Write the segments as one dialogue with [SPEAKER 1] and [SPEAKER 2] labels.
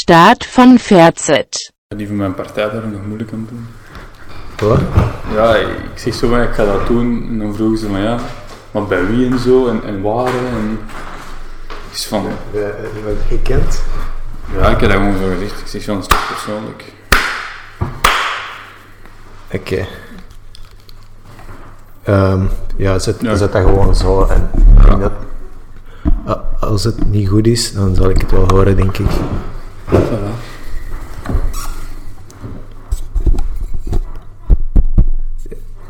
[SPEAKER 1] Staat van verzet.
[SPEAKER 2] Die van mijn partij daar nog moeilijk aan doen.
[SPEAKER 3] Wat?
[SPEAKER 2] Ja, ik zeg zo van, ik ga dat doen. En dan vroegen ze van, ja, maar bij wie en zo, en, en waar, hè, en... is van,
[SPEAKER 3] Iemand gekend?
[SPEAKER 2] ja, ik heb daar gewoon zo gezegd. Ik zeg van, dat is toch persoonlijk.
[SPEAKER 3] Oké. eh, Ehm, ja, zet,
[SPEAKER 2] Ja.
[SPEAKER 3] zet dat gewoon zo. En ik denk dat, a- als het niet goed is, dan zal ik het wel horen, denk ik.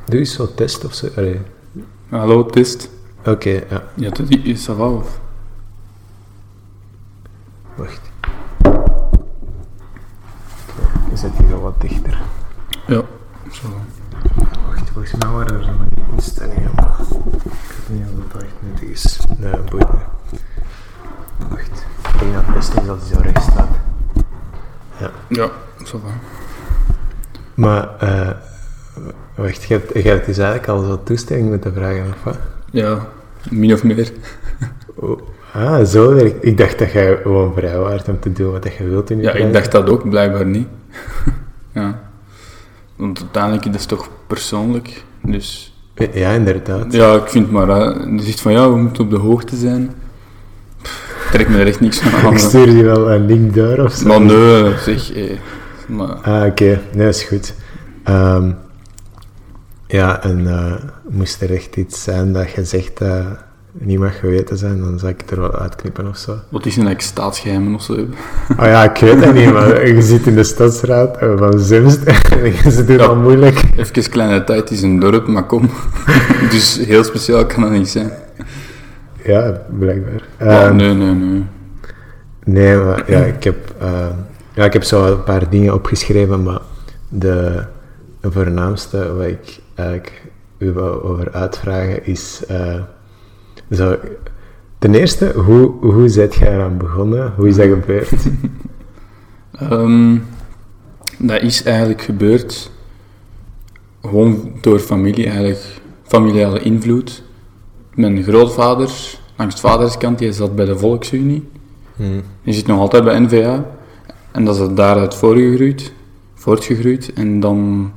[SPEAKER 3] Doe eens zo'n test of zo. Allee.
[SPEAKER 2] Ah, Hallo, test.
[SPEAKER 3] Oké, ja.
[SPEAKER 2] Ja, dat is ça va, of?
[SPEAKER 3] Wacht. Oké, Ik zet hier al wat dichter.
[SPEAKER 2] Ja. Zo.
[SPEAKER 3] Wacht, volgens mij waren er van die instellingen, maar ik weet niet of dat echt nuttig is. Nee, boeit me. Wacht, ik denk dat het beste is als hij zo rechts staat.
[SPEAKER 2] Ja, ça va.
[SPEAKER 3] Maar, eh, wacht, je hebt, je hebt dus eigenlijk al zo toestemming moeten vragen, of wat?
[SPEAKER 2] Ja, min of meer.
[SPEAKER 3] Oh, ah, zo werkt Ik dacht dat jij gewoon vrij waard om te doen wat je wilt in je
[SPEAKER 2] Ja, ik
[SPEAKER 3] vrije-
[SPEAKER 2] dacht dat ook, blijkbaar niet. ja. Want uiteindelijk is het toch persoonlijk. Dus
[SPEAKER 3] Ja, inderdaad.
[SPEAKER 2] ja, ik vind maar, hè, je zegt van ja, we moeten op de hoogte zijn. Pff, trek me er echt niks van
[SPEAKER 3] Ik
[SPEAKER 2] aan.
[SPEAKER 3] stuur je wel een link door of zo.
[SPEAKER 2] Maar nee, zeg. eh, maar,
[SPEAKER 3] Ah, oké. Nee, is goed. Ehm, ja, en eh, moest er echt iets zijn dat je zegt dat niet mag geweten zijn, dan zal ik het er wel uitknippen of zo.
[SPEAKER 2] wat is een dat ik staatsgeheimen of zo heb?
[SPEAKER 3] Oh ja, ik weet het niet, maar je zit in de stadsraad eh, van Zemst en ze doen
[SPEAKER 2] Ja.
[SPEAKER 3] al moeilijk.
[SPEAKER 2] Even kleine tijd, het is een dorp, maar kom. dus heel speciaal kan dat niet zijn.
[SPEAKER 3] Ja, blijkbaar.
[SPEAKER 2] Maar
[SPEAKER 3] Ehm,
[SPEAKER 2] nee, nee, nee.
[SPEAKER 3] Nee, maar ja, ik heb, eh, ja, ik heb zo een paar dingen opgeschreven, maar de voornaamste wat ik eigenlijk u wou over uitvragen is... eh, zo, ten eerste, hoe, hoe zit jij eraan begonnen? Hoe is dat gebeurd?
[SPEAKER 2] Ehm, dat is eigenlijk gebeurd gewoon door familie, eigenlijk familiale invloed. Mijn grootvader, langs vaderskant, die zat bij de Volksunie. Die zit nog altijd bij NVA. En dat is daaruit voortgegroeid, voortgegroeid. En dan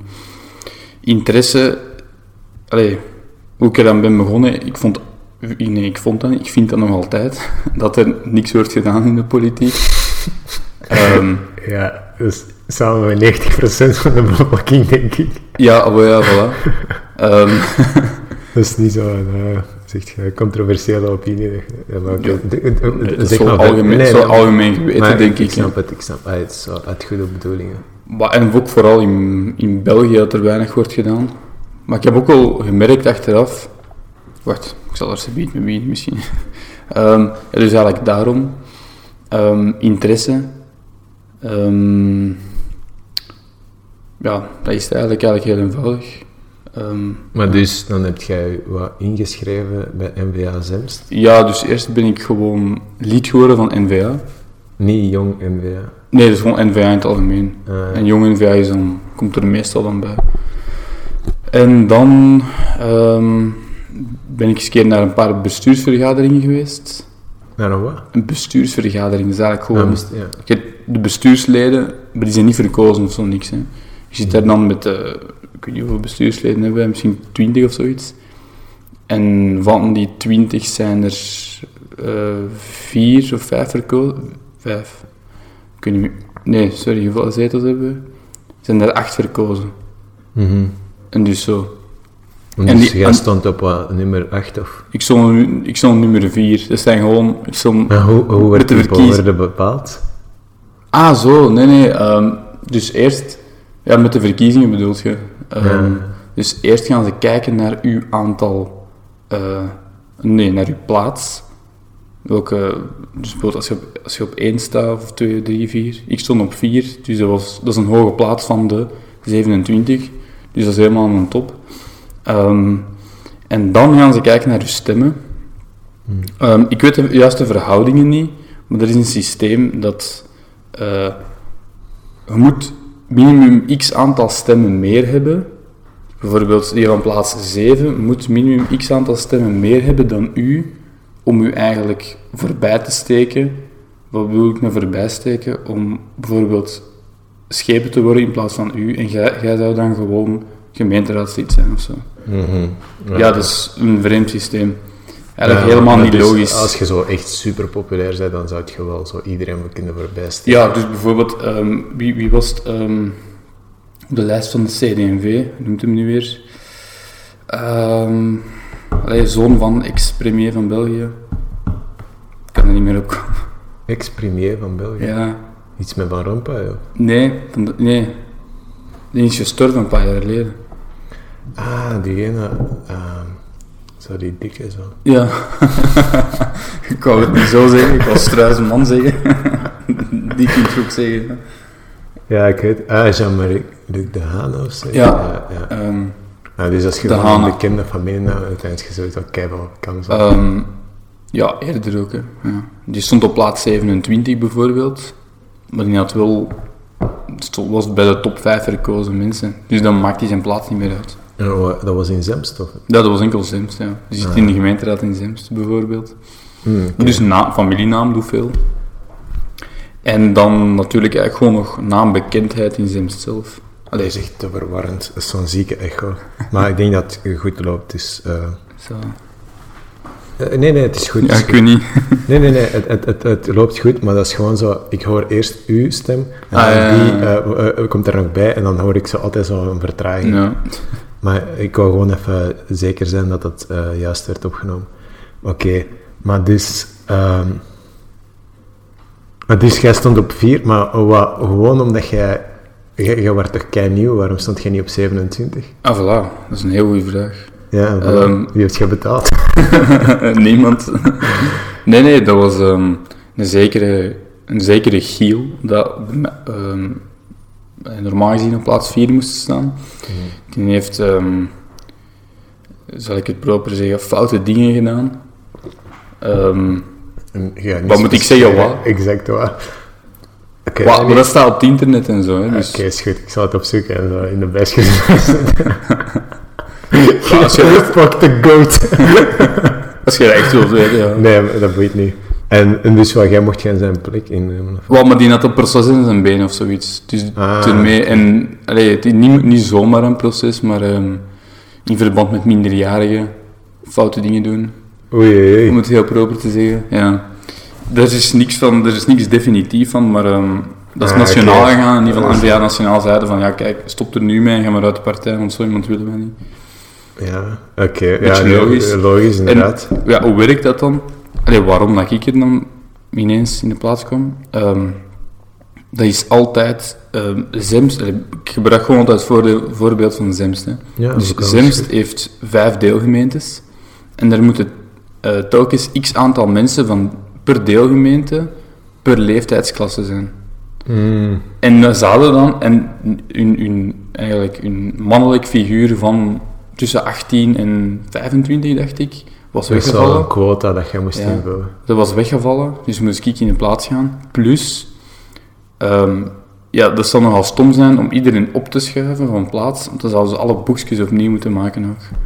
[SPEAKER 2] interesse. Allee, hoe ik er dan ben begonnen, ik vond. Nee, ik vond dat niet. Ik vind dat nog altijd. Dat er niks wordt gedaan in de politiek. Ehm,
[SPEAKER 3] ja, dus samen met 90% van de bevolking, denk ik.
[SPEAKER 2] Ja, oh ja, voilà. Ehm,
[SPEAKER 3] Dat is niet zo'n eh, zeg je, controversiële opinie. Ja, maar oké,
[SPEAKER 2] Ja.
[SPEAKER 3] d- d- d-
[SPEAKER 2] het is
[SPEAKER 3] zeg
[SPEAKER 2] zo
[SPEAKER 3] maar verder.
[SPEAKER 2] algemeen,
[SPEAKER 3] Nee,
[SPEAKER 2] zo
[SPEAKER 3] nee, maar-
[SPEAKER 2] algemeen geweten,
[SPEAKER 3] maar
[SPEAKER 2] denk
[SPEAKER 3] Ik
[SPEAKER 2] ik. hè.
[SPEAKER 3] snap het, ik snap het. Ah, Het is zo uit goede bedoelingen.
[SPEAKER 2] Maar, en ook vooral in, in België dat er weinig wordt gedaan. Maar ik heb ook al gemerkt achteraf... Wacht, ik zal er zo mee beginnen misschien. Ehm, ja, dus eigenlijk daarom. Ehm, interesse. Ehm, ja, dat is het eigenlijk, eigenlijk heel eenvoudig. Ehm,
[SPEAKER 3] Maar dus, dan heb jij wat ingeschreven bij NVA Zemst.
[SPEAKER 2] ja, dus eerst ben ik gewoon lid geworden van NVA.
[SPEAKER 3] Niet jong NVA.
[SPEAKER 2] Nee, dus dat is gewoon NVA in het algemeen.
[SPEAKER 3] Eh,
[SPEAKER 2] En jong NVA is dan, komt er meestal dan bij. En dan ehm, ben ik eens een keer naar een paar bestuursvergaderingen geweest.
[SPEAKER 3] naar een wat?
[SPEAKER 2] Een bestuursvergadering is eigenlijk
[SPEAKER 3] Ah,
[SPEAKER 2] gewoon...
[SPEAKER 3] moest- ja.
[SPEAKER 2] Je hebt de bestuursleden, maar die zijn niet verkozen of zo, niks. Hè. Je zit daar dan met, eh, ik weet niet hoeveel bestuursleden hebben wij, misschien twintig of zoiets. En van die twintig zijn er eh, vier of vijf verkozen. Vijf. Ik weet niet meer. Nee, sorry, hoeveel zetels hebben we? Zijn er acht verkozen.
[SPEAKER 3] Mhm.
[SPEAKER 2] En dus zo.
[SPEAKER 3] En
[SPEAKER 2] En
[SPEAKER 3] dus
[SPEAKER 2] die-
[SPEAKER 3] jij
[SPEAKER 2] en-
[SPEAKER 3] stond op wat, nummer 8 of...
[SPEAKER 2] Ik stond, nu- ik stond nummer vier. Dat zijn gewoon... Ik stond
[SPEAKER 3] Maar hoe, hoe
[SPEAKER 2] Met
[SPEAKER 3] werd
[SPEAKER 2] de
[SPEAKER 3] die
[SPEAKER 2] verkiezing.
[SPEAKER 3] worden bepaald?
[SPEAKER 2] Ah, zo, nee, nee. ehm, dus eerst, ja, met de verkiezingen bedoelt je. Ehm,
[SPEAKER 3] Ja.
[SPEAKER 2] Dus eerst gaan ze kijken naar uw aantal, eh, nee, naar uw plaats. Welke, dus bijvoorbeeld als je, op, als je op 1 staat, of 2, 3, 4. Ik stond op 4, dus dat, was, dat is een hoge plaats van de 27. Dus dat is helemaal aan de top. Ehm, en dan gaan ze kijken naar uw stemmen. Ehm, ik weet de juiste verhoudingen niet, maar er is een systeem dat eh, je moet minimum x aantal stemmen meer hebben. Bijvoorbeeld die van plaats 7 moet minimum x aantal stemmen meer hebben dan u om u eigenlijk voorbij te steken wat bedoel ik met voorbij steken? Om bijvoorbeeld schepen te worden in plaats van u en jij, jij zou dan gewoon gemeenteraadslid zijn of zo. Mhm. Ja, dat is een vreemd systeem. Eigenlijk
[SPEAKER 3] Ja,
[SPEAKER 2] helemaal
[SPEAKER 3] maar
[SPEAKER 2] niet
[SPEAKER 3] dus
[SPEAKER 2] logisch.
[SPEAKER 3] Als je zo echt super populair bent, dan zou je wel zo iedereen wel kunnen voorbij steken.
[SPEAKER 2] Ja, dus bijvoorbeeld, ehm, wie, wie was het, ehm, op de lijst van de CD&V, hoe noemt hem nu weer? Ehm, allee, zoon van ex-premier van België. Ik kan er niet meer op komen.
[SPEAKER 3] Ex-premier van België.
[SPEAKER 2] Ja.
[SPEAKER 3] Iets met Van Rompuy, joh.
[SPEAKER 2] Nee, van de- nee. Die is gestorven een paar jaar geleden.
[SPEAKER 3] Ah, diegene... ehm, zo die dikke zo.
[SPEAKER 2] Ja. ik wou het niet zo zeggen, ik wou struis een man zeggen. Die kun je ook zeggen.
[SPEAKER 3] Ja, ik weet... Ah, Jean-Marie Luc de Haan of zo.
[SPEAKER 2] Ja.
[SPEAKER 3] ja.
[SPEAKER 2] Ehm,
[SPEAKER 3] Ah, dus als je
[SPEAKER 2] De
[SPEAKER 3] gewoon een
[SPEAKER 2] Haan.
[SPEAKER 3] bekende familienaam uiteindelijk je sowieso keihard kans op.
[SPEAKER 2] Ehm, ja, eerder ook. Hè. Ja. Die stond op plaats 27 bijvoorbeeld. Maar die had wel, stond- was bij de top 5 verkozen mensen. Dus dan maakt hij zijn plaats niet meer uit.
[SPEAKER 3] En dat wa- dat was in Zemstof.
[SPEAKER 2] Ja, dat was enkel Zemst. Ja. Die zit in de gemeenteraad in Zemst bijvoorbeeld.
[SPEAKER 3] Hmm.
[SPEAKER 2] Dus na, familienaam doet veel. En dan natuurlijk eigenlijk gewoon nog naambekendheid in Zemst zelf.
[SPEAKER 3] Dat
[SPEAKER 2] Allee,
[SPEAKER 3] is echt te verwarrend. Dat is zo'n zieke echo. Maar ik denk dat het goed loopt, dus... eh,
[SPEAKER 2] zo.
[SPEAKER 3] eh, nee, nee, het is goed. het
[SPEAKER 2] Ja,
[SPEAKER 3] is
[SPEAKER 2] ik
[SPEAKER 3] goed.
[SPEAKER 2] weet niet.
[SPEAKER 3] Nee, nee, nee, het, het, het, het loopt goed, maar dat is gewoon zo, ik hoor eerst uw stem, en
[SPEAKER 2] Ah, ja, ja,
[SPEAKER 3] die
[SPEAKER 2] ja.
[SPEAKER 3] eh, eh, eh, komt er nog bij, en dan hoor ik zo altijd zo'n vertraging.
[SPEAKER 2] Ja.
[SPEAKER 3] Maar ik wil gewoon even zeker zijn dat het eh, juist werd opgenomen. Oké, maar dus... ehm, maar dus jij stond op 4, maar wat, gewoon omdat jij... Jij, jij werd toch kei nieuw, waarom stond jij niet op 27?
[SPEAKER 2] Ah, voilà. Dat is een heel goede vraag.
[SPEAKER 3] Ja, en voilà.
[SPEAKER 2] Ehm.
[SPEAKER 3] wie heeft jij betaald?
[SPEAKER 2] Eh, Niemand. nee, nee, dat was ehm, een, zekere, een zekere Giel, dat op de me- ehm, normaal gezien op plaats 4 moest staan. Die heeft, ehm, zal ik het proper zeggen, foute dingen gedaan. Ehm,
[SPEAKER 3] En jij niet
[SPEAKER 2] Wat moet ik zeggen, wat?
[SPEAKER 3] Exact, wat? Oké,
[SPEAKER 2] wa- maar dat staat op het internet en zo. Hè,
[SPEAKER 3] Oké,
[SPEAKER 2] dus,
[SPEAKER 3] is goed. Ik zal het opzoeken en zo in de best gezet.
[SPEAKER 2] Ja, als, je,
[SPEAKER 3] Fuck the goat.
[SPEAKER 2] als je dat echt wilt weten, ja.
[SPEAKER 3] Nee, maar dat boeit niet. En, en dus wat, jij mocht geen zijn plek innemen? Of?
[SPEAKER 2] Wel, maar die had een proces in zijn been of zoiets. Dus
[SPEAKER 3] Ah,
[SPEAKER 2] toen mee, en allee, het is niet, niet zomaar een proces, maar ehm, in verband met minderjarigen foute dingen doen.
[SPEAKER 3] Oei, oei, oei.
[SPEAKER 2] Om het heel proper te zeggen. Ja. Daar is niks van, daar is niks definitief van, maar ehm, dat is
[SPEAKER 3] Ah,
[SPEAKER 2] nationaal
[SPEAKER 3] oké.
[SPEAKER 2] gegaan. En die van
[SPEAKER 3] Dat is-
[SPEAKER 2] Andrea Nationaal zeiden van ja, kijk, stop er nu mee en ga maar uit de partij, want zo iemand willen wij niet.
[SPEAKER 3] Ja, oké. Ja,
[SPEAKER 2] Beetje
[SPEAKER 3] nee,
[SPEAKER 2] logisch.
[SPEAKER 3] Logisch, inderdaad.
[SPEAKER 2] En, ja, hoe werkt dat dan? Allee, waarom dat ik er dan ineens in de plaats kwam? Ehm, dat is altijd ehm Zemst. allee, Ik gebruik gewoon altijd het voorde- voorbeeld van Zemst. Hè.
[SPEAKER 3] Ja,
[SPEAKER 2] dus
[SPEAKER 3] dat kan
[SPEAKER 2] Zemst
[SPEAKER 3] goed.
[SPEAKER 2] heeft vijf deelgemeentes. En daar moeten eh, telkens x aantal mensen van per deelgemeente per leeftijdsklasse zijn.
[SPEAKER 3] Mm,
[SPEAKER 2] En dat zouden dan en hun, hun, eigenlijk hun mannelijk figuur van tussen 18 en 25, dacht ik, was
[SPEAKER 3] dat is wel
[SPEAKER 2] weggevallen.
[SPEAKER 3] een quota dat jij moest
[SPEAKER 2] Ja.
[SPEAKER 3] invullen.
[SPEAKER 2] Dat was weggevallen, dus moest ik in de plaats gaan. Plus, ehm, ja, dat zou nogal stom zijn om iedereen op te schuiven van plaats, want dan zouden ze alle boekjes opnieuw moeten maken ook.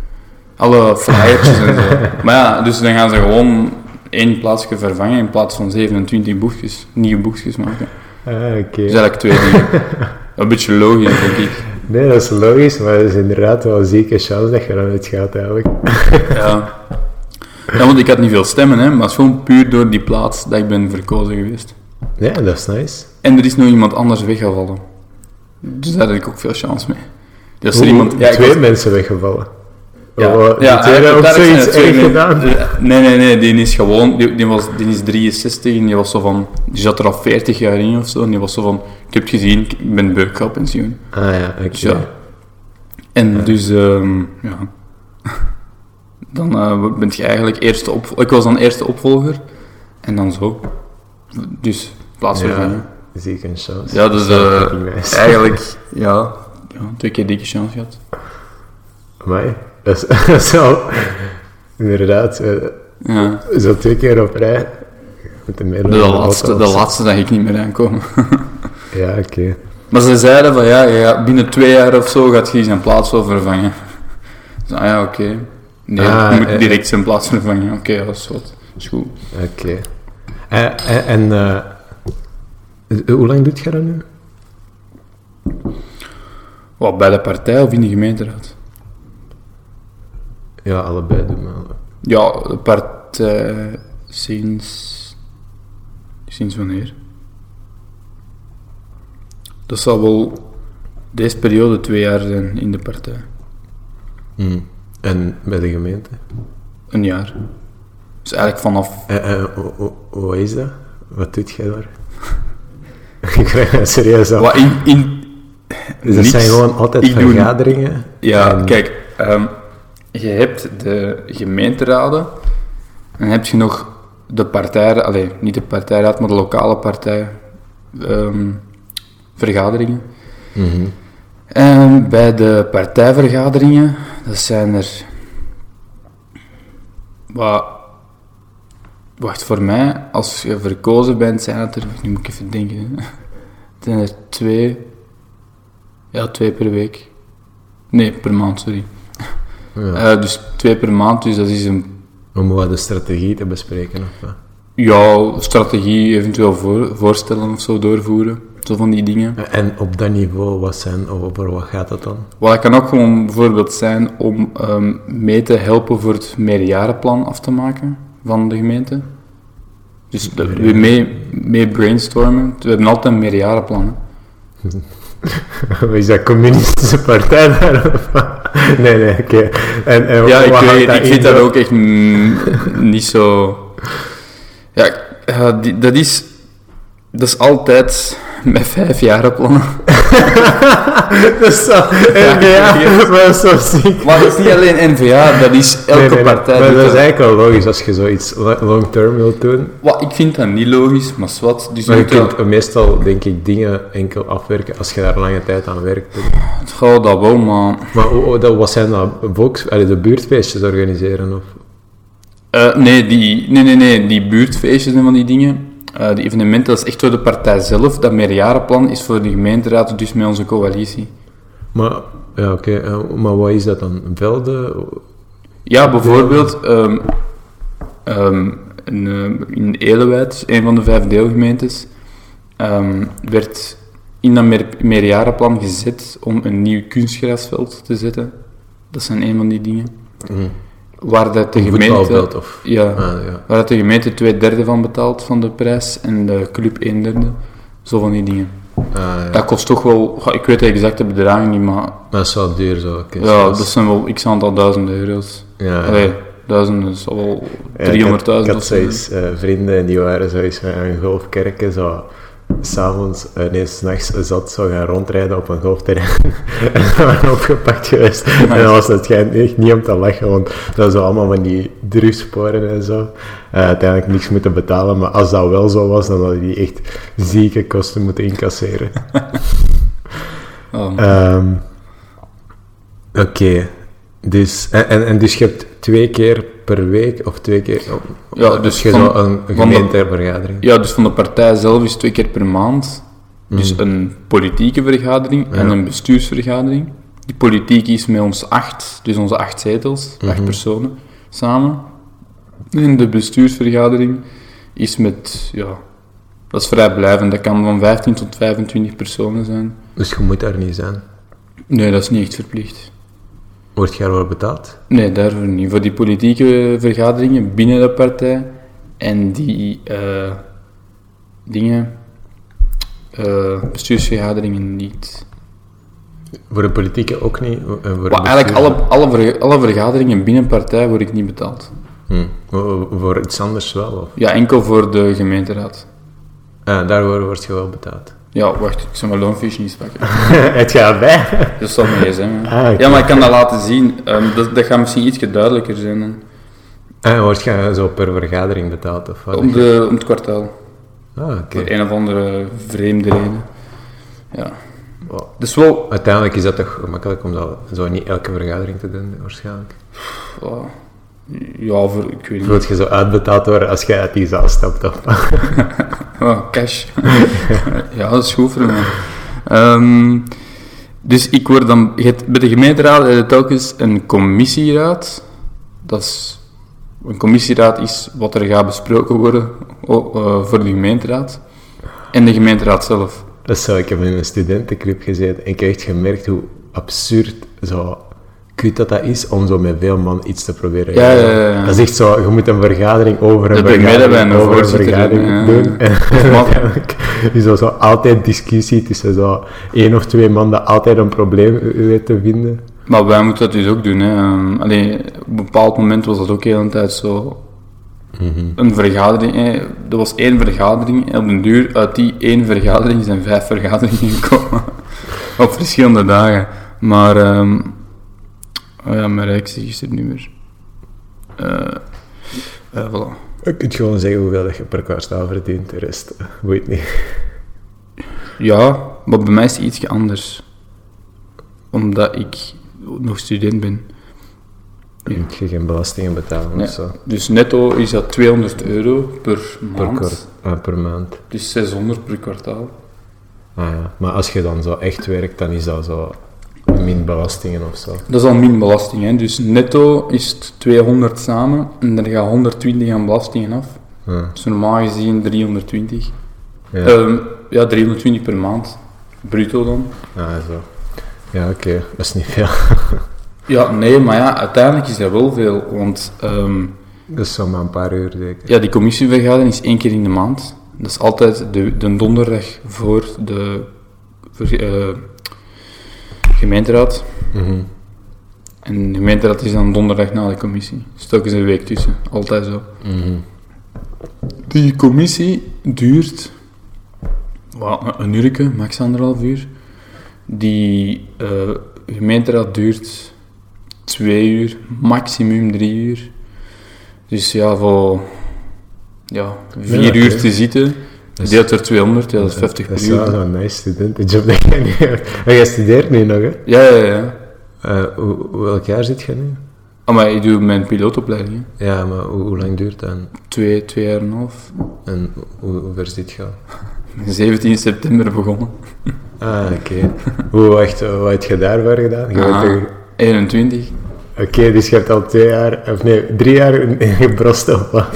[SPEAKER 2] Alle flyertjes en zo. Maar ja, dus dan gaan ze gewoon één plaatsje vervangen in plaats van 27 boekjes, nieuwe boekjes maken.
[SPEAKER 3] Ah, oké.
[SPEAKER 2] Dus eigenlijk twee dingen. Een beetje logisch, denk ik.
[SPEAKER 3] Nee, dat is logisch, maar dat is inderdaad wel een zieke chance dat je eruit gaat eigenlijk.
[SPEAKER 2] Ja. ja, want ik had niet veel stemmen, hè, maar het is gewoon puur door die plaats dat ik ben verkozen geweest.
[SPEAKER 3] Ja, dat is nice.
[SPEAKER 2] En er is nog iemand anders weggevallen. Dus daar had ik ook veel chance mee. Dus er
[SPEAKER 3] Hoe-
[SPEAKER 2] iemand... ik
[SPEAKER 3] twee
[SPEAKER 2] was-
[SPEAKER 3] mensen weggevallen.
[SPEAKER 2] ja,
[SPEAKER 3] Oh, die
[SPEAKER 2] ja,
[SPEAKER 3] twee hebben ook
[SPEAKER 2] daar is
[SPEAKER 3] zoiets
[SPEAKER 2] een tweede-
[SPEAKER 3] erg gedaan.
[SPEAKER 2] Nee, nee, nee, die is gewoon... Die, die was, die is 63 en die was zo van... Die zat er al 40 jaar in of zo. En die was zo van... Ik heb het gezien, ik ben beu, ik ga op pensioen.
[SPEAKER 3] Ah ja, oké.
[SPEAKER 2] Dus ja. En dus, ehm, ja. Dan eh ben je eigenlijk eerste op... Ik was dan eerste opvolger. En dan zo. Dus, plaatsvervanging.
[SPEAKER 3] Ja, ziek een chance.
[SPEAKER 2] Ja, dus
[SPEAKER 3] Dat is
[SPEAKER 2] eh,
[SPEAKER 3] fucking nice.
[SPEAKER 2] eigenlijk, ja, ja, twee keer dikke chance gehad.
[SPEAKER 3] Amai, dat is, dat is wel... Inderdaad, eh,
[SPEAKER 2] Ja.
[SPEAKER 3] zo twee keer op rij. Met de
[SPEAKER 2] De,
[SPEAKER 3] middel van
[SPEAKER 2] laatste, de
[SPEAKER 3] auto.
[SPEAKER 2] laatste zag ik niet meer aankomen.
[SPEAKER 3] Ja, oké.
[SPEAKER 2] Maar ze zeiden van ja, ja, ja, binnen twee jaar of zo gaat hij zijn plaats wel vervangen. Dus, ah ja, oké. Nee,
[SPEAKER 3] Ah,
[SPEAKER 2] je moet
[SPEAKER 3] eh,
[SPEAKER 2] direct zijn plaats vervangen. Oké, dat is wat. Is goed.
[SPEAKER 3] Oké. Eh, eh, En, eh, Eh, Hoe lang doet jij dat nu?
[SPEAKER 2] Wat, bij de partij of in de gemeenteraad?
[SPEAKER 3] Ja, allebei doen maar.
[SPEAKER 2] Ja, de partij sinds... Sinds wanneer? Dat zal wel deze periode twee jaar zijn in de partij. Hmm.
[SPEAKER 3] En bij de gemeente?
[SPEAKER 2] Een jaar. Dus eigenlijk vanaf...
[SPEAKER 3] Eh, eh, hoe- hoe- Hoe is dat? Wat doet jij daar? Ik krijg dat serieus af.
[SPEAKER 2] Wat, in, in,
[SPEAKER 3] Dus dat
[SPEAKER 2] niets.
[SPEAKER 3] zijn gewoon altijd
[SPEAKER 2] Ik doe-
[SPEAKER 3] vergaderingen.
[SPEAKER 2] Ja,
[SPEAKER 3] En-
[SPEAKER 2] kijk, ehm, je hebt de gemeenteraden en dan heb je nog de partij, allee, niet de partijraad, maar de lokale partij ehm, vergaderingen. En bij de partijvergaderingen, dat zijn er wat Wacht, voor mij, als je verkozen bent, zijn het er... Nu moet ik even denken. hè. Het zijn er twee... Ja, twee per week. Nee, per maand, sorry. Eh, dus twee per maand, dus dat is een...
[SPEAKER 3] Om wat de strategie te bespreken of wat?
[SPEAKER 2] Ja, strategie, eventueel voor, voorstellen of zo doorvoeren. Zo van die dingen.
[SPEAKER 3] En op dat niveau, wat zijn, over wat gaat dat dan?
[SPEAKER 2] Wat kan ook gewoon bijvoorbeeld zijn om ehm, mee te helpen voor het meerjarenplan af te maken van de gemeente. Dus dat we mee, mee brainstormen. We hebben altijd een meerjarenplan. hè.
[SPEAKER 3] Is dat communistische partij daar? of wat? Nee, nee, oké. En, en
[SPEAKER 2] Ja,
[SPEAKER 3] wat
[SPEAKER 2] ik,
[SPEAKER 3] houdt
[SPEAKER 2] weet,
[SPEAKER 3] dat
[SPEAKER 2] ik
[SPEAKER 3] in
[SPEAKER 2] vind
[SPEAKER 3] dan?
[SPEAKER 2] dat ook echt mm, niet zo. Ja, eh, die- dat is. Dat is altijd met vijf jaar plannen.
[SPEAKER 3] dat is zo...
[SPEAKER 2] Ja,
[SPEAKER 3] Ja, ja,
[SPEAKER 2] serieus.
[SPEAKER 3] maar dat is zo ziek.
[SPEAKER 2] Maar dat is niet alleen NVA, dat is elke
[SPEAKER 3] Nee, nee, nee,
[SPEAKER 2] partij.
[SPEAKER 3] Maar
[SPEAKER 2] doet
[SPEAKER 3] dat is
[SPEAKER 2] dat.
[SPEAKER 3] eigenlijk wel logisch als je zoiets lo- long-term wilt doen.
[SPEAKER 2] Wat, ik vind dat niet logisch, maar zwart. Dus
[SPEAKER 3] Maar
[SPEAKER 2] je
[SPEAKER 3] je
[SPEAKER 2] moet wel-
[SPEAKER 3] kunt meestal, denk ik, dingen enkel afwerken als je daar lange tijd aan werkt.
[SPEAKER 2] het gaat dat wel, maar.
[SPEAKER 3] Maar hoe- hoe- dat, wat zijn dat? Volks, allee, de buurtfeestjes organiseren? Of?
[SPEAKER 2] Eh, nee, die, nee, nee, nee, die buurtfeestjes en van die dingen. eh, die evenementen, dat is echt door de partij zelf. Dat meerjarenplan is voor de gemeenteraad, dus met onze coalitie.
[SPEAKER 3] Maar, ja, oké. eh, Maar wat is dat dan? Velden?
[SPEAKER 2] Ja, bijvoorbeeld ehm, ehm, in, ehm, in Elewijd, een van de vijf deelgemeentes, ehm, werd in dat meer, meerjarenplan gezet om een nieuw kunstgrasveld te zetten. Dat zijn een van die dingen. Waar dat de
[SPEAKER 3] Mhm. Een
[SPEAKER 2] gemeente...
[SPEAKER 3] voetbalveld, of-
[SPEAKER 2] Ja,
[SPEAKER 3] Ah, ja.
[SPEAKER 2] waar dat de gemeente twee derde van betaalt van de prijs en de club een derde. Zo van die dingen.
[SPEAKER 3] Ah, ja.
[SPEAKER 2] Dat kost toch wel... goh, Ik weet de exacte bedragen niet, maar
[SPEAKER 3] Maar dat is wel duur zo. oké.
[SPEAKER 2] ja,
[SPEAKER 3] Dus-
[SPEAKER 2] dat zijn wel x aantal duizenden euro's.
[SPEAKER 3] Ja, ja.
[SPEAKER 2] Allee, duizenden is al wel 300.000
[SPEAKER 3] Eh, Ja, ik had- Ik had
[SPEAKER 2] of zo.
[SPEAKER 3] zoiets eh, vrienden en die waren zoiets van een golfkerken zo s'avonds, eh, nee, s'nachts zat zo gaan rondrijden op een golfterrein en ze waren opgepakt geweest. En dan was het schijnt echt niet om te lachen, want dat was allemaal van die drugssporen en zo. Eh, uiteindelijk niks moeten betalen, maar als dat wel zo was, dan hadden die echt zieke kosten moeten incasseren.
[SPEAKER 2] Ja.
[SPEAKER 3] Ehm, Oké, dus, en, en, en dus je hebt twee keer per week of twee keer.
[SPEAKER 2] Ja,
[SPEAKER 3] dus,
[SPEAKER 2] dus
[SPEAKER 3] je
[SPEAKER 2] van-
[SPEAKER 3] zo een
[SPEAKER 2] van de-
[SPEAKER 3] gemeentevergadering.
[SPEAKER 2] ja, dus van de partij zelf is twee keer per maand.
[SPEAKER 3] Mm.
[SPEAKER 2] Dus een politieke vergadering en een bestuursvergadering. Die politieke is met ons acht, dus onze acht zetels,
[SPEAKER 3] Mhm.
[SPEAKER 2] acht personen samen. En de bestuursvergadering is met, ja, dat is vrijblijvend. Dat kan van 15 tot 25 personen zijn.
[SPEAKER 3] Dus je moet daar niet zijn.
[SPEAKER 2] Nee, dat is niet echt verplicht.
[SPEAKER 3] Word je daarvoor betaald?
[SPEAKER 2] Nee, daarvoor niet. Voor die politieke vergaderingen binnen de partij en die eh, dingen, eh, bestuursvergaderingen niet.
[SPEAKER 3] Voor de politieke ook niet. en Voor
[SPEAKER 2] Maar eigenlijk alle, alle, verga- alle vergaderingen binnen partij word ik niet betaald.
[SPEAKER 3] alle... Hmm. Voor iets anders wel. Of?
[SPEAKER 2] Ja, enkel voor de gemeenteraad.
[SPEAKER 3] Ah, daarvoor word je wel betaald.
[SPEAKER 2] Ja, wacht, ik zal mijn loonfiche niet pakken.
[SPEAKER 3] het gaat bij.
[SPEAKER 2] Dat zal mee zijn.
[SPEAKER 3] Ah, oké.
[SPEAKER 2] Ja, maar ik kan dat laten zien. Ehm, dat, dat gaat misschien iets duidelijker zijn dan
[SPEAKER 3] En Eh, word je zo per vergadering betaald of wat?
[SPEAKER 2] om, de, om het kwartaal.
[SPEAKER 3] Ah, oké.
[SPEAKER 2] Voor een of andere vreemde reden. Ja.
[SPEAKER 3] Wow.
[SPEAKER 2] Dus wel,
[SPEAKER 3] Uiteindelijk is dat toch gemakkelijk om dat zo niet elke vergadering te doen, waarschijnlijk.
[SPEAKER 2] Ah, Ja, voor, ik weet niet.
[SPEAKER 3] Wilt je zo uitbetaald worden als jij uit die zaal stapt? Of?
[SPEAKER 2] Ah, cash. ja, dat is goed voor mij. Ehm, dus ik word dan... je hebt- bij de gemeenteraad heb je telkens een commissieraad. Dat is... oh, Een commissieraad is wat er gaat besproken worden o- eh, voor de gemeenteraad. en de gemeenteraad zelf.
[SPEAKER 3] Dat is zo, ik heb in een studentenclub gezeten en ik heb echt gemerkt hoe absurd zo kut dat dat is om zo met veel man iets te proberen.
[SPEAKER 2] Ja, ja, ja, ja.
[SPEAKER 3] Dat is echt zo, je moet een vergadering over een
[SPEAKER 2] Dat brengt mij
[SPEAKER 3] vergadering,
[SPEAKER 2] dat bij een
[SPEAKER 3] over een
[SPEAKER 2] voorzitter,
[SPEAKER 3] vergadering
[SPEAKER 2] ja.
[SPEAKER 3] doen. En
[SPEAKER 2] man.
[SPEAKER 3] uiteindelijk is er zo altijd discussie tussen zo één of twee man dat altijd een probleem weet te vinden.
[SPEAKER 2] Maar wij moeten dat dus ook doen. Hè. Ehm, allee, op een bepaald moment was dat ook heel een tijd zo. Een vergadering, hè. er was één vergadering en op den duur uit die één vergadering zijn vijf vergaderingen gekomen. op verschillende dagen. Maar, ehm, oh ja, mijn reactie is er nu weer. Eh, eh, voilà.
[SPEAKER 3] Je kunt gewoon zeggen hoeveel dat je per kwartaal verdient, de rest boeit niet.
[SPEAKER 2] Ja, maar bij mij is het ietsje anders. Omdat ik nog student ben.
[SPEAKER 3] Je moet je geen belastingen betalen
[SPEAKER 2] Ja.
[SPEAKER 3] of zo.
[SPEAKER 2] Dus netto is dat 200 euro per
[SPEAKER 3] Per,
[SPEAKER 2] maand.
[SPEAKER 3] kwart, ah, per maand.
[SPEAKER 2] Dus 600 per kwartaal.
[SPEAKER 3] Ah, ja. Maar als je dan zo echt werkt, dan is dat zo min belastingen of zo.
[SPEAKER 2] Dat is al min belasting, hè. Dus netto is het 200 samen en daar gaat 120 aan belastingen af.
[SPEAKER 3] Ja.
[SPEAKER 2] Dus normaal gezien 320.
[SPEAKER 3] Ja.
[SPEAKER 2] Ehm, ja 320 per maand. Bruto dan.
[SPEAKER 3] Ah, zo. Ja, oké. Dat is niet veel.
[SPEAKER 2] Ja, nee, maar ja, uiteindelijk is dat wel veel. Want ehm,
[SPEAKER 3] Dat is zomaar een paar uur zeker.
[SPEAKER 2] ja, die commissievergadering is één keer in de maand. Dat is altijd de, de donderdag voor de ver- eh, gemeenteraad.
[SPEAKER 3] Mhm.
[SPEAKER 2] En de gemeenteraad is dan donderdag na de commissie. Dus telkens een week tussen. Altijd zo.
[SPEAKER 3] Mhm.
[SPEAKER 2] Die commissie duurt wel, een- een uurtje, max anderhalf uur. Die eh, gemeenteraad duurt twee uur, maximum drie uur. Dus ja, voor ja, vier
[SPEAKER 3] Ja, oké.
[SPEAKER 2] uur te zitten,
[SPEAKER 3] Dus-
[SPEAKER 2] deelt er 200, ja, dat is 50
[SPEAKER 3] Dat
[SPEAKER 2] per
[SPEAKER 3] is wel
[SPEAKER 2] uur.
[SPEAKER 3] zo'n nice studentenjob dat jij nu hebt. Maar jij studeert nu nog, hè?
[SPEAKER 2] Ja, ja, ja.
[SPEAKER 3] Eh, hoe, hoe- welk jaar zit je nu?
[SPEAKER 2] Ah, Maar ik doe mijn pilootopleiding, hè.
[SPEAKER 3] Ja, maar hoe, hoe lang duurt dat?
[SPEAKER 2] twee, twee jaar en een half.
[SPEAKER 3] En hoe, hoe ver zit je al?
[SPEAKER 2] 17 september begonnen.
[SPEAKER 3] Ah, oké. hoe echt, eh, wat heb je daarvoor gedaan? Je bent
[SPEAKER 2] Ah,
[SPEAKER 3] toch-
[SPEAKER 2] 21.
[SPEAKER 3] Oké, dus je hebt al twee jaar, of nee, drie jaar in- in gebrost of wat?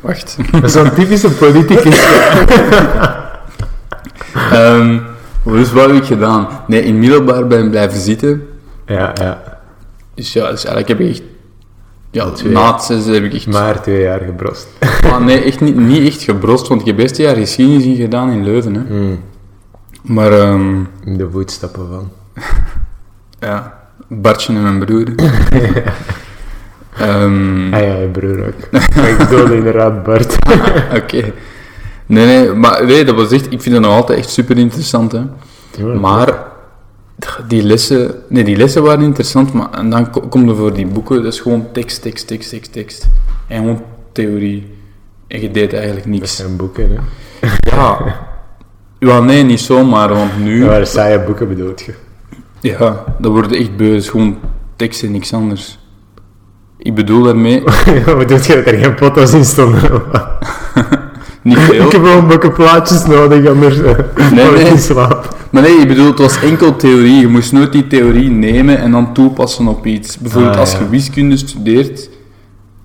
[SPEAKER 2] Wacht.
[SPEAKER 3] Dat is zo'n typische politicus.
[SPEAKER 2] Ehm, dus wat heb ik gedaan? Nee, in middelbaar ben ik blijven zitten.
[SPEAKER 3] Ja, ja.
[SPEAKER 2] Dus ja, dus eigenlijk heb ik echt... Ja,
[SPEAKER 3] Twee.
[SPEAKER 2] na het zesde heb ik echt...
[SPEAKER 3] Maar twee jaar gebrost.
[SPEAKER 2] Ah, nee, echt niet, niet echt gebrost, want ik heb best een jaar geschiedenis in gedaan in Leuven. Hè.
[SPEAKER 3] Hmm,
[SPEAKER 2] Maar ehm,
[SPEAKER 3] in de voetstappen van.
[SPEAKER 2] ja, Bartje en mijn broer. Ehm,
[SPEAKER 3] Ah ja, je broer ook. Maar ik bedoelde inderdaad Bart.
[SPEAKER 2] Oké. Nee, nee, maar nee, dat was echt... Ik vind dat nog altijd echt super interessant, hè.
[SPEAKER 3] Mhm.
[SPEAKER 2] Maar die lessen, nee, die lessen waren interessant, maar en dan ko- kom je voor die boeken, dat is gewoon tekst, tekst, tekst, tekst, tekst. En gewoon theorie. En je deed eigenlijk
[SPEAKER 3] Dat
[SPEAKER 2] niks.
[SPEAKER 3] zijn boeken, hè.
[SPEAKER 2] Ja. Ja, nee, niet zomaar, want
[SPEAKER 3] Ja,
[SPEAKER 2] nu...
[SPEAKER 3] maar saaie boeken bedoelt je.
[SPEAKER 2] Ja, dat wordt echt beu, dat is gewoon tekst en niks anders. Ik bedoel daarmee,
[SPEAKER 3] Wat bedoelt je dat er geen foto's in stonden?
[SPEAKER 2] niet veel,
[SPEAKER 3] Ik heb gewoon boeken plaatjes nodig, anders eh,
[SPEAKER 2] Nee,
[SPEAKER 3] val ik
[SPEAKER 2] nee.
[SPEAKER 3] in slaap.
[SPEAKER 2] Maar nee, ik bedoel, het was enkel theorie. Je moest nooit die theorie nemen en dan toepassen op iets. Bijvoorbeeld
[SPEAKER 3] Ah,
[SPEAKER 2] als
[SPEAKER 3] ja.
[SPEAKER 2] je wiskunde studeert,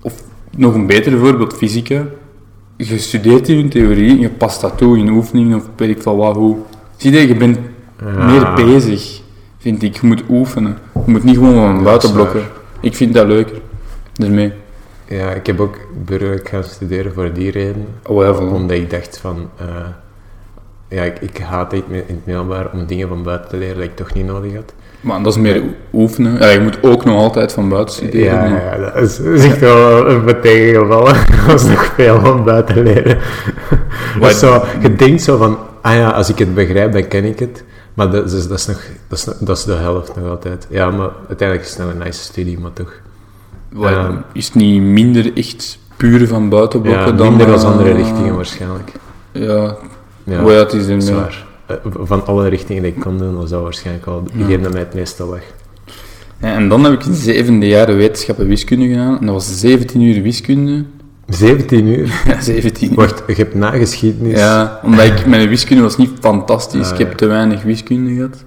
[SPEAKER 2] of nog een beter voorbeeld, fysica. Je studeert die in theorie en je past dat toe in oefeningen of weet ik van wat, hoe. Zie je, je bent
[SPEAKER 3] Ja.
[SPEAKER 2] meer bezig, vind ik. Je moet oefenen. Je moet niet gewoon van buiten blokken. Ik vind dat leuker. Daarmee.
[SPEAKER 3] Ja, ik heb ook burgerlijk gaan studeren voor die reden.
[SPEAKER 2] Oh, ja, voilà.
[SPEAKER 3] Omdat ik dacht van... eh, ja, ik, ik haat het in het middelbaar om dingen van buiten te leren dat ik toch niet nodig had.
[SPEAKER 2] Maar dat is meer oefenen. Ja, je moet ook nog altijd van buiten studeren.
[SPEAKER 3] Ja,
[SPEAKER 2] maar-
[SPEAKER 3] ja, dat is, dat is echt wel een wat tegengevallen. Dat was nog veel om buiten leren. Dat is zo, je denkt zo van, ah ja, als ik het begrijp, dan ken ik het. Maar dat is, dat is, nog, dat is, dat is de helft nog altijd. Ja, maar uiteindelijk is het wel een nice studie, maar toch.
[SPEAKER 2] Wat-
[SPEAKER 3] Ehm.
[SPEAKER 2] is het niet minder echt puur van buiten
[SPEAKER 3] Ja,
[SPEAKER 2] blokken dan...
[SPEAKER 3] minder dan andere
[SPEAKER 2] eh,
[SPEAKER 3] richtingen waarschijnlijk.
[SPEAKER 2] Ja,
[SPEAKER 3] Ja,
[SPEAKER 2] Oh ja, het is een...
[SPEAKER 3] dat is waar. Eh, Van alle richtingen die ik kon doen, was dat waarschijnlijk al degene dat mij het meeste lag.
[SPEAKER 2] Ja, en dan heb ik in het zevende jaar wetenschappen wiskunde gedaan. En dat was 17 uur wiskunde.
[SPEAKER 3] 17 uur?
[SPEAKER 2] Ja, 17 uur.
[SPEAKER 3] Wacht, je hebt nageschiedenis.
[SPEAKER 2] Ja, omdat ik, mijn wiskunde was niet fantastisch.
[SPEAKER 3] Ah,
[SPEAKER 2] ik heb
[SPEAKER 3] ja.
[SPEAKER 2] te weinig wiskunde gehad.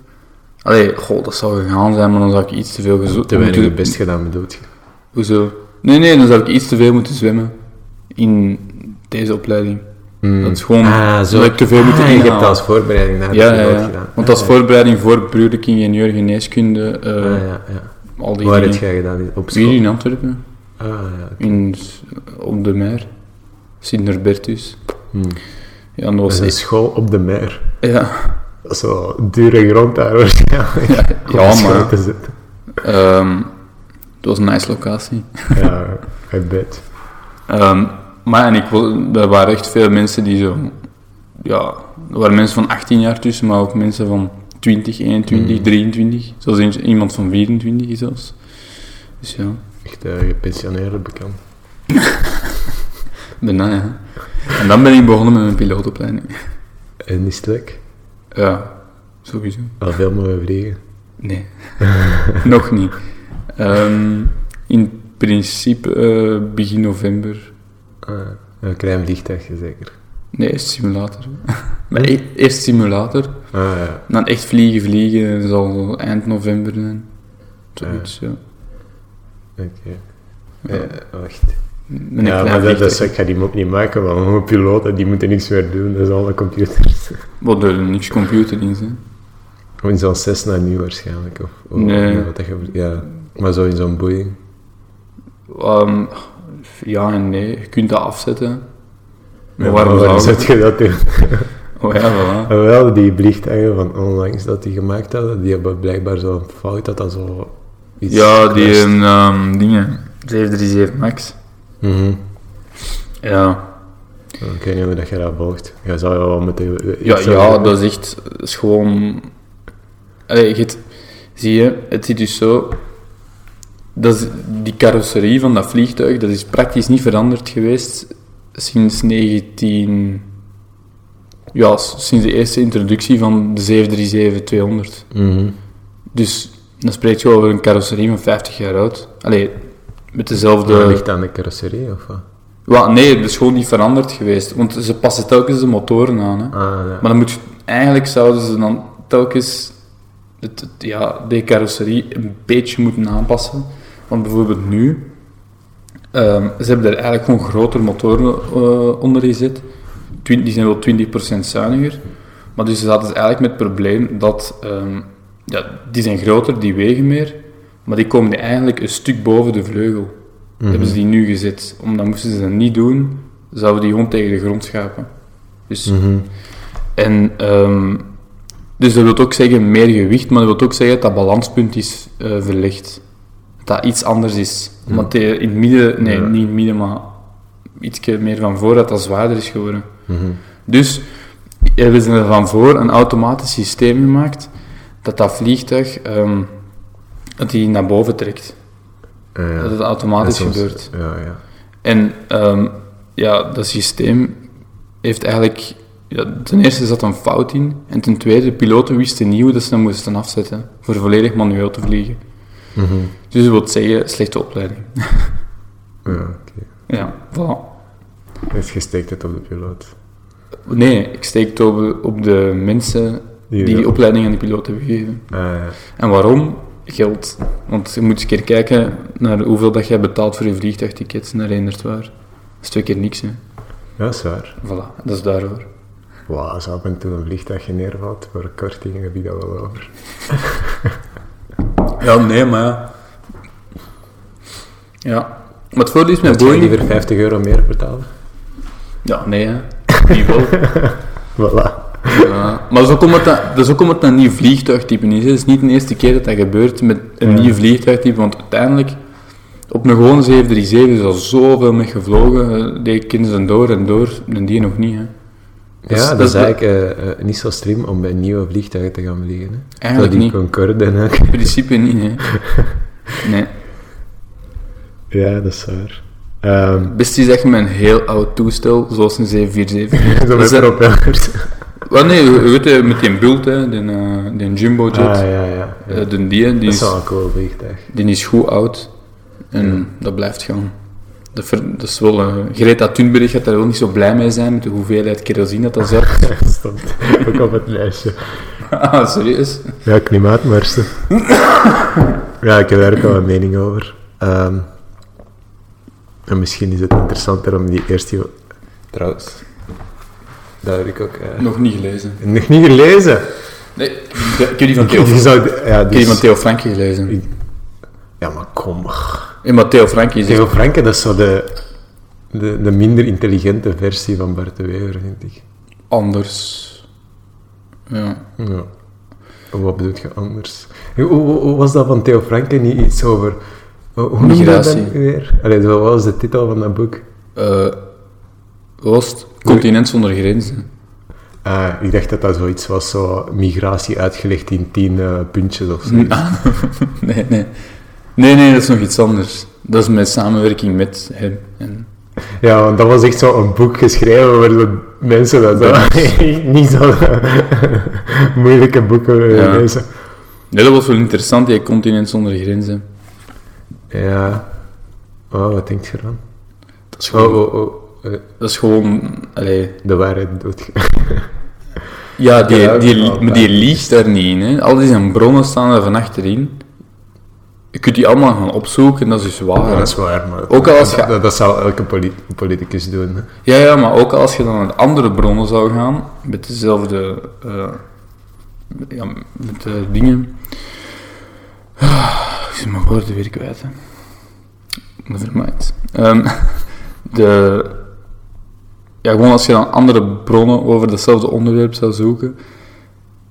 [SPEAKER 2] Allee, goh, dat zou gegaan zijn, maar dan zou ik iets te veel gezocht
[SPEAKER 3] Te weinig je best gedaan, bedoelt je?
[SPEAKER 2] Hoezo? Nee, nee, dan zou ik iets te veel moeten zwemmen in deze opleiding. Dat is gewoon
[SPEAKER 3] Ah, zo.
[SPEAKER 2] dat ik te veel moeten
[SPEAKER 3] Ah, je hebt
[SPEAKER 2] inhalen.
[SPEAKER 3] dat als voorbereiding naar de
[SPEAKER 2] ja, ja,
[SPEAKER 3] piloot
[SPEAKER 2] ja.
[SPEAKER 3] gedaan.
[SPEAKER 2] Want
[SPEAKER 3] Ah,
[SPEAKER 2] als voorbereiding voor broerlijk ingenieur geneeskunde, eh,
[SPEAKER 3] ja. Ah, ja, ja.
[SPEAKER 2] al die
[SPEAKER 3] Waar heb
[SPEAKER 2] dingen.
[SPEAKER 3] jij gedaan? Op
[SPEAKER 2] Hier
[SPEAKER 3] school?
[SPEAKER 2] in Antwerpen,
[SPEAKER 3] Ah, ja.
[SPEAKER 2] in, S- op de Meer, Sint-Norbertus.
[SPEAKER 3] Hmm.
[SPEAKER 2] Ja, dat
[SPEAKER 3] Dat
[SPEAKER 2] was
[SPEAKER 3] is een
[SPEAKER 2] echt...
[SPEAKER 3] school op de mer.
[SPEAKER 2] Ja,
[SPEAKER 3] Dat is wel dure grond daar waarschijnlijk.
[SPEAKER 2] ja,
[SPEAKER 3] Om
[SPEAKER 2] ja
[SPEAKER 3] een school
[SPEAKER 2] maar
[SPEAKER 3] te zetten.
[SPEAKER 2] ehm, het was een nice locatie.
[SPEAKER 3] Ja, I bet.
[SPEAKER 2] Ehm, maar en ik, wil- er waren echt veel mensen die zo... Ja, er waren mensen van 18 jaar tussen, maar ook mensen van 20, 21,
[SPEAKER 3] Mm.
[SPEAKER 2] 23. Zoals eentje- iemand van 24 zelfs. Dus ja,
[SPEAKER 3] Echt eh, gepensioneerd bekend.
[SPEAKER 2] bijna ja. En dan ben ik begonnen met mijn pilootopleiding.
[SPEAKER 3] En is het Eh, leuk?
[SPEAKER 2] Ja, sowieso.
[SPEAKER 3] Al veel mooie vliegen.
[SPEAKER 2] Nee, nog niet. Ehm, in principe eh, begin november.
[SPEAKER 3] Ah, een klein vliegtuigje zeker.
[SPEAKER 2] Nee, eerst simulator. maar e- eerst simulator,
[SPEAKER 3] Ah, ja.
[SPEAKER 2] Dan echt vliegen, vliegen, dat zal eind november zijn. Zoiets, ja.
[SPEAKER 3] Oké.
[SPEAKER 2] Ja.
[SPEAKER 3] Eh, wacht.
[SPEAKER 2] Met een
[SPEAKER 3] ja,
[SPEAKER 2] klein
[SPEAKER 3] maar dat, dat,
[SPEAKER 2] vliegtuig.
[SPEAKER 3] ik ga die mop niet maken, want hoge piloten die moeten niks meer doen. Dat is allemaal computers.
[SPEAKER 2] Wat er niks computer in zijn.
[SPEAKER 3] Of in zo'n Cessna nu waarschijnlijk. Of, of
[SPEAKER 2] Nee.
[SPEAKER 3] ja, wat dat je- ja, maar zo in zo'n boeien.
[SPEAKER 2] Ehm, ja en nee, je kunt dat afzetten. Maar
[SPEAKER 3] Ja,
[SPEAKER 2] waarom
[SPEAKER 3] waarom
[SPEAKER 2] zou
[SPEAKER 3] zou
[SPEAKER 2] je...
[SPEAKER 3] je dat doen?
[SPEAKER 2] Oh ja, voilà.
[SPEAKER 3] En wel, die vliegtuigen van onlangs dat die gemaakt hadden, die hebben blijkbaar zo'n fout dat dat zo iets
[SPEAKER 2] Ja, die
[SPEAKER 3] crasht.
[SPEAKER 2] ehm, dingen. 737 Max. ehm,
[SPEAKER 3] Mhm.
[SPEAKER 2] Ja.
[SPEAKER 3] Ik weet niet hoe dat je dat volgt. Je zou wel moeten...
[SPEAKER 2] Ja,
[SPEAKER 3] iets
[SPEAKER 2] ja
[SPEAKER 3] over-
[SPEAKER 2] dat is echt dat is gewoon. Allee, je hebt- zie je, het zit dus zo. Dat is, die carrosserie van dat vliegtuig dat is praktisch niet veranderd geweest sinds 19. Ja, s- sinds de eerste introductie van de 737-200.
[SPEAKER 3] Mhm.
[SPEAKER 2] Dus dan spreek je over een carrosserie van 50 jaar oud. Allee, met dezelfde.
[SPEAKER 3] Dat ligt aan de carrosserie, of wat?
[SPEAKER 2] Wa- nee, het is gewoon niet veranderd geweest. Want ze passen telkens de motoren aan. Hè.
[SPEAKER 3] Ah, ja.
[SPEAKER 2] Maar dan moet je, eigenlijk zouden ze dan telkens het, het- ja, de carrosserie een beetje moeten aanpassen. Want bijvoorbeeld nu, ehm, ze hebben er eigenlijk gewoon grotere motoren eh, onder gezet. Twin- die zijn wel 20% zuiniger. Maar dus ze zaten ze eigenlijk met het probleem dat ehm, ja, die zijn groter, die wegen meer. Maar die komen eigenlijk een stuk boven de vleugel.
[SPEAKER 3] Mhm.
[SPEAKER 2] Hebben ze die nu gezet. Omdat moesten ze dat niet doen, zouden die gewoon tegen de grond schapen. Dus
[SPEAKER 3] Mhm.
[SPEAKER 2] en, ehm, dus dat wil ook zeggen meer gewicht, maar dat wil ook zeggen dat dat balanspunt is eh, verlegd. Dat dat iets anders is. Omdat die in het midden, nee,
[SPEAKER 3] Hmm. Ja.
[SPEAKER 2] niet in het midden, maar iets meer van voor, dat dat zwaarder is geworden.
[SPEAKER 3] Mhm.
[SPEAKER 2] Dus hebben ze er van voor een automatisch systeem gemaakt dat dat vliegtuig ehm, dat die naar boven trekt.
[SPEAKER 3] Ah, ja.
[SPEAKER 2] Dat het
[SPEAKER 3] Dat
[SPEAKER 2] automatisch
[SPEAKER 3] is soms-
[SPEAKER 2] gebeurt.
[SPEAKER 3] Ja, ja.
[SPEAKER 2] En ehm, ja, dat systeem heeft eigenlijk... Ja, ten eerste zat een fout in. En ten tweede, de piloten wisten niet hoe dat ze dat moesten afzetten. Voor volledig manueel te vliegen.
[SPEAKER 3] Mhm.
[SPEAKER 2] Dus dat wil zeggen, slechte opleiding.
[SPEAKER 3] Ja, oké.
[SPEAKER 2] ja, voilà.
[SPEAKER 3] Dus je steekt het op de piloot.
[SPEAKER 2] Nee, ik steek het op, op de mensen die die opleiding aan de piloten hebben gegeven.
[SPEAKER 3] Ah, ja.
[SPEAKER 2] En waarom? Geld. Want je moet eens een keer kijken naar hoeveel dat jij betaalt voor je vliegtuigtickets naar Eendert waar. Dat is twee keer niks, hè.
[SPEAKER 3] ja, dat is waar.
[SPEAKER 2] Voilà, dat is daarvoor.
[SPEAKER 3] Wauw, als af en toe een vliegtuigje neervalt, voor kortingen heb je dat wel over.
[SPEAKER 2] Ja, nee, maar ja. Ja. Maar het voordeel is met
[SPEAKER 3] Zou je
[SPEAKER 2] Boeing...
[SPEAKER 3] liever 50 euro meer betalen?
[SPEAKER 2] Ja, nee, hè. Niet wel.
[SPEAKER 3] Voilà.
[SPEAKER 2] Ja. Maar dat is ook omdat dat, dat, is ook omdat dat een nieuw vliegtuigtype is. hè. Het is niet de eerste keer dat dat gebeurt met een nieuw vliegtuigtype, want uiteindelijk... Op een gewone 737 is al zoveel mee gevlogen. eh, Die kennen ze door en door, en die nog niet, hè.
[SPEAKER 3] Ja,
[SPEAKER 2] is-
[SPEAKER 3] dat,
[SPEAKER 2] dat
[SPEAKER 3] is
[SPEAKER 2] is-
[SPEAKER 3] eigenlijk eh, eh, niet zo slim om bij nieuwe vliegtuigen te gaan vliegen. Hè? Zo
[SPEAKER 2] Eigenlijk
[SPEAKER 3] die
[SPEAKER 2] niet.
[SPEAKER 3] Concorde en ook.
[SPEAKER 2] In principe niet, hè. Nee.
[SPEAKER 3] Ja, dat is waar. Ehm
[SPEAKER 2] Het beste is echt met een heel oud toestel, zoals een 747.
[SPEAKER 3] zo
[SPEAKER 2] Dat is
[SPEAKER 3] met
[SPEAKER 2] een-
[SPEAKER 3] propellers.
[SPEAKER 2] Wel nee, weet je, met die bult, hè, die, eh, die jumbo jet,
[SPEAKER 3] Ah, ja, ja. ja.
[SPEAKER 2] eh, die, die,
[SPEAKER 3] dat is
[SPEAKER 2] is,
[SPEAKER 3] wel een cool vliegtuig.
[SPEAKER 2] die is goed oud en dat blijft gaan. Dat, ver- dat is wel, eh, Greta Thunberg gaat daar wel niet zo blij mee zijn met de hoeveelheid kerosine dat dat zat.
[SPEAKER 3] Stond ook op het lijstje.
[SPEAKER 2] ah, serieus?
[SPEAKER 3] Ja, klimaatmarsen. ja, ik heb daar ook al een mening over. Ehm, en misschien is het interessanter om die eerst... Trouwens, Dat heb ik ook eh,
[SPEAKER 2] Nog niet gelezen.
[SPEAKER 3] nog niet gelezen.
[SPEAKER 2] Nee, ik heb die van Theo,
[SPEAKER 3] Je zou, ja,
[SPEAKER 2] ik heb die
[SPEAKER 3] dus,
[SPEAKER 2] van Theo Franke gelezen.
[SPEAKER 3] ja, maar kom.
[SPEAKER 2] En maar Theo Franke is
[SPEAKER 3] Theo Franke, dat is zo de, de, de minder intelligente versie van Bart de Wever, vind ik.
[SPEAKER 2] anders. Ja.
[SPEAKER 3] Ja. Wat bedoel je anders? Hoe, hoe- hoe was dat van Theo Franke niet iets over... Hoe hoe noemde dat
[SPEAKER 2] Migratie.
[SPEAKER 3] dan weer? Allee, wat was de titel van dat boek?
[SPEAKER 2] Eh, wat was het? Continent zonder grenzen.
[SPEAKER 3] Ah, ik dacht dat dat zoiets was, zo migratie uitgelegd in tien eh, puntjes of zo.
[SPEAKER 2] Ah, nee, nee. Nee, nee, dat is nog iets anders. Dat is mijn samenwerking met hem. En
[SPEAKER 3] Ja, want dat was echt zo'n boek geschreven waar de mensen dat zo, niet zo moeilijke boeken willen
[SPEAKER 2] Ja.
[SPEAKER 3] lezen.
[SPEAKER 2] nee, dat was wel interessant, die Continent zonder grenzen.
[SPEAKER 3] Ja. Oh, wat denk je ervan?
[SPEAKER 2] Dat is
[SPEAKER 3] Oh,
[SPEAKER 2] gewoon...
[SPEAKER 3] oh, oh. eh,
[SPEAKER 2] Dat is gewoon allee,
[SPEAKER 3] De waarheid doet je.
[SPEAKER 2] ja, die,
[SPEAKER 3] Ja,
[SPEAKER 2] die,
[SPEAKER 3] ja,
[SPEAKER 2] maar die liegt daar niet in. Hè. Al die zijn bronnen staan er van achterin. Je kunt die allemaal gaan opzoeken, dat is dus waar.
[SPEAKER 3] Dat is waar, maar
[SPEAKER 2] Ook al als je-
[SPEAKER 3] dat, dat zou elke poli- politicus doen. hè.
[SPEAKER 2] Ja, ja, maar ook als je dan naar andere bronnen zou gaan, met dezelfde eh, met- ja, met de dingen. Ah, Ik zit mijn woorden weer kwijt. Hè. Nevermind. Ehm de, ja, gewoon als je dan andere bronnen over hetzelfde onderwerp zou zoeken,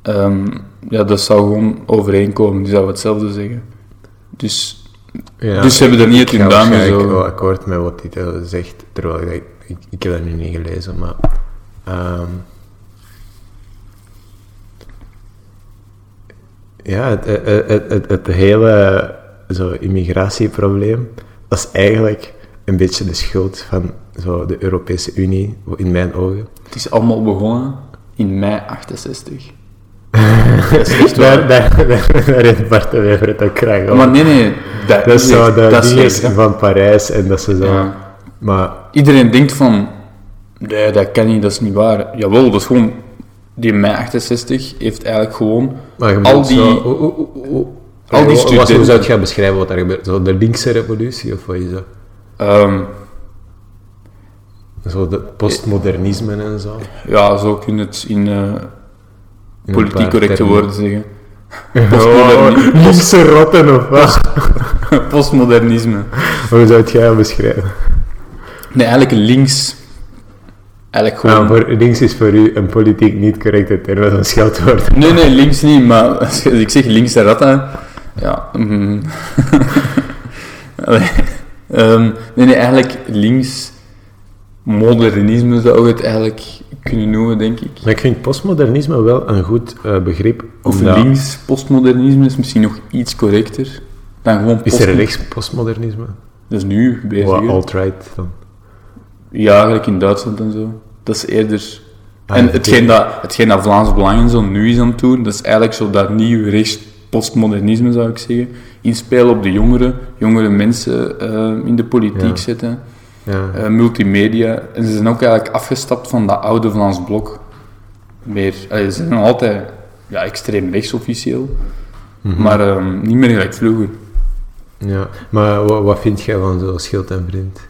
[SPEAKER 2] ehm, ja, dat zou gewoon overeenkomen. Die zou hetzelfde zeggen. Dus,
[SPEAKER 3] Ja,
[SPEAKER 2] dus ze hebben er niet het
[SPEAKER 3] ik
[SPEAKER 2] in
[SPEAKER 3] ga
[SPEAKER 2] duim
[SPEAKER 3] waarschijnlijk wel
[SPEAKER 2] gezogen.
[SPEAKER 3] akkoord met wat hij daar zegt, terwijl ik, ik, ik heb dat nu niet gelezen, maar... ehm, ja, het, het, het, het, het hele zo, immigratieprobleem, dat is eigenlijk een beetje de schuld van zo, de Europese Unie, in mijn ogen.
[SPEAKER 2] Het is allemaal begonnen in mei 68.
[SPEAKER 3] daar, daar, daar, daar heeft Bart de Wever het ook graag over.
[SPEAKER 2] Maar nee, nee, dat,
[SPEAKER 3] dat is
[SPEAKER 2] nee,
[SPEAKER 3] zo de
[SPEAKER 2] dat is
[SPEAKER 3] dinges
[SPEAKER 2] slecht, hè.
[SPEAKER 3] van Parijs en dat ze zo...
[SPEAKER 2] Ja.
[SPEAKER 3] Maar
[SPEAKER 2] Iedereen denkt van, nee, dat kan niet, dat is niet waar. Jawel, dat is gewoon, die mei 68 heeft eigenlijk gewoon
[SPEAKER 3] Maar je
[SPEAKER 2] al
[SPEAKER 3] bedoelt
[SPEAKER 2] die...
[SPEAKER 3] zo, hoe- hoe- hoe- hoe-
[SPEAKER 2] al die
[SPEAKER 3] wat- wat- Hoe zou
[SPEAKER 2] studenten-
[SPEAKER 3] je gaan beschrijven wat daar gebeurt? Zo de linkse revolutie of wat is dat?
[SPEAKER 2] ehm,
[SPEAKER 3] Zo de postmodernisme en zo.
[SPEAKER 2] ja, zo kun je het in eh,
[SPEAKER 3] In een
[SPEAKER 2] politiek
[SPEAKER 3] paar
[SPEAKER 2] correcte
[SPEAKER 3] termen.
[SPEAKER 2] woorden zeggen.
[SPEAKER 3] Oh, linkse rotten of wat?
[SPEAKER 2] Postmodernisme.
[SPEAKER 3] Hoe zou je gaan beschrijven?
[SPEAKER 2] Nee, eigenlijk links. Eigenlijk
[SPEAKER 3] Ja,
[SPEAKER 2] gewoon...
[SPEAKER 3] Nou, voor, links is voor u een politiek niet correcte term, dat is een scheldwoord.
[SPEAKER 2] Nee, nee, links niet, maar als ik zeg links de ratten, ja... mm. Allee, ehm, nee, nee, eigenlijk links modernisme zou je het eigenlijk kunnen noemen, denk ik.
[SPEAKER 3] Maar ik vind postmodernisme wel een goed eh, begrip.
[SPEAKER 2] Of
[SPEAKER 3] omdat-
[SPEAKER 2] links postmodernisme is misschien nog iets correcter dan gewoon
[SPEAKER 3] Is er
[SPEAKER 2] postmo-
[SPEAKER 3] rechts postmodernisme?
[SPEAKER 2] Dat is nu bezig.
[SPEAKER 3] Wat
[SPEAKER 2] hè.
[SPEAKER 3] alt-right dan?
[SPEAKER 2] Ja, eigenlijk in Duitsland en zo. Dat is eerder... en
[SPEAKER 3] Ah, oké.
[SPEAKER 2] hetgeen, dat, hetgeen dat Vlaams Belang en zo nu is aan het doen, dat is eigenlijk zo dat nieuw rechts postmodernisme, zou ik zeggen. Inspelen op de jongeren, jongere mensen eh, in de politiek
[SPEAKER 3] Ja.
[SPEAKER 2] zetten,
[SPEAKER 3] Ja.
[SPEAKER 2] eh, multimedia. En ze zijn ook eigenlijk afgestapt van dat oude Vlaams blok. Meer, allee, ze zijn nog altijd ja, extreem rechts officieel,
[SPEAKER 3] Mhm.
[SPEAKER 2] maar ehm, niet meer gelijk vroeger.
[SPEAKER 3] ja. Maar wat, wat vind jij van zo'n schild en vriend?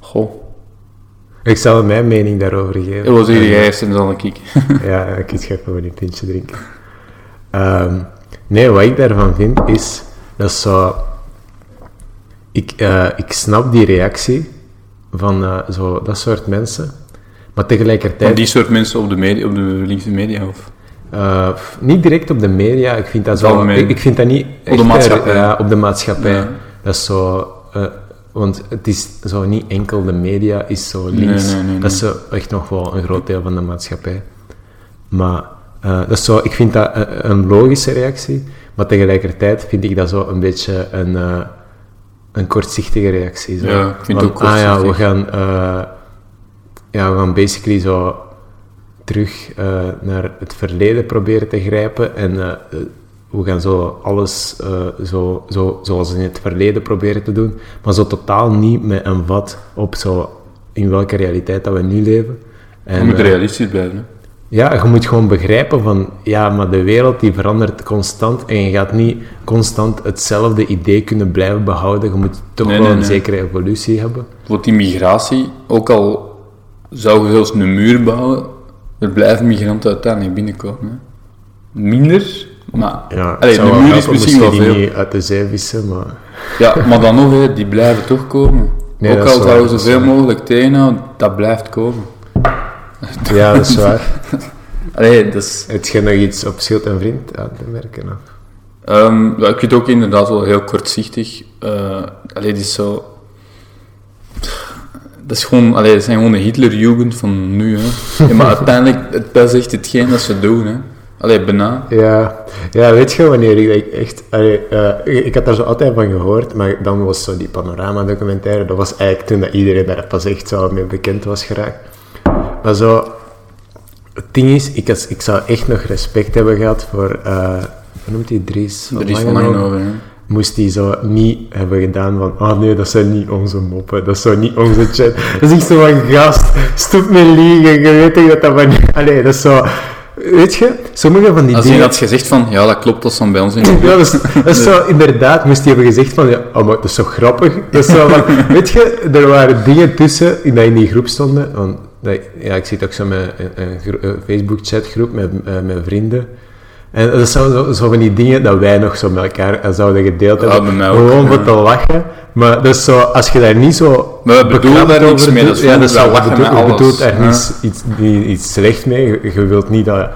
[SPEAKER 2] Goh,
[SPEAKER 3] Ik zal mijn mening daarover geven.
[SPEAKER 2] dat was eerder jij eerst en dan ik.
[SPEAKER 3] Ja, ik iets ga gewoon een pintje drinken. Ehm, nee, wat ik daarvan vind is dat zo. Ik, eh, ik snap die reactie van eh, zo, dat soort mensen, maar
[SPEAKER 2] Van
[SPEAKER 3] tegelijkertijd
[SPEAKER 2] die soort mensen op de, media, op de linkse media, of...
[SPEAKER 3] eh, pff, niet direct op de media. Ik vind dat,
[SPEAKER 2] Het
[SPEAKER 3] zo,
[SPEAKER 2] algemeen.
[SPEAKER 3] ik, ik vind dat niet
[SPEAKER 2] de maatschappij.
[SPEAKER 3] eh, op de maatschappij.
[SPEAKER 2] Ja.
[SPEAKER 3] Dat is zo. eh, want het is zo niet enkel de media is zo
[SPEAKER 2] Nee,
[SPEAKER 3] links.
[SPEAKER 2] nee, nee,
[SPEAKER 3] Dat is zo echt nog wel een groot deel van de maatschappij. Maar eh, dat is zo, ik vind dat een, een logische reactie, maar tegelijkertijd vind ik dat zo een beetje een, eh, een kortzichtige reactie. Zo.
[SPEAKER 2] Ja, ik vind het
[SPEAKER 3] Want,
[SPEAKER 2] ook
[SPEAKER 3] Ah ja, we
[SPEAKER 2] kortzichtig.
[SPEAKER 3] gaan, eh, ja, we gaan basically zo terug eh, naar het verleden proberen te grijpen en eh, eh, we gaan zo alles eh, zo, zo, zoals in het verleden proberen te doen, maar zo totaal niet met een vat op zo in welke realiteit dat we nu leven. En,
[SPEAKER 2] Je moet
[SPEAKER 3] eh,
[SPEAKER 2] realistisch blijven. hè.
[SPEAKER 3] Ja, je moet gewoon begrijpen van, ja, maar de wereld die verandert constant en je gaat niet constant hetzelfde idee kunnen blijven behouden. Je moet toch
[SPEAKER 2] Nee,
[SPEAKER 3] wel
[SPEAKER 2] nee,
[SPEAKER 3] een
[SPEAKER 2] nee.
[SPEAKER 3] zekere evolutie hebben.
[SPEAKER 2] Bijvoorbeeld die migratie, ook al zou je zelfs een muur bouwen, er blijven migranten uiteindelijk binnenkomen. Hè. Minder, maar...
[SPEAKER 3] Ja, het
[SPEAKER 2] Allee,
[SPEAKER 3] zou
[SPEAKER 2] de
[SPEAKER 3] wel
[SPEAKER 2] muur is
[SPEAKER 3] helpen moest
[SPEAKER 2] misschien wel
[SPEAKER 3] je die
[SPEAKER 2] veel.
[SPEAKER 3] niet uit de zee vissen, maar...
[SPEAKER 2] Ja, maar dan nog, hè, die blijven toch komen.
[SPEAKER 3] Nee,
[SPEAKER 2] ook
[SPEAKER 3] dat
[SPEAKER 2] al
[SPEAKER 3] is waar,
[SPEAKER 2] zouden we
[SPEAKER 3] dat is
[SPEAKER 2] zoveel
[SPEAKER 3] waar.
[SPEAKER 2] mogelijk tegenhouden, dat blijft komen.
[SPEAKER 3] Ja, dat is waar.
[SPEAKER 2] Allee, dat is...
[SPEAKER 3] Heb je nog iets op schild en vriend aan te merken? Of?
[SPEAKER 2] Ehm, ja, ik vind het ook inderdaad wel heel kortzichtig. Eh allee, het is zo... Dat, is gewoon, allee, dat zijn gewoon de Hitlerjugend van nu. Hè. Ja, maar uiteindelijk, het, dat is echt hetgeen dat ze doen. Hè. Allee, bijna.
[SPEAKER 3] Ja. ja, weet je wanneer ik dat ik echt... allee, eh, ik had daar zo altijd van gehoord, maar dan was zo die panorama-documentaire, dat was eigenlijk toen dat iedereen daar pas echt zo mee bekend was geraakt. Maar zo... Het ding is, ik, had- ik zou echt nog respect hebben gehad voor... eh hoe noemt hij? Dries van
[SPEAKER 2] Er is van
[SPEAKER 3] Langenhoven?
[SPEAKER 2] lang over. Hè.
[SPEAKER 3] moest hij zo niet hebben gedaan van, ah nee, dat zijn niet onze moppen, dat zijn niet onze chat. Dat is echt zo van, gast, stop met liegen, je weet toch dat dat van niet... Allee, dat is zo... Weet je, sommige van die
[SPEAKER 2] Als je
[SPEAKER 3] dingen...
[SPEAKER 2] had gezegd van, ja, dat klopt, dat is dan bij ons in de
[SPEAKER 3] Ja, dat is, dat is zo, inderdaad, moest hij hebben gezegd van, ja, oh, maar dat is zo grappig. Dat is zo van, weet je, er waren dingen tussen die in die groep stonden. Want, dat- ja, ik zit ook zo met een, een gro- een Facebook-chatgroep met eh, mijn vrienden. En dat zijn zo, zo van die dingen dat wij nog zo met elkaar eh, zouden gedeeld
[SPEAKER 2] Ja,
[SPEAKER 3] hebben.
[SPEAKER 2] bij mij ook,
[SPEAKER 3] Gewoon
[SPEAKER 2] ja.
[SPEAKER 3] voor te lachen. Maar dat is zo, als je daar niet zo
[SPEAKER 2] Maar we
[SPEAKER 3] beknappt
[SPEAKER 2] bedoelen daar niks
[SPEAKER 3] over
[SPEAKER 2] mee, dat is
[SPEAKER 3] doet- ja,
[SPEAKER 2] gewoon,
[SPEAKER 3] dat is
[SPEAKER 2] wij
[SPEAKER 3] zo,
[SPEAKER 2] lachen
[SPEAKER 3] bedoel-
[SPEAKER 2] met
[SPEAKER 3] je
[SPEAKER 2] alles,
[SPEAKER 3] bedoelt daar
[SPEAKER 2] ja.
[SPEAKER 3] niets, iets, niet iets slecht mee. Je, je wilt niet dat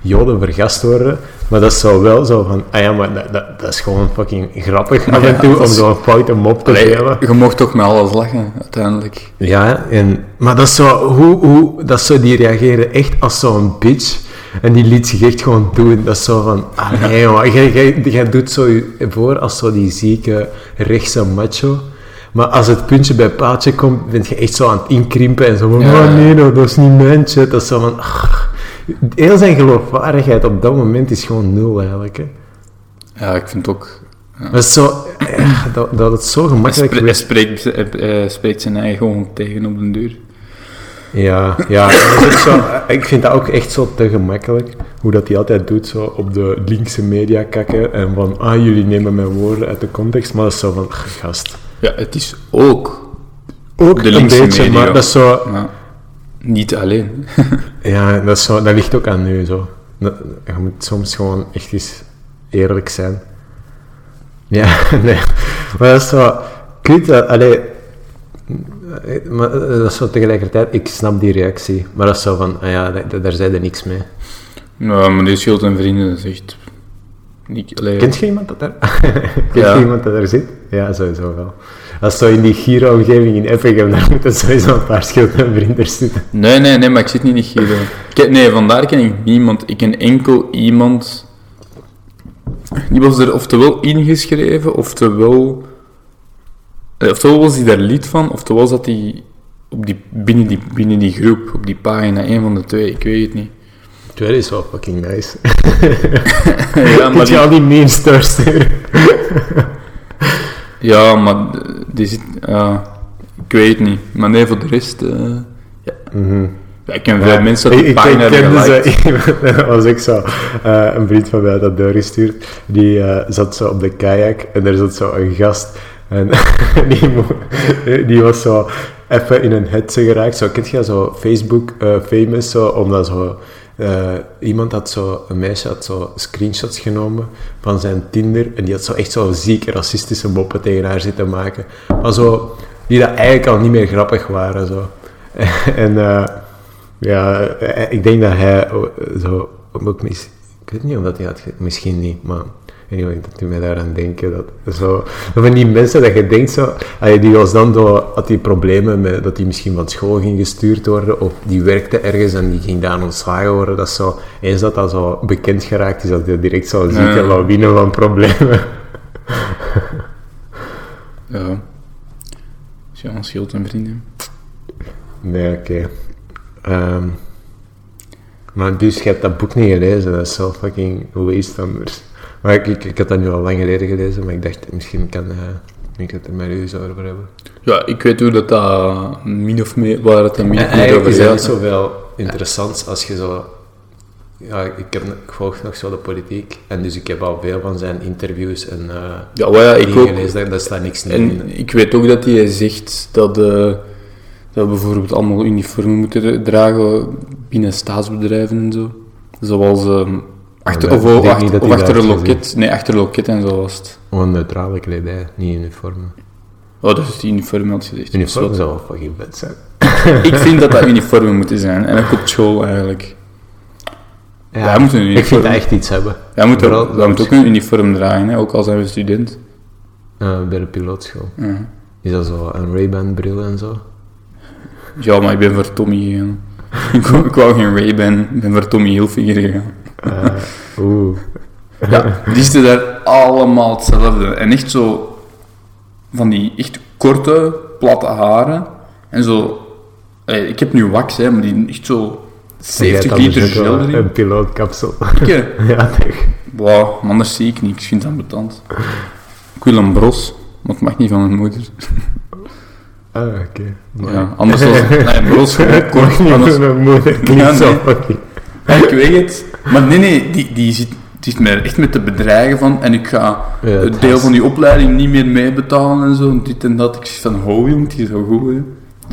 [SPEAKER 3] Joden vergast worden. Maar dat is zo wel zo van, ah ja, maar dat, dat, dat is gewoon fucking grappig af
[SPEAKER 2] ja,
[SPEAKER 3] en toe
[SPEAKER 2] dat
[SPEAKER 3] om
[SPEAKER 2] is-
[SPEAKER 3] zo'n foute mop te
[SPEAKER 2] Allee,
[SPEAKER 3] delen.
[SPEAKER 2] je mocht toch met alles lachen, uiteindelijk.
[SPEAKER 3] Ja, en, maar dat is zo, hoe, hoe, dat is zo, die reageren echt als zo'n bitch. En die liet zich echt gewoon doen. Dat is zo van, ah nee jongen, jij, jij, jij doet zo je voor als zo die zieke rechtse macho. Maar als het puntje bij paaltje komt, ben je echt zo aan het inkrimpen en zo van,
[SPEAKER 2] Ja.
[SPEAKER 3] oh nee, no, dat is niet mijn shit. Dat is zo van, ah. Heel zijn geloofwaardigheid op dat moment is gewoon nul eigenlijk. Hè.
[SPEAKER 2] Ja, ik vind het ook...
[SPEAKER 3] Dat is zo, eh, dat, dat het zo gemakkelijk
[SPEAKER 2] Spre-
[SPEAKER 3] werd.
[SPEAKER 2] Hij spreekt, eh, eh, spreekt zijn eigen gewoon tegen op den duur.
[SPEAKER 3] Ja, ja. dat is ook zo, ik vind dat ook echt zo te gemakkelijk. Hoe dat hij altijd doet, zo op de linkse media kakken. En van, ah, jullie nemen mijn woorden uit de context. Maar dat is zo van, ach, gast.
[SPEAKER 2] Ja, het is ook...
[SPEAKER 3] Ook
[SPEAKER 2] De
[SPEAKER 3] een
[SPEAKER 2] linkse
[SPEAKER 3] beetje,
[SPEAKER 2] media.
[SPEAKER 3] maar dat is zo...
[SPEAKER 2] maar niet alleen.
[SPEAKER 3] Ja, dat, is zo, dat ligt ook aan nu, zo. Dat- je moet soms gewoon echt eens eerlijk zijn. Ja, nee. Maar dat is zo... Kut, dat- allee... Maar eh, dat is zo tegelijkertijd, ik snap die reactie. Maar dat is zo van, ah ja, daar, daar zei er niks mee.
[SPEAKER 2] nou, maar die schild en vrienden, dat is echt... Niet alleen...
[SPEAKER 3] Kent je iemand dat daar... Kent
[SPEAKER 2] Ja.
[SPEAKER 3] je iemand dat daar zit? Ja, sowieso wel. Als zo in die Giro-omgeving in Effingham, daar moeten sowieso een paar schilderen vrienders zitten.
[SPEAKER 2] Nee, nee, nee, maar ik zit niet in Giro. Ik ken- nee, vandaar ken ik niemand. Ik ken enkel iemand... Die was er oftewel ingeschreven, oftewel... eh, Oftewel was hij daar lid van, oftewel zat hij op die, binnen, die, binnen die groep, op die pagina, een van de twee, ik weet het niet.
[SPEAKER 3] Tweede is wel fucking nice.
[SPEAKER 2] Ja, maar
[SPEAKER 3] Moet je
[SPEAKER 2] die-
[SPEAKER 3] al die memes doorsturen?
[SPEAKER 2] Ja, maar eh, die zit... ja, ik weet het niet. Maar nee, voor de rest... eh, ja. Ja, ik ken veel mensen
[SPEAKER 3] Ik-
[SPEAKER 2] die
[SPEAKER 3] ik dus, eh,
[SPEAKER 2] pagina hebben
[SPEAKER 3] kende
[SPEAKER 2] geliked.
[SPEAKER 3] zo iemand, dat was ik zo, eh, een vriend van mij had dat doorgestuurd, die eh, zat zo op de kajak en er zat zo een gast en die, mo- die was zo even in een hetze geraakt. Zo, kent je dat, zo Facebook eh, famous, zo, omdat zo... eh, iemand had zo, een meisje had zo screenshots genomen van zijn Tinder en die had zo echt zo ziek racistische moppen tegen haar zitten maken. Maar zo, die dat eigenlijk al niet meer grappig waren, zo. en eh, ja, eh, ik denk dat hij oh, eh, zo ook mis, ik weet niet of dat hij had, ge- misschien niet, maar anyway, dat doet mij daaraan denken dat zo dat van die mensen dat je denkt zo, allee, die was dan zo, had die problemen met dat die misschien van school ging gestuurd worden of die werkte ergens en die ging daar ontslagen worden, dat is zo eens dat dat zo bekend geraakt is, dat je direct zo'n zieke
[SPEAKER 2] Ja.
[SPEAKER 3] lawine van problemen.
[SPEAKER 2] Ja. Dus ja, schild en vrienden.
[SPEAKER 3] Nee, oké. Ehm, maar dus, je hebt dat boek niet gelezen, dat is zo fucking waste anders. Maar ik, ik, ik had dat nu al lang geleden gelezen, maar ik dacht, misschien kan eh, ik het er met u zo over hebben.
[SPEAKER 2] Ja, ik weet hoe dat dat min of meer... Waar het dan min of meer
[SPEAKER 3] Eh, Eigenlijk
[SPEAKER 2] over
[SPEAKER 3] is dat niet
[SPEAKER 2] gaat.
[SPEAKER 3] zoveel interessants als je zo ja, ik, heb, ik volg nog zo de politiek. En dus ik heb al veel van zijn interviews en eh
[SPEAKER 2] Ja, wel ja, ik
[SPEAKER 3] dingen
[SPEAKER 2] ook.
[SPEAKER 3] gelezen. Daar, daar staat niks nieuws in.
[SPEAKER 2] En ik weet ook dat hij zegt dat, eh, dat we bijvoorbeeld allemaal uniformen moeten dragen binnen staatsbedrijven en zo. Zoals ehm, achter,
[SPEAKER 3] maar
[SPEAKER 2] of,
[SPEAKER 3] ik denk
[SPEAKER 2] of
[SPEAKER 3] niet
[SPEAKER 2] achter,
[SPEAKER 3] dat
[SPEAKER 2] of
[SPEAKER 3] hij
[SPEAKER 2] achter
[SPEAKER 3] dat
[SPEAKER 2] een
[SPEAKER 3] heeft
[SPEAKER 2] loket. Nee, achter een loket en zo was het.
[SPEAKER 3] Gewoon neutrale kledij, niet uniformen.
[SPEAKER 2] Oh, dat is die uniform had gezegd.
[SPEAKER 3] Uniformen zou wel fucking bed zijn.
[SPEAKER 2] Zo, Ik vind dat dat uniformen moeten zijn. En ook op school eigenlijk.
[SPEAKER 3] Ja,
[SPEAKER 2] Wij moeten een
[SPEAKER 3] ik vind
[SPEAKER 2] uniform.
[SPEAKER 3] dat echt iets hebben.
[SPEAKER 2] Wij moeten,
[SPEAKER 3] Vooral-
[SPEAKER 2] wij moeten ook een uniform dragen, hè, ook al zijn we student.
[SPEAKER 3] Eh, bij de pilootschool.
[SPEAKER 2] Ja.
[SPEAKER 3] Is dat zo een Ray-Ban bril en zo?
[SPEAKER 2] Ja, maar ik ben voor Tommy gegaan. ik, wou, ik wou geen Ray-Ban, ik ben voor Tommy Hilfiger gegaan.
[SPEAKER 3] Eh, Oeh.
[SPEAKER 2] Ja, die zitten daar allemaal hetzelfde. En echt zo van die echt korte, platte haren. En zo... eh, Ik heb nu wax, hè, maar die echt zo 70 liter gel
[SPEAKER 3] dus een,
[SPEAKER 2] erin.
[SPEAKER 3] een pilootkapsel.
[SPEAKER 2] Pikken.
[SPEAKER 3] ja, toch.
[SPEAKER 2] Wauw, maar anders zie ik niks. Ik vind dat betant. Ik wil een bros, maar het mag niet van mijn moeder.
[SPEAKER 3] Ah, oké. Maar-
[SPEAKER 2] Ja, anders was... Nee, een bros, gewoon kort.
[SPEAKER 3] niet
[SPEAKER 2] Anders,
[SPEAKER 3] van mijn moeder. Klinkt
[SPEAKER 2] Ja,
[SPEAKER 3] zo
[SPEAKER 2] nee.
[SPEAKER 3] fucking...
[SPEAKER 2] Ja, ik weet het. Maar nee, nee, die, die zit, die zit me echt met te bedreigen van en ik ga
[SPEAKER 3] Ja,
[SPEAKER 2] het
[SPEAKER 3] het
[SPEAKER 2] deel
[SPEAKER 3] is-
[SPEAKER 2] van die opleiding niet meer meebetalen en zo, en dit en dat. Ik zeg van, ho jong, die is wel goed, hè.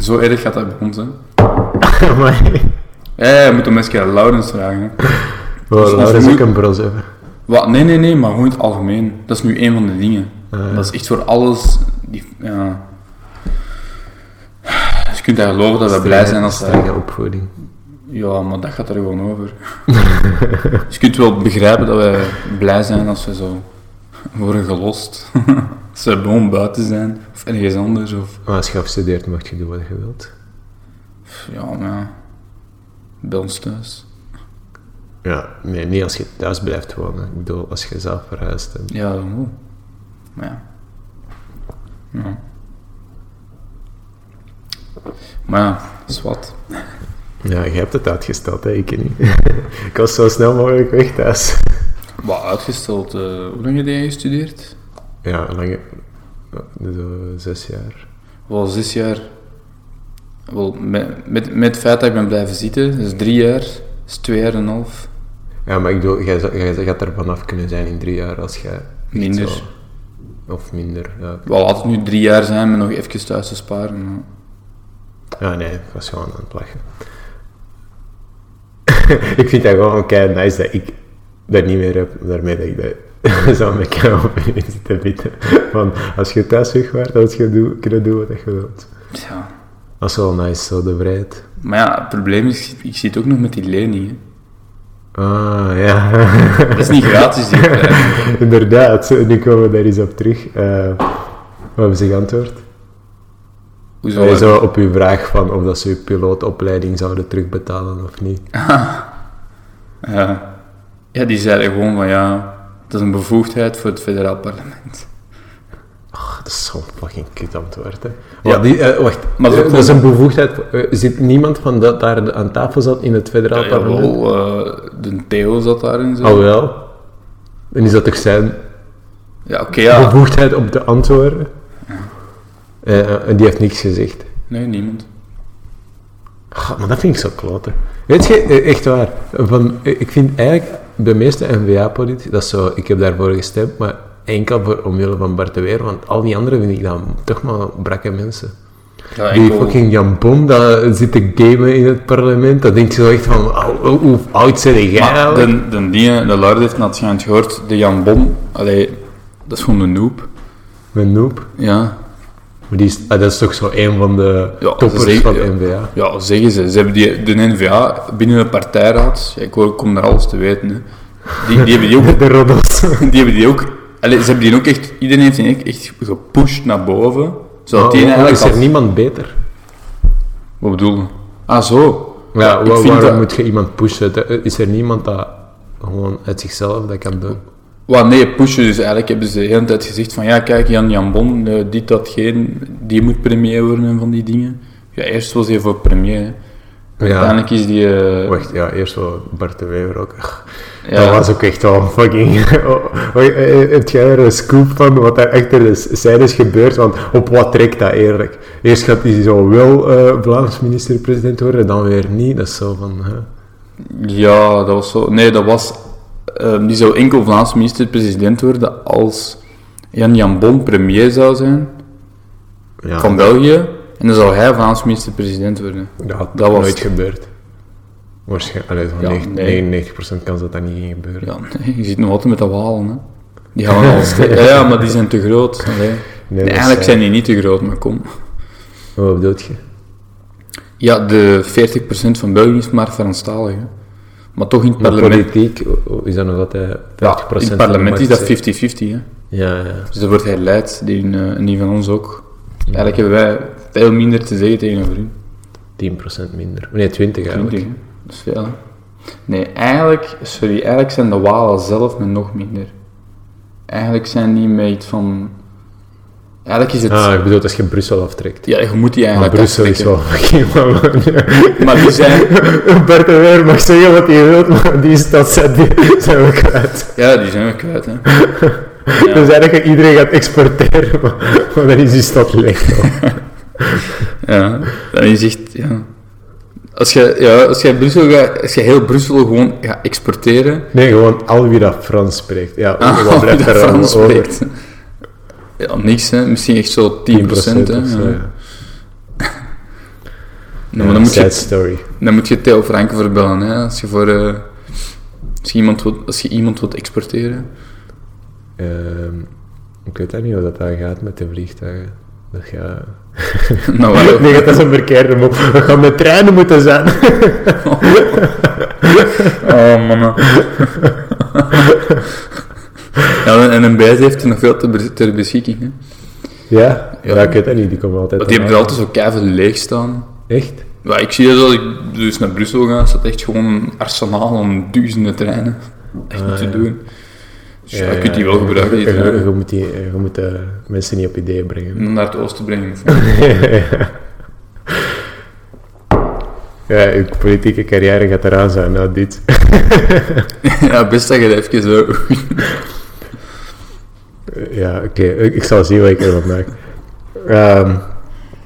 [SPEAKER 2] Zo erg gaat dat bij ons, hè.
[SPEAKER 3] Amai.
[SPEAKER 2] Ja, ja, je moet om eens een keer aan Laurens vragen, hè.
[SPEAKER 3] Wow,
[SPEAKER 2] ons
[SPEAKER 3] Laurens ook
[SPEAKER 2] moe-
[SPEAKER 3] een bros hebben.
[SPEAKER 2] Wat? Nee, nee, nee, maar gewoon in het algemeen. Dat is nu een van de dingen.
[SPEAKER 3] Ah.
[SPEAKER 2] Dat is echt voor alles, die, ja... Dus je kunt daar geloven dat we blij zijn als... dat-
[SPEAKER 3] Strenge opvoeding.
[SPEAKER 2] Ja, maar dat gaat er gewoon over. dus je kunt wel begrijpen dat we blij zijn als we zo worden gelost. als we gewoon buiten zijn, of ergens anders, of...
[SPEAKER 3] Maar als je afstudeert, mag je doen wat je wilt.
[SPEAKER 2] Ja, maar ja. Bij ons thuis.
[SPEAKER 3] Ja, nee, niet als je thuis blijft wonen. Ik bedoel, als je zelf verhuist. En...
[SPEAKER 2] Ja, dan wel. Maar ja. Ja. Maar ja, dat is wat.
[SPEAKER 3] Ja, je hebt het uitgesteld, hè? ik niet. ik was zo snel mogelijk weg thuis.
[SPEAKER 2] Wat uitgesteld, eh, hoe lang heb jij gestudeerd?
[SPEAKER 3] Ja, lange... eh, Zo zes jaar.
[SPEAKER 2] Wel zes jaar. Wel, met, met, met het feit dat ik ben blijven zitten, dus drie jaar, is twee jaar en een half.
[SPEAKER 3] Ja, maar ik bedoel, jij, zou- jij, gaat er vanaf kunnen zijn in drie jaar als jij... echt
[SPEAKER 2] Minder.
[SPEAKER 3] zo- Of minder, ja.
[SPEAKER 2] Wel, laat het nu drie jaar zijn met nog even thuis te sparen. maar-
[SPEAKER 3] Ja, nee, ik was gewoon aan het lachen. ik vind dat gewoon kei nice dat ik dat niet meer heb, daarmee dat ik dat zo met elkaar op zit te bieden. Van, als je thuis weg waart, dan had je doen, kunnen doen wat je wilt.
[SPEAKER 2] Ja.
[SPEAKER 3] Dat is wel nice, zo de vrijheid.
[SPEAKER 2] Maar ja, het probleem is, ik zit ook nog met die leningen.
[SPEAKER 3] Ah, ja.
[SPEAKER 2] Dat is niet gratis, die opleiding.
[SPEAKER 3] Inderdaad, nu komen we daar eens op terug. Eh, wat hebben ze geantwoord?
[SPEAKER 2] Hoezo?
[SPEAKER 3] Allee, Zo op uw vraag van of dat ze uw pilootopleiding zouden terugbetalen of niet.
[SPEAKER 2] Ja. ja, die zeiden gewoon van ja, dat is een bevoegdheid voor het federaal parlement.
[SPEAKER 3] Ah, Dat is zo'n fucking kut antwoord, hè.
[SPEAKER 2] Ja.
[SPEAKER 3] Maar die, eh, wacht,
[SPEAKER 2] Maar dat
[SPEAKER 3] Eh, dat is
[SPEAKER 2] komt-
[SPEAKER 3] een bevoegdheid. Eh, zit niemand van dat daar aan tafel zat in het federaal parlement?
[SPEAKER 2] Jawel, Oh, eh, de Theo zat daar en zo.
[SPEAKER 3] Al wel. En is dat toch zijn
[SPEAKER 2] Ja, oké, ja.
[SPEAKER 3] bevoegdheid om te antwoorden? Eh, en die heeft niks gezegd.
[SPEAKER 2] Nee, niemand.
[SPEAKER 3] Goh, maar dat vind ik zo kloten. Weet je, eh, echt waar. Van, eh, ik vind eigenlijk bij meeste NVA-politici, dat is zo, ik heb daarvoor gestemd, maar enkel voor omwille van Bart de Weer, want al die anderen vind ik dan toch maar brakke mensen.
[SPEAKER 2] Ja,
[SPEAKER 3] Die
[SPEAKER 2] enkel-
[SPEAKER 3] fucking Jan Bon, dat zit te gamen in het parlement. Dat denk je zo echt van, "Au, hoe, hoe oud zijn jij
[SPEAKER 2] Maar
[SPEAKER 3] eigenlijk?"
[SPEAKER 2] de, de dingen, de Lard heeft net schijnt gehoord, de Jan Bon, allee, dat is gewoon een noob.
[SPEAKER 3] Een noob.
[SPEAKER 2] Ja.
[SPEAKER 3] Maar die is, ah, dat is toch zo een van de
[SPEAKER 2] Ja,
[SPEAKER 3] toppers
[SPEAKER 2] dat is echt-
[SPEAKER 3] van
[SPEAKER 2] ja.
[SPEAKER 3] NVA.
[SPEAKER 2] Ja, zeggen ze. Ze hebben die, de NVA binnen de partijraad, ja, ik hoor- ik kom daar alles te weten, hè. Die, die hebben die ook...
[SPEAKER 3] De roddels.
[SPEAKER 2] Die hebben die ook allee, ze hebben die ook echt... Iedereen heeft die echt, echt gepusht naar boven, zodat die
[SPEAKER 3] Maar
[SPEAKER 2] eigenlijk...
[SPEAKER 3] Oh, is er
[SPEAKER 2] als-
[SPEAKER 3] niemand beter?
[SPEAKER 2] Wat bedoel je? Ah, zo.
[SPEAKER 3] Ja,
[SPEAKER 2] ik
[SPEAKER 3] wa-
[SPEAKER 2] vind
[SPEAKER 3] waarom
[SPEAKER 2] dat-
[SPEAKER 3] moet je iemand pushen? Dat- Is er niemand dat gewoon uit zichzelf dat kan doen?
[SPEAKER 2] Wat, nee, pushen. Dus eigenlijk hebben ze de hele tijd gezegd van ja, kijk, Jan Jambon, eh, dit, dat, geen, die moet premier worden en van die dingen. Ja, eerst was hij voor premier. hè. Uiteindelijk is die... eh,
[SPEAKER 3] Wacht, ja, eerst wel Bart de Wever ook.
[SPEAKER 2] Ja.
[SPEAKER 3] Dat was ook echt wel een fucking... Oh, oh, eh, Heb jij er een scoop van wat daar achter de scène is gebeurd? Want op wat trekt dat eerlijk? Eerst gaat hij zo wel eh Vlaams minister-president worden, dan weer niet. Dat is zo van... hè.
[SPEAKER 2] Ja, dat was zo. Nee, dat was. ehm, die zou enkel Vlaams minister-president worden als Jan-Jan Bon premier zou zijn
[SPEAKER 3] Ah. Ja,
[SPEAKER 2] van België. En dan zou hij Vlaams minister-president worden.
[SPEAKER 3] dat had
[SPEAKER 2] dat was
[SPEAKER 3] nooit
[SPEAKER 2] het.
[SPEAKER 3] gebeurd. Waarschijnlijk, allee, zo'n
[SPEAKER 2] Ja,
[SPEAKER 3] 9-
[SPEAKER 2] nee.
[SPEAKER 3] 99% kans dat dat niet ging gebeuren.
[SPEAKER 2] Ja, nee, je ziet nog altijd met dat walen, hè. Die gaan wel alles... ja, ja, maar die zijn te groot. Allee.
[SPEAKER 3] Nee, dat is,
[SPEAKER 2] Eigenlijk
[SPEAKER 3] eh,
[SPEAKER 2] zijn die niet te groot, maar kom.
[SPEAKER 3] Wat bedoel je?
[SPEAKER 2] Ja, de 40% van België is maar Franstalig, hè. Maar toch in het
[SPEAKER 3] Maar
[SPEAKER 2] parlement...
[SPEAKER 3] politiek o- o- is dat nog altijd 50%
[SPEAKER 2] Ja, in het parlement is dat 50-50, hè.
[SPEAKER 3] Ja, ja.
[SPEAKER 2] Dus dat wordt herleid, die, hun, eh, en die van ons ook. Eigenlijk hebben wij veel minder te zeggen tegenover hun.
[SPEAKER 3] 10% minder. Nee, 20 eigenlijk.
[SPEAKER 2] 20, hè. Dat is veel, hè. Nee, eigenlijk... Sorry, eigenlijk zijn de Walen zelf met nog minder. Eigenlijk zijn die met iets van... Eigenlijk is het...
[SPEAKER 3] Ah, ik bedoel, als je Brussel aftrekt.
[SPEAKER 2] Ja, je moet die
[SPEAKER 3] Maar
[SPEAKER 2] eigenlijk
[SPEAKER 3] Brussel is
[SPEAKER 2] aftikken.
[SPEAKER 3] wel fucking man.
[SPEAKER 2] Maar die zijn,
[SPEAKER 3] Bert de Weer mag zeggen wat hij wil, maar die stad zijn, die zijn we kwijt.
[SPEAKER 2] ja, die zijn we kwijt, hè.
[SPEAKER 3] Dus eigenlijk iedereen gaat exporteren, maar, maar dan is die stad leeg.
[SPEAKER 2] Ja, dan is echt, ja... Als je, ja, als je, Brussel gaat, als je heel Brussel gewoon gaat exporteren...
[SPEAKER 3] Nee, gewoon al wie dat Frans spreekt. Ja, wat
[SPEAKER 2] dat
[SPEAKER 3] blijft er allemaal
[SPEAKER 2] Ah, Frans
[SPEAKER 3] over? 10%
[SPEAKER 2] spreekt. Ja, niks, hè. Misschien echt zo 10%, hè.
[SPEAKER 3] of zo,
[SPEAKER 2] Ja.
[SPEAKER 3] ja.
[SPEAKER 2] Nee, maar dan, moet
[SPEAKER 3] Side
[SPEAKER 2] je,
[SPEAKER 3] story.
[SPEAKER 2] dan moet je Theo Franken verbellen, hè. Als je voor... eh, als, je iemand wilt, als je iemand wilt exporteren...
[SPEAKER 3] Ehm, ik weet dat niet hoe dat daar gaat met de vliegtuigen. Dat gaat...
[SPEAKER 2] Nou, wel.
[SPEAKER 3] Nee, dat is een verkeerde mop. We gaan met treinen moeten zijn.
[SPEAKER 2] Oh, mannen. ja, en een bijz heeft er nog veel te be- ter beschikking. Hè.
[SPEAKER 3] Ja?
[SPEAKER 2] Ja.
[SPEAKER 3] Ja, ik weet dat niet. Die komen altijd...
[SPEAKER 2] Want die
[SPEAKER 3] aan
[SPEAKER 2] hebben er altijd zo keihard leeg staan.
[SPEAKER 3] mij. Echt?
[SPEAKER 2] Ja, ik zie dat als ik dus naar Brussel ga, staat echt gewoon een arsenaal aan duizenden treinen. Echt niet te
[SPEAKER 3] ja.
[SPEAKER 2] doen. Dus Ah, ja, je kunt die wel gebruiken, die
[SPEAKER 3] Je- Je,
[SPEAKER 2] treinen. Mm.
[SPEAKER 3] je moet, die, je moet eh, mensen niet op ideeën brengen.
[SPEAKER 2] Om naar het oosten brengen.
[SPEAKER 3] Ja, je politieke carrière gaat eraan zijn na dit.
[SPEAKER 2] ja, best dat je dat even zo...
[SPEAKER 3] ja, oké. Ik, ik zal zien wat ik ervan maak. Ehm,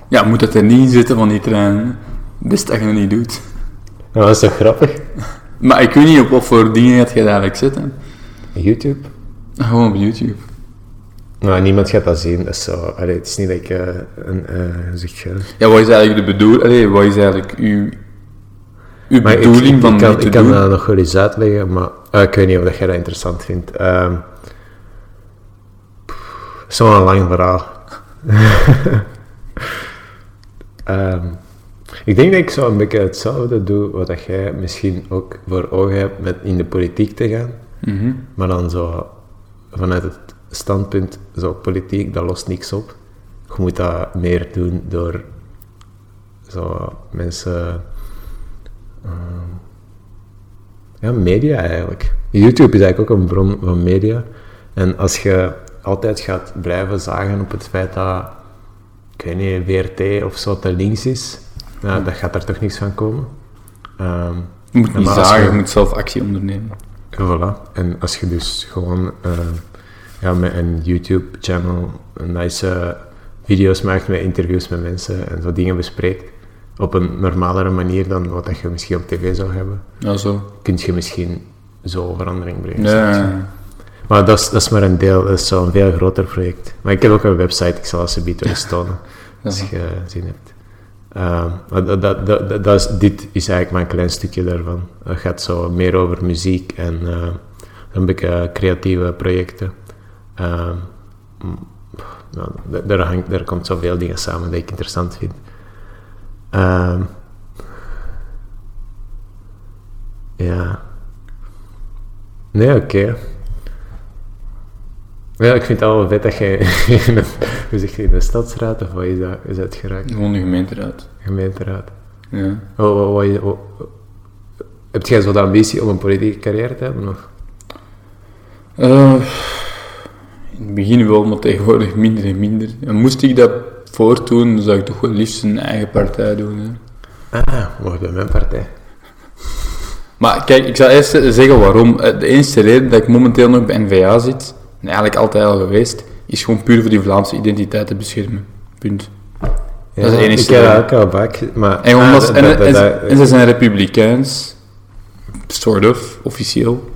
[SPEAKER 2] Ja, moet het er niet in zitten van die treinen. Best dat je dat niet doet.
[SPEAKER 3] nou, dat is toch grappig?
[SPEAKER 2] Maar ik weet niet op wat voor dingen gaat je dadelijk zitten.
[SPEAKER 3] YouTube?
[SPEAKER 2] Gewoon op YouTube.
[SPEAKER 3] Nou, niemand gaat dat zien. Dat is zo... Allee, het is niet dat ik eh, een... eh, hoe zeg je dat?
[SPEAKER 2] Ja, wat is eigenlijk de bedoeling? Allee, wat is eigenlijk uw, uw
[SPEAKER 3] Maar ik-
[SPEAKER 2] bedoeling
[SPEAKER 3] ik,
[SPEAKER 2] van
[SPEAKER 3] ik kan,
[SPEAKER 2] dit te
[SPEAKER 3] ik kan
[SPEAKER 2] doen?
[SPEAKER 3] dat nog wel eens uitleggen, maar eh, ik weet niet of dat jij dat interessant vindt. Ehm, pff, Het is wel een lang verhaal. Ehm, ik denk dat ik zo een beetje hetzelfde doe wat dat jij misschien ook voor ogen hebt met in de politiek te gaan.
[SPEAKER 2] Mhm.
[SPEAKER 3] Maar dan zo vanuit het standpunt, zo politiek, dat lost niks op. Je moet dat meer doen door zo mensen Ja, media eigenlijk. YouTube is eigenlijk ook een bron van media. En als je altijd gaat blijven zagen op het feit dat, ik weet niet, VRT of zo te links is, nou, dat gaat daar toch niks van komen. Ehm,
[SPEAKER 2] Je moet
[SPEAKER 3] Ja,
[SPEAKER 2] niet
[SPEAKER 3] maar als
[SPEAKER 2] zagen,
[SPEAKER 3] je-
[SPEAKER 2] je moet zelf actie ondernemen.
[SPEAKER 3] en voilà. En als je dus gewoon ehm, ja, met een YouTube-channel nice eh, video's maakt met interviews met mensen en zo dingen bespreekt, op een normalere manier dan wat dat je misschien op tv zou hebben,
[SPEAKER 2] Ja, zo.
[SPEAKER 3] kun je misschien zo verandering brengen.
[SPEAKER 2] Ja, ja, ja.
[SPEAKER 3] Maar dat is, dat is maar een deel, dat is zo'n veel groter project. Maar ik heb ook een website, ik zal het alsjeblieft wel eens tonen, als
[SPEAKER 2] Ja.
[SPEAKER 3] je zin hebt. Ehm, maar dat, dat, dat, dat- dat is, dit is eigenlijk maar een klein stukje daarvan. Het gaat zo meer over muziek en eh, een beetje creatieve projecten. Ehm, mm, pff, nou, d- daar, hangt, daar komt zoveel dingen samen dat ik interessant vind. Ehm, ja. Nee, oké. Ja, ik vind het al wel vet dat je in een, hoe zeg je, in de stadsraad of wat is dat, is dat geraakt?
[SPEAKER 2] Gewoon de gemeenteraad.
[SPEAKER 3] Gemeenteraad.
[SPEAKER 2] Ja.
[SPEAKER 3] Oh, wat- wat is- wat- heb jij zo de ambitie om een politieke carrière te hebben? Of?
[SPEAKER 2] Eh, in het begin wel, maar tegenwoordig minder en minder. En moest ik dat voortdoen, dan zou ik toch wel liefst een eigen partij doen. Hè.
[SPEAKER 3] Ah, mocht bij mijn partij.
[SPEAKER 2] Maar kijk, ik zal eerst zeggen waarom. Eh, De enige reden dat ik momenteel nog bij NVA zit, en eigenlijk altijd al geweest, is gewoon puur voor die Vlaamse identiteit te beschermen. Punt.
[SPEAKER 3] Ja,
[SPEAKER 2] Dat is de enige
[SPEAKER 3] Ik heb dat
[SPEAKER 2] reden.
[SPEAKER 3] ook al vaak, maar...
[SPEAKER 2] En,
[SPEAKER 3] Ah,
[SPEAKER 2] omdat,
[SPEAKER 3] dat-
[SPEAKER 2] en,
[SPEAKER 3] dat-
[SPEAKER 2] en-
[SPEAKER 3] dat-
[SPEAKER 2] en ze zijn republikeins. Sort of, officieel.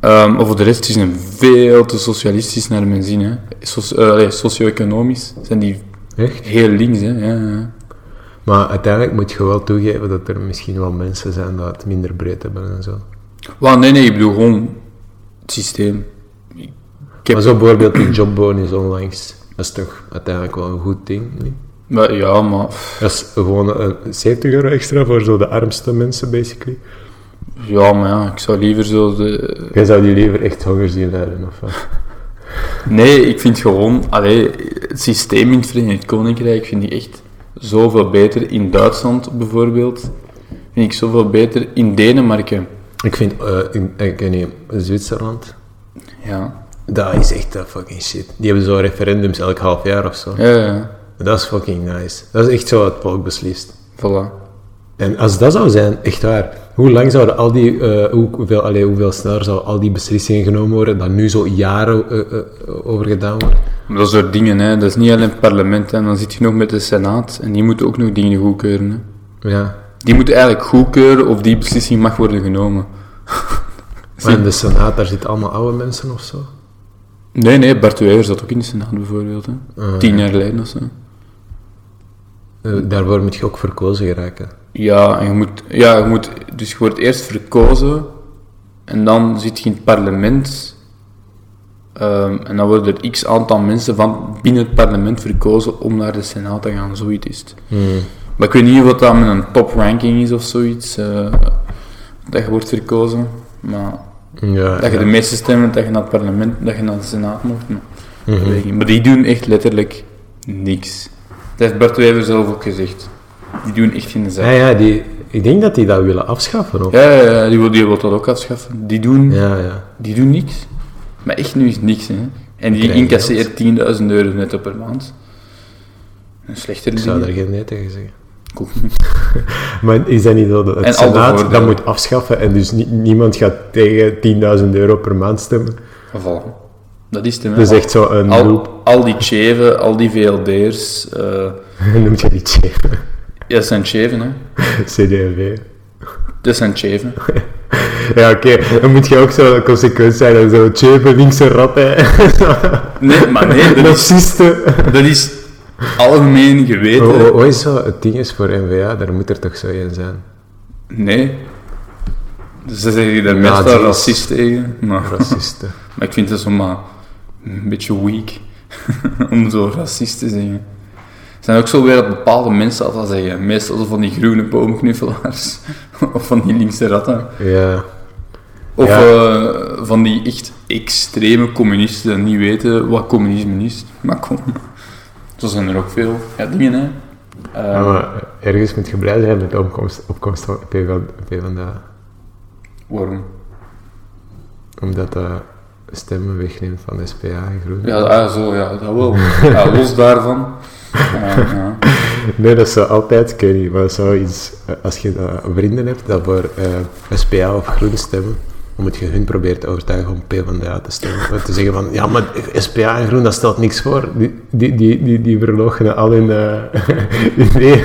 [SPEAKER 2] Ehm, maar voor de rest is het veel te socialistisch naar mijn zin. Hè. Soci- eh, allee, socio-economisch zijn die
[SPEAKER 3] Echt?
[SPEAKER 2] heel links. Hè. Ja, ja, ja.
[SPEAKER 3] Maar uiteindelijk moet je wel toegeven dat er misschien wel mensen zijn dat het minder breed hebben en zo.
[SPEAKER 2] Wel, nee, nee, ik bedoel gewoon het systeem. Ik heb-
[SPEAKER 3] Maar zo bijvoorbeeld die jobbonus onlangs, dat is toch uiteindelijk wel een goed ding. niet?
[SPEAKER 2] maar, ja, maar pff,
[SPEAKER 3] Dat is gewoon een 70 euro extra voor zo de armste mensen, basically.
[SPEAKER 2] ja, maar ja, ik zou liever zo de,
[SPEAKER 3] Jij zou die liever echt honger zien lijden, of wat?
[SPEAKER 2] Nee, ik vind gewoon, allee, het systeem in het Verenigd Koninkrijk vind ik echt zoveel beter. In Duitsland bijvoorbeeld vind ik zoveel beter. In Denemarken,
[SPEAKER 3] Ik vind, eh, in, ik weet niet, Zwitserland,
[SPEAKER 2] ja.
[SPEAKER 3] dat is echt dat fucking shit. Die hebben zo referendums elk half jaar of zo.
[SPEAKER 2] Ja, ja, ja,
[SPEAKER 3] Dat is fucking nice. Dat is echt zo wat het volk beslist.
[SPEAKER 2] voilà.
[SPEAKER 3] En als dat zou zijn, echt waar, hoe lang zouden al die, eh, hoe- hoeveel, allee, hoeveel sneller zouden al die beslissingen genomen worden, dat nu zo jaren eh, eh, over gedaan wordt?
[SPEAKER 2] Maar dat soort dingen, hè. dat is niet alleen het parlement. Hè. Dan zit je nog met de Senaat en die moeten ook nog dingen goedkeuren. Hè.
[SPEAKER 3] Ja.
[SPEAKER 2] Die moeten eigenlijk goedkeuren of die beslissing mag worden genomen.
[SPEAKER 3] Maar in de Senaat, daar zitten allemaal oude mensen of zo.
[SPEAKER 2] Nee, nee, Bart de Wever zat ook in de Senaat bijvoorbeeld. Hè. Tien jaar geleden of zo.
[SPEAKER 3] Eh, daarvoor moet je ook verkozen geraken.
[SPEAKER 2] Ja, en je moet, ja, je moet, dus je wordt eerst verkozen en dan zit je in het parlement. Ehm, en dan worden er x aantal mensen van binnen het parlement verkozen om naar de Senaat te gaan, zoiets is het. Maar ik weet niet wat dat met een topranking is of zoiets, eh, dat je wordt verkozen. Maar
[SPEAKER 3] Ja,
[SPEAKER 2] dat je
[SPEAKER 3] ja.
[SPEAKER 2] de meeste stemmen, dat je naar het parlement, dat je naar de Senaat mocht. Maar, dat
[SPEAKER 3] Mhm.
[SPEAKER 2] weet ik niet. maar die doen echt letterlijk niks. Dat heeft Bart Wever zelf ook gezegd. Die doen echt geen zaak.
[SPEAKER 3] Ja, ja, die, ik denk dat die dat willen afschaffen. Of?
[SPEAKER 2] Ja, ja, ja, die wil, die wil dat ook afschaffen. Die doen,
[SPEAKER 3] ja, ja.
[SPEAKER 2] die doen niks. Maar echt nu is niks, hè. En die
[SPEAKER 3] Krijgen
[SPEAKER 2] incasseert 10.000 euro netto per maand. Een slechter
[SPEAKER 3] Ik zou daar
[SPEAKER 2] ding.
[SPEAKER 3] geen nee tegen zeggen.
[SPEAKER 2] Ook niet.
[SPEAKER 3] Maar is dat niet dat
[SPEAKER 2] de
[SPEAKER 3] het Senaat dat
[SPEAKER 2] voordelen.
[SPEAKER 3] moet afschaffen en dus ni- niemand gaat tegen 10.000 euro per maand stemmen?
[SPEAKER 2] Voilà. Dat is het, hè.
[SPEAKER 3] Dat is echt zo een loop.
[SPEAKER 2] Al, al die cheven, al die VLD'ers. eh
[SPEAKER 3] Noemt je die tje-
[SPEAKER 2] ja, dat zijn cheven, hè.
[SPEAKER 3] CDV?
[SPEAKER 2] Dat zijn cheven.
[SPEAKER 3] Ja, oké. Dan moet je ook zo consequent zijn en zo tjepen, linkse ratten,
[SPEAKER 2] Nee, maar nee, dat is,
[SPEAKER 3] racisten.
[SPEAKER 2] dat is algemeen geweten.
[SPEAKER 3] Hoe hoe is zo het ding is voor NVA? Daar moet er toch zo een zijn?
[SPEAKER 2] Nee. Dus dan zeg je daar
[SPEAKER 3] Ja,
[SPEAKER 2] meestal
[SPEAKER 3] dat is-
[SPEAKER 2] racist tegen. Maar...
[SPEAKER 3] Racisten.
[SPEAKER 2] Maar ik vind dat zomaar een beetje weak om zo racist te zeggen. Er zijn ook zo weer dat bepaalde mensen dat zeggen. Meestal zo van die groene boomknuffelaars. of van die linkse ratten.
[SPEAKER 3] Ja.
[SPEAKER 2] Of
[SPEAKER 3] Ja.
[SPEAKER 2] eh, van die echt extreme communisten die niet weten wat communisme is. Maar kom. Zo zijn er ook veel ja, dingen, hè. Eh,
[SPEAKER 3] Ja, maar ergens moet je blij zijn met de opkomst, opkomst van PvdA. PvdA.
[SPEAKER 2] Waarom?
[SPEAKER 3] Omdat dat stemmen wegneemt van SPA en Groen.
[SPEAKER 2] Ja, ah, zo, ja, dat wel. Ja, los daarvan. Eh, ja.
[SPEAKER 3] Nee, dat zou altijd, ik weet niet, maar dat zou iets, eh, als je dat vrienden hebt dat voor eh, SPA of Groen stemmen, dan moet je hun proberen te overtuigen om PvdA te stemmen. Door te zeggen van, ja, maar SPA en Groen, dat stelt niks voor. Die, die, die, die, die verloochenen al hun eh, ideeën.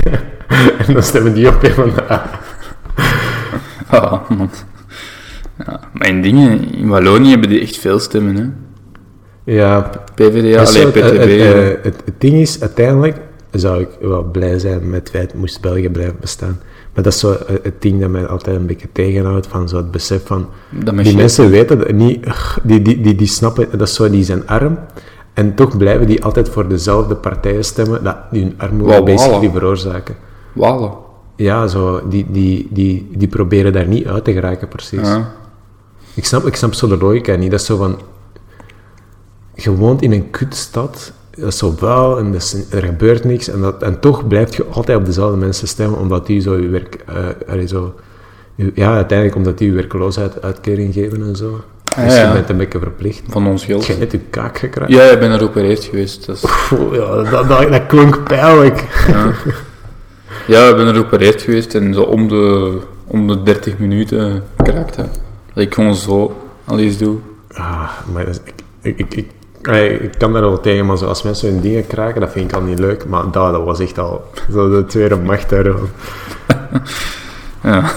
[SPEAKER 3] En dan stemmen die op PvdA.
[SPEAKER 2] Ja, man. Ja, maar in dingen, in Wallonië hebben die echt veel stemmen, hè.
[SPEAKER 3] Ja,
[SPEAKER 2] PvdA,
[SPEAKER 3] dat is
[SPEAKER 2] allee,
[SPEAKER 3] Dus zo,
[SPEAKER 2] PTB.
[SPEAKER 3] het, het,
[SPEAKER 2] ja.
[SPEAKER 3] eh, het- het ding is, uiteindelijk zou ik wel blij zijn met het feit, moest België blijven bestaan. Maar dat is zo eh, het ding dat mij altijd een beetje tegenhoudt, van zo het besef van...
[SPEAKER 2] dat
[SPEAKER 3] Die
[SPEAKER 2] mensen
[SPEAKER 3] mensen weten dat niet, ugh, die, die, die, die snappen, dat is zo, die zijn arm. En toch blijven die altijd voor dezelfde partijen stemmen, dat die hun armoede
[SPEAKER 2] Wauw,
[SPEAKER 3] basically
[SPEAKER 2] wauw.
[SPEAKER 3] veroorzaken.
[SPEAKER 2] Walen.
[SPEAKER 3] Ja, zo, die, die, die, die proberen daar niet uit te geraken, precies.
[SPEAKER 2] Ja.
[SPEAKER 3] Ik snap, ik snap zo de logica niet. Dat is zo van... Je woont in een kutstad, dat is zo vuil en dat is- er gebeurt niks. En, dat, en toch blijf je altijd op dezelfde mensen stemmen, omdat die zo je werk... eh, allee, zo, je- ja, uiteindelijk omdat die je werkloosheid uitkering geven en zo.
[SPEAKER 2] Ah,
[SPEAKER 3] dus je
[SPEAKER 2] ja.
[SPEAKER 3] bent een beetje verplicht.
[SPEAKER 2] Van ons geld.
[SPEAKER 3] Je hebt net je kaak gekraakt.
[SPEAKER 2] Ja, ik ben er ook weer eerst geweest. Dat is-
[SPEAKER 3] Pff, ja, dat, dat, dat klonk pijnlijk.
[SPEAKER 2] Ja, ik ben er ook weer eerst geweest en zo om de, om de 30 minuten kraakt, hè. Dat ik gewoon zo al iets doe.
[SPEAKER 3] Ah, maar dat is- ik, ik, ik, ik, allee, ik kan daar wel tegen, maar zo, als mensen hun dingen kraken, dat vind ik al niet leuk. Maar dat, dat was echt al zo de tweede macht daarvan.
[SPEAKER 2] Ja.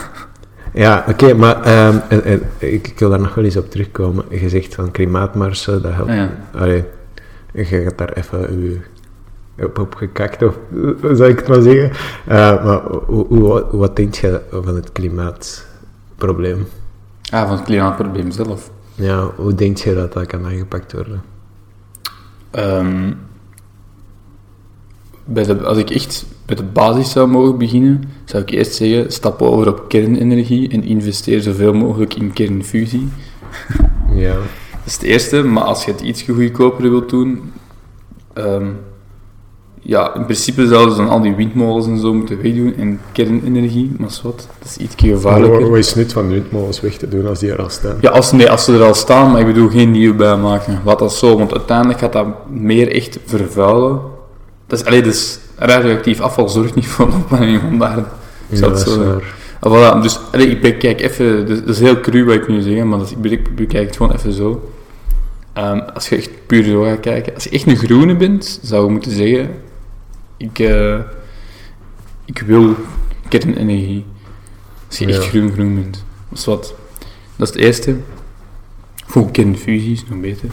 [SPEAKER 3] Ja, oké, maar ehm, en- en ik, ik wil daar nog wel eens op terugkomen. Je zegt van klimaatmarsen, dat helpt.
[SPEAKER 2] Ja.
[SPEAKER 3] Allee, je gaat daar even je op, op gekakt, of eh, zou ik het maar zeggen. Eh, maar hoe, hoe, wat denk je van het klimaatprobleem?
[SPEAKER 2] Ah, van het klimaatprobleem zelf.
[SPEAKER 3] Ja, hoe denk je dat dat kan aangepakt worden?
[SPEAKER 2] Ehm, bij de, als ik echt bij de basis zou mogen beginnen, zou ik eerst zeggen: stap over op kernenergie en investeer zoveel mogelijk in kernfusie.
[SPEAKER 3] Ja,
[SPEAKER 2] Dat is het eerste, maar als je het iets goedkoper wilt doen, ehm, ja, in principe zouden ze dan al die windmolens en zo moeten wegdoen en kernenergie, maar is wat, dat is iets gevaarlijker.
[SPEAKER 3] is het nut van windmolens weg te doen als die er al staan?
[SPEAKER 2] Ja, als, nee, als ze er al staan, maar ik bedoel geen nieuwe bij maken. Laat dat zo, want uiteindelijk gaat dat meer echt vervuilen. Dat is, allee, dus radioactief afval zorgt niet voor een opwarming van de aarde. Ik zou
[SPEAKER 3] dat
[SPEAKER 2] het
[SPEAKER 3] is
[SPEAKER 2] zo zeggen.
[SPEAKER 3] waar.
[SPEAKER 2] Ah, voilà, dus allee, ik bekijk even, dus, dat is heel cru wat ik nu zeg, maar dat, ik be- bekijk het gewoon even zo. Ehm, als je echt puur zo gaat kijken, als je echt een groene bent, zou je moeten zeggen, ik, eh, ik wil kernenergie. Als je echt
[SPEAKER 3] Ja.
[SPEAKER 2] groen-groen bent. Dat is wat. Dat is het eerste. Gewoon kernfusie is nog beter.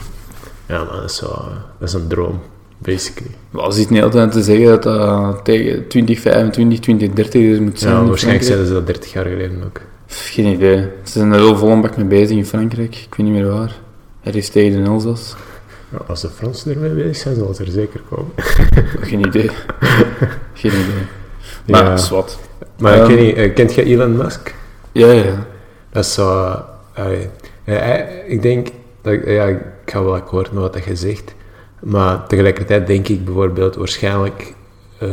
[SPEAKER 3] Ja, maar dat is, wel, eh, dat is een droom, basically.
[SPEAKER 2] Maar als het niet altijd te zeggen dat dat tegen 2025, 2030 er moet zijn.
[SPEAKER 3] Ja,
[SPEAKER 2] in
[SPEAKER 3] waarschijnlijk
[SPEAKER 2] Frankrijk.
[SPEAKER 3] zeiden ze dat 30 jaar geleden ook.
[SPEAKER 2] Pff, Geen idee. Ze zijn er wel vol een bak mee bezig in Frankrijk. Ik weet niet meer waar. Er is tegen de Elzas.
[SPEAKER 3] als de Fransen ermee bezig zijn, zal het er zeker komen.
[SPEAKER 2] Geen idee. Geen idee. Maar,
[SPEAKER 3] Ja.
[SPEAKER 2] zwart.
[SPEAKER 3] Maar ik
[SPEAKER 2] Ehm.
[SPEAKER 3] weet niet, eh, kent je Elon Musk?
[SPEAKER 2] Ja, ja.
[SPEAKER 3] Dat is zo... eh, allee. Ja, hij- ik denk... Dat, ik- ja, ik ga wel akkoord met wat je zegt. Maar tegelijkertijd denk ik bijvoorbeeld waarschijnlijk... eh,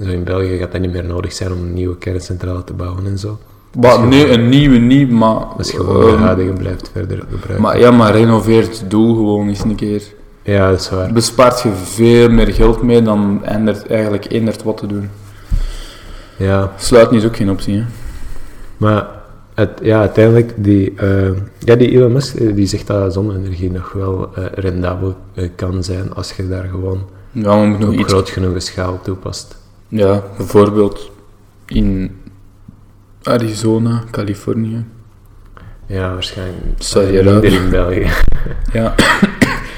[SPEAKER 3] zo in België gaat dat niet meer nodig zijn om een nieuwe kerncentrale te bouwen en zo.
[SPEAKER 2] Maar, nee, een nieuwe niet, maar...
[SPEAKER 3] Als je gewoon de
[SPEAKER 2] ehm,
[SPEAKER 3] huidige blijft verder gebruiken.
[SPEAKER 2] maar ja, maar renoveert het doel gewoon eens een keer.
[SPEAKER 3] ja, dat is waar.
[SPEAKER 2] Bespaart je veel meer geld mee dan eindert, eigenlijk eendert wat te doen.
[SPEAKER 3] Ja.
[SPEAKER 2] Sluiten is ook geen optie, hè.
[SPEAKER 3] Maar het, ja, uiteindelijk, die, eh, ja, die Elon Musk eh, die zegt dat zonne-energie nog wel eh, rendabel eh, kan zijn als je daar gewoon
[SPEAKER 2] Ja, maar we moeten nog
[SPEAKER 3] op
[SPEAKER 2] iets...
[SPEAKER 3] groot genoeg schaal toepast.
[SPEAKER 2] Ja, bijvoorbeeld in Arizona, Californië.
[SPEAKER 3] Ja, waarschijnlijk
[SPEAKER 2] Sorry,
[SPEAKER 3] eh, minder
[SPEAKER 2] Rob.
[SPEAKER 3] in België.
[SPEAKER 2] Ja,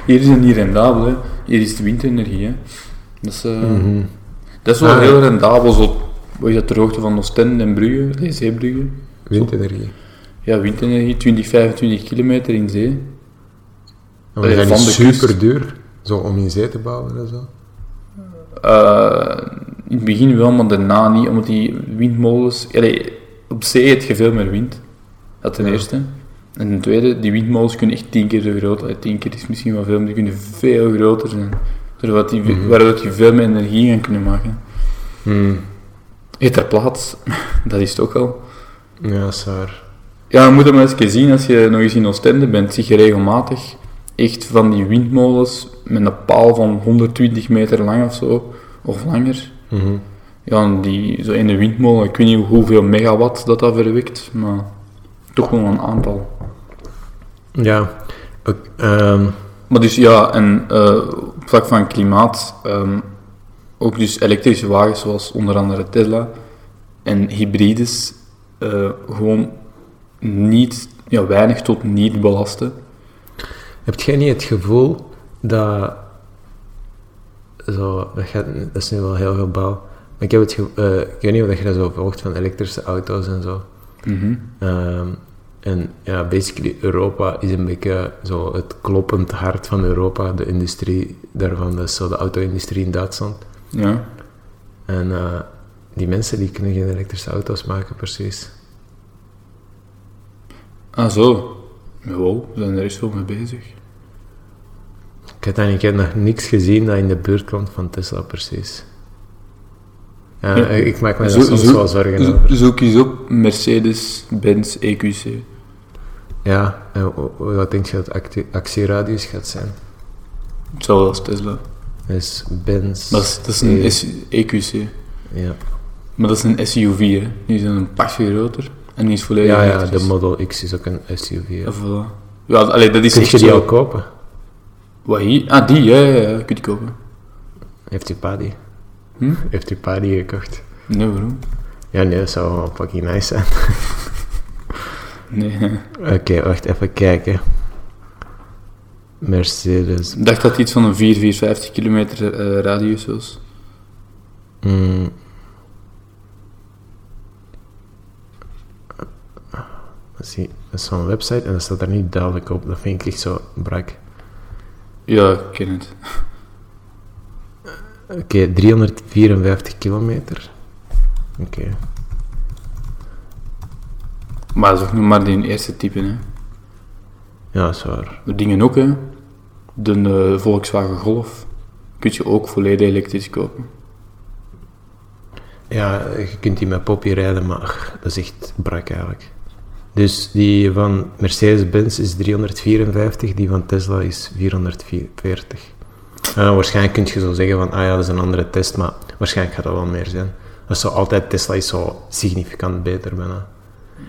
[SPEAKER 2] hier is het niet rendabel, hè. Hier is het windenergie, hè. Dat is, eh, dat is wel
[SPEAKER 3] Ah.
[SPEAKER 2] heel rendabel, zo... Wat is dat, ter hoogte van Oostende en Brugge, nee, Zeebrugge?
[SPEAKER 3] Windenergie.
[SPEAKER 2] Ja, windenergie, 20, 25 kilometer in zee.
[SPEAKER 3] Maar
[SPEAKER 2] Allee,
[SPEAKER 3] zijn
[SPEAKER 2] van
[SPEAKER 3] die
[SPEAKER 2] de kust.
[SPEAKER 3] super duur zo, om in zee te bouwen en zo.
[SPEAKER 2] Eh, in het begin wel, maar daarna niet, omdat die windmolens... Allee, op zee heb je veel meer wind. Dat ten
[SPEAKER 3] Ja.
[SPEAKER 2] eerste. En ten tweede, die windmolens kunnen echt tien keer zo groot zijn. Tien keer is misschien wel veel, maar die kunnen veel groter zijn. Zodat die, Waardoor die veel meer energie gaan kunnen maken. Je hebt daar plaats. Dat is het ook al.
[SPEAKER 3] Ja, dat is waar.
[SPEAKER 2] Ja, je moet hem eens een keer zien als je nog eens in Oostende bent. Zie je regelmatig echt van die windmolens met een paal van 120 meter lang of zo, of langer.
[SPEAKER 3] Mhm.
[SPEAKER 2] Ja, en die, zo in de windmolen, ik weet niet hoeveel megawatt dat dat verwekt, maar toch wel een aantal.
[SPEAKER 3] Ja. Ook, ehm,
[SPEAKER 2] Maar dus ja, en eh, op vlak van klimaat, ehm, ook dus elektrische wagens zoals onder andere Tesla en hybrides, eh, gewoon niet, ja, weinig tot niet belasten.
[SPEAKER 3] Heb jij niet het gevoel dat... Zo, dat, gaat, dat is nu wel heel gebouw. Maar ik, heb het ge- eh, ik weet niet of je dat zo volgt van elektrische auto's en zo.
[SPEAKER 2] Mhm.
[SPEAKER 3] Ehm, en ja, basically Europa is een beetje zo het kloppend hart van Europa. De industrie daarvan, dat is zo de auto-industrie in Duitsland.
[SPEAKER 2] Ja.
[SPEAKER 3] En eh, die mensen die kunnen geen elektrische auto's maken precies.
[SPEAKER 2] Ah, zo. Wow, we zijn er echt veel mee bezig.
[SPEAKER 3] Ik heb, dan, ik heb nog niks gezien dat in de buurt komt van Tesla precies. Ja, eh,
[SPEAKER 2] Ja.
[SPEAKER 3] Ik maak me daar
[SPEAKER 2] Zo-
[SPEAKER 3] soms
[SPEAKER 2] zo-
[SPEAKER 3] wel zorgen
[SPEAKER 2] Zo-
[SPEAKER 3] over.
[SPEAKER 2] Zoek eens op Mercedes-Benz E EQC.
[SPEAKER 3] Ja, en w- w- wat denk je dat acti- actieradius gaat zijn?
[SPEAKER 2] Hetzelfde als Tesla.
[SPEAKER 3] Dat is Benz.
[SPEAKER 2] Dat is, dat is een
[SPEAKER 3] eh,
[SPEAKER 2] S- EQC.
[SPEAKER 3] Ja,
[SPEAKER 2] Maar dat is een SUV, hè. Die is dan een pasje groter. En die is volledig
[SPEAKER 3] ja, ja de
[SPEAKER 2] elektrisch.
[SPEAKER 3] Model X is ook een SUV. hè.
[SPEAKER 2] Ja, voilà. Ja, allee, dat is
[SPEAKER 3] Kun
[SPEAKER 2] echt
[SPEAKER 3] je die
[SPEAKER 2] zo-
[SPEAKER 3] al kopen?
[SPEAKER 2] Wat hier? Ah, die, ja, ja, ja. Kun je kopen.
[SPEAKER 3] Heeft je pa die?
[SPEAKER 2] Hm?
[SPEAKER 3] Heeft je pa die gekocht?
[SPEAKER 2] Nee, waarom?
[SPEAKER 3] Ja, nee, dat zou wel fucking nice zijn.
[SPEAKER 2] Nee.
[SPEAKER 3] Oké, wacht, even kijken. Mercedes.
[SPEAKER 2] Ik dacht dat het iets van een 4, 4, 50 kilometer eh, radius was.
[SPEAKER 3] Mm. Zie, dat is zo'n website en dat staat er niet duidelijk op. Dat vind ik echt zo brak.
[SPEAKER 2] Ja, ik ken het.
[SPEAKER 3] Oké, 354 kilometer. Oké.
[SPEAKER 2] Maar dat is ook nog maar die eerste type, hè.
[SPEAKER 3] Ja, dat is waar.
[SPEAKER 2] De dingen ook, hè. De eh, Volkswagen Golf kun je ook volledig elektrisch kopen.
[SPEAKER 3] Ja, je kunt die met Poppy rijden, maar ach, dat is echt brak eigenlijk. Dus die van Mercedes-Benz is 354, die van Tesla is 440. Eh, waarschijnlijk kun je zo zeggen van, ah ja, dat is een andere test, maar waarschijnlijk gaat dat wel meer zijn. Dat is zo altijd, Tesla is zo significant beter bijna.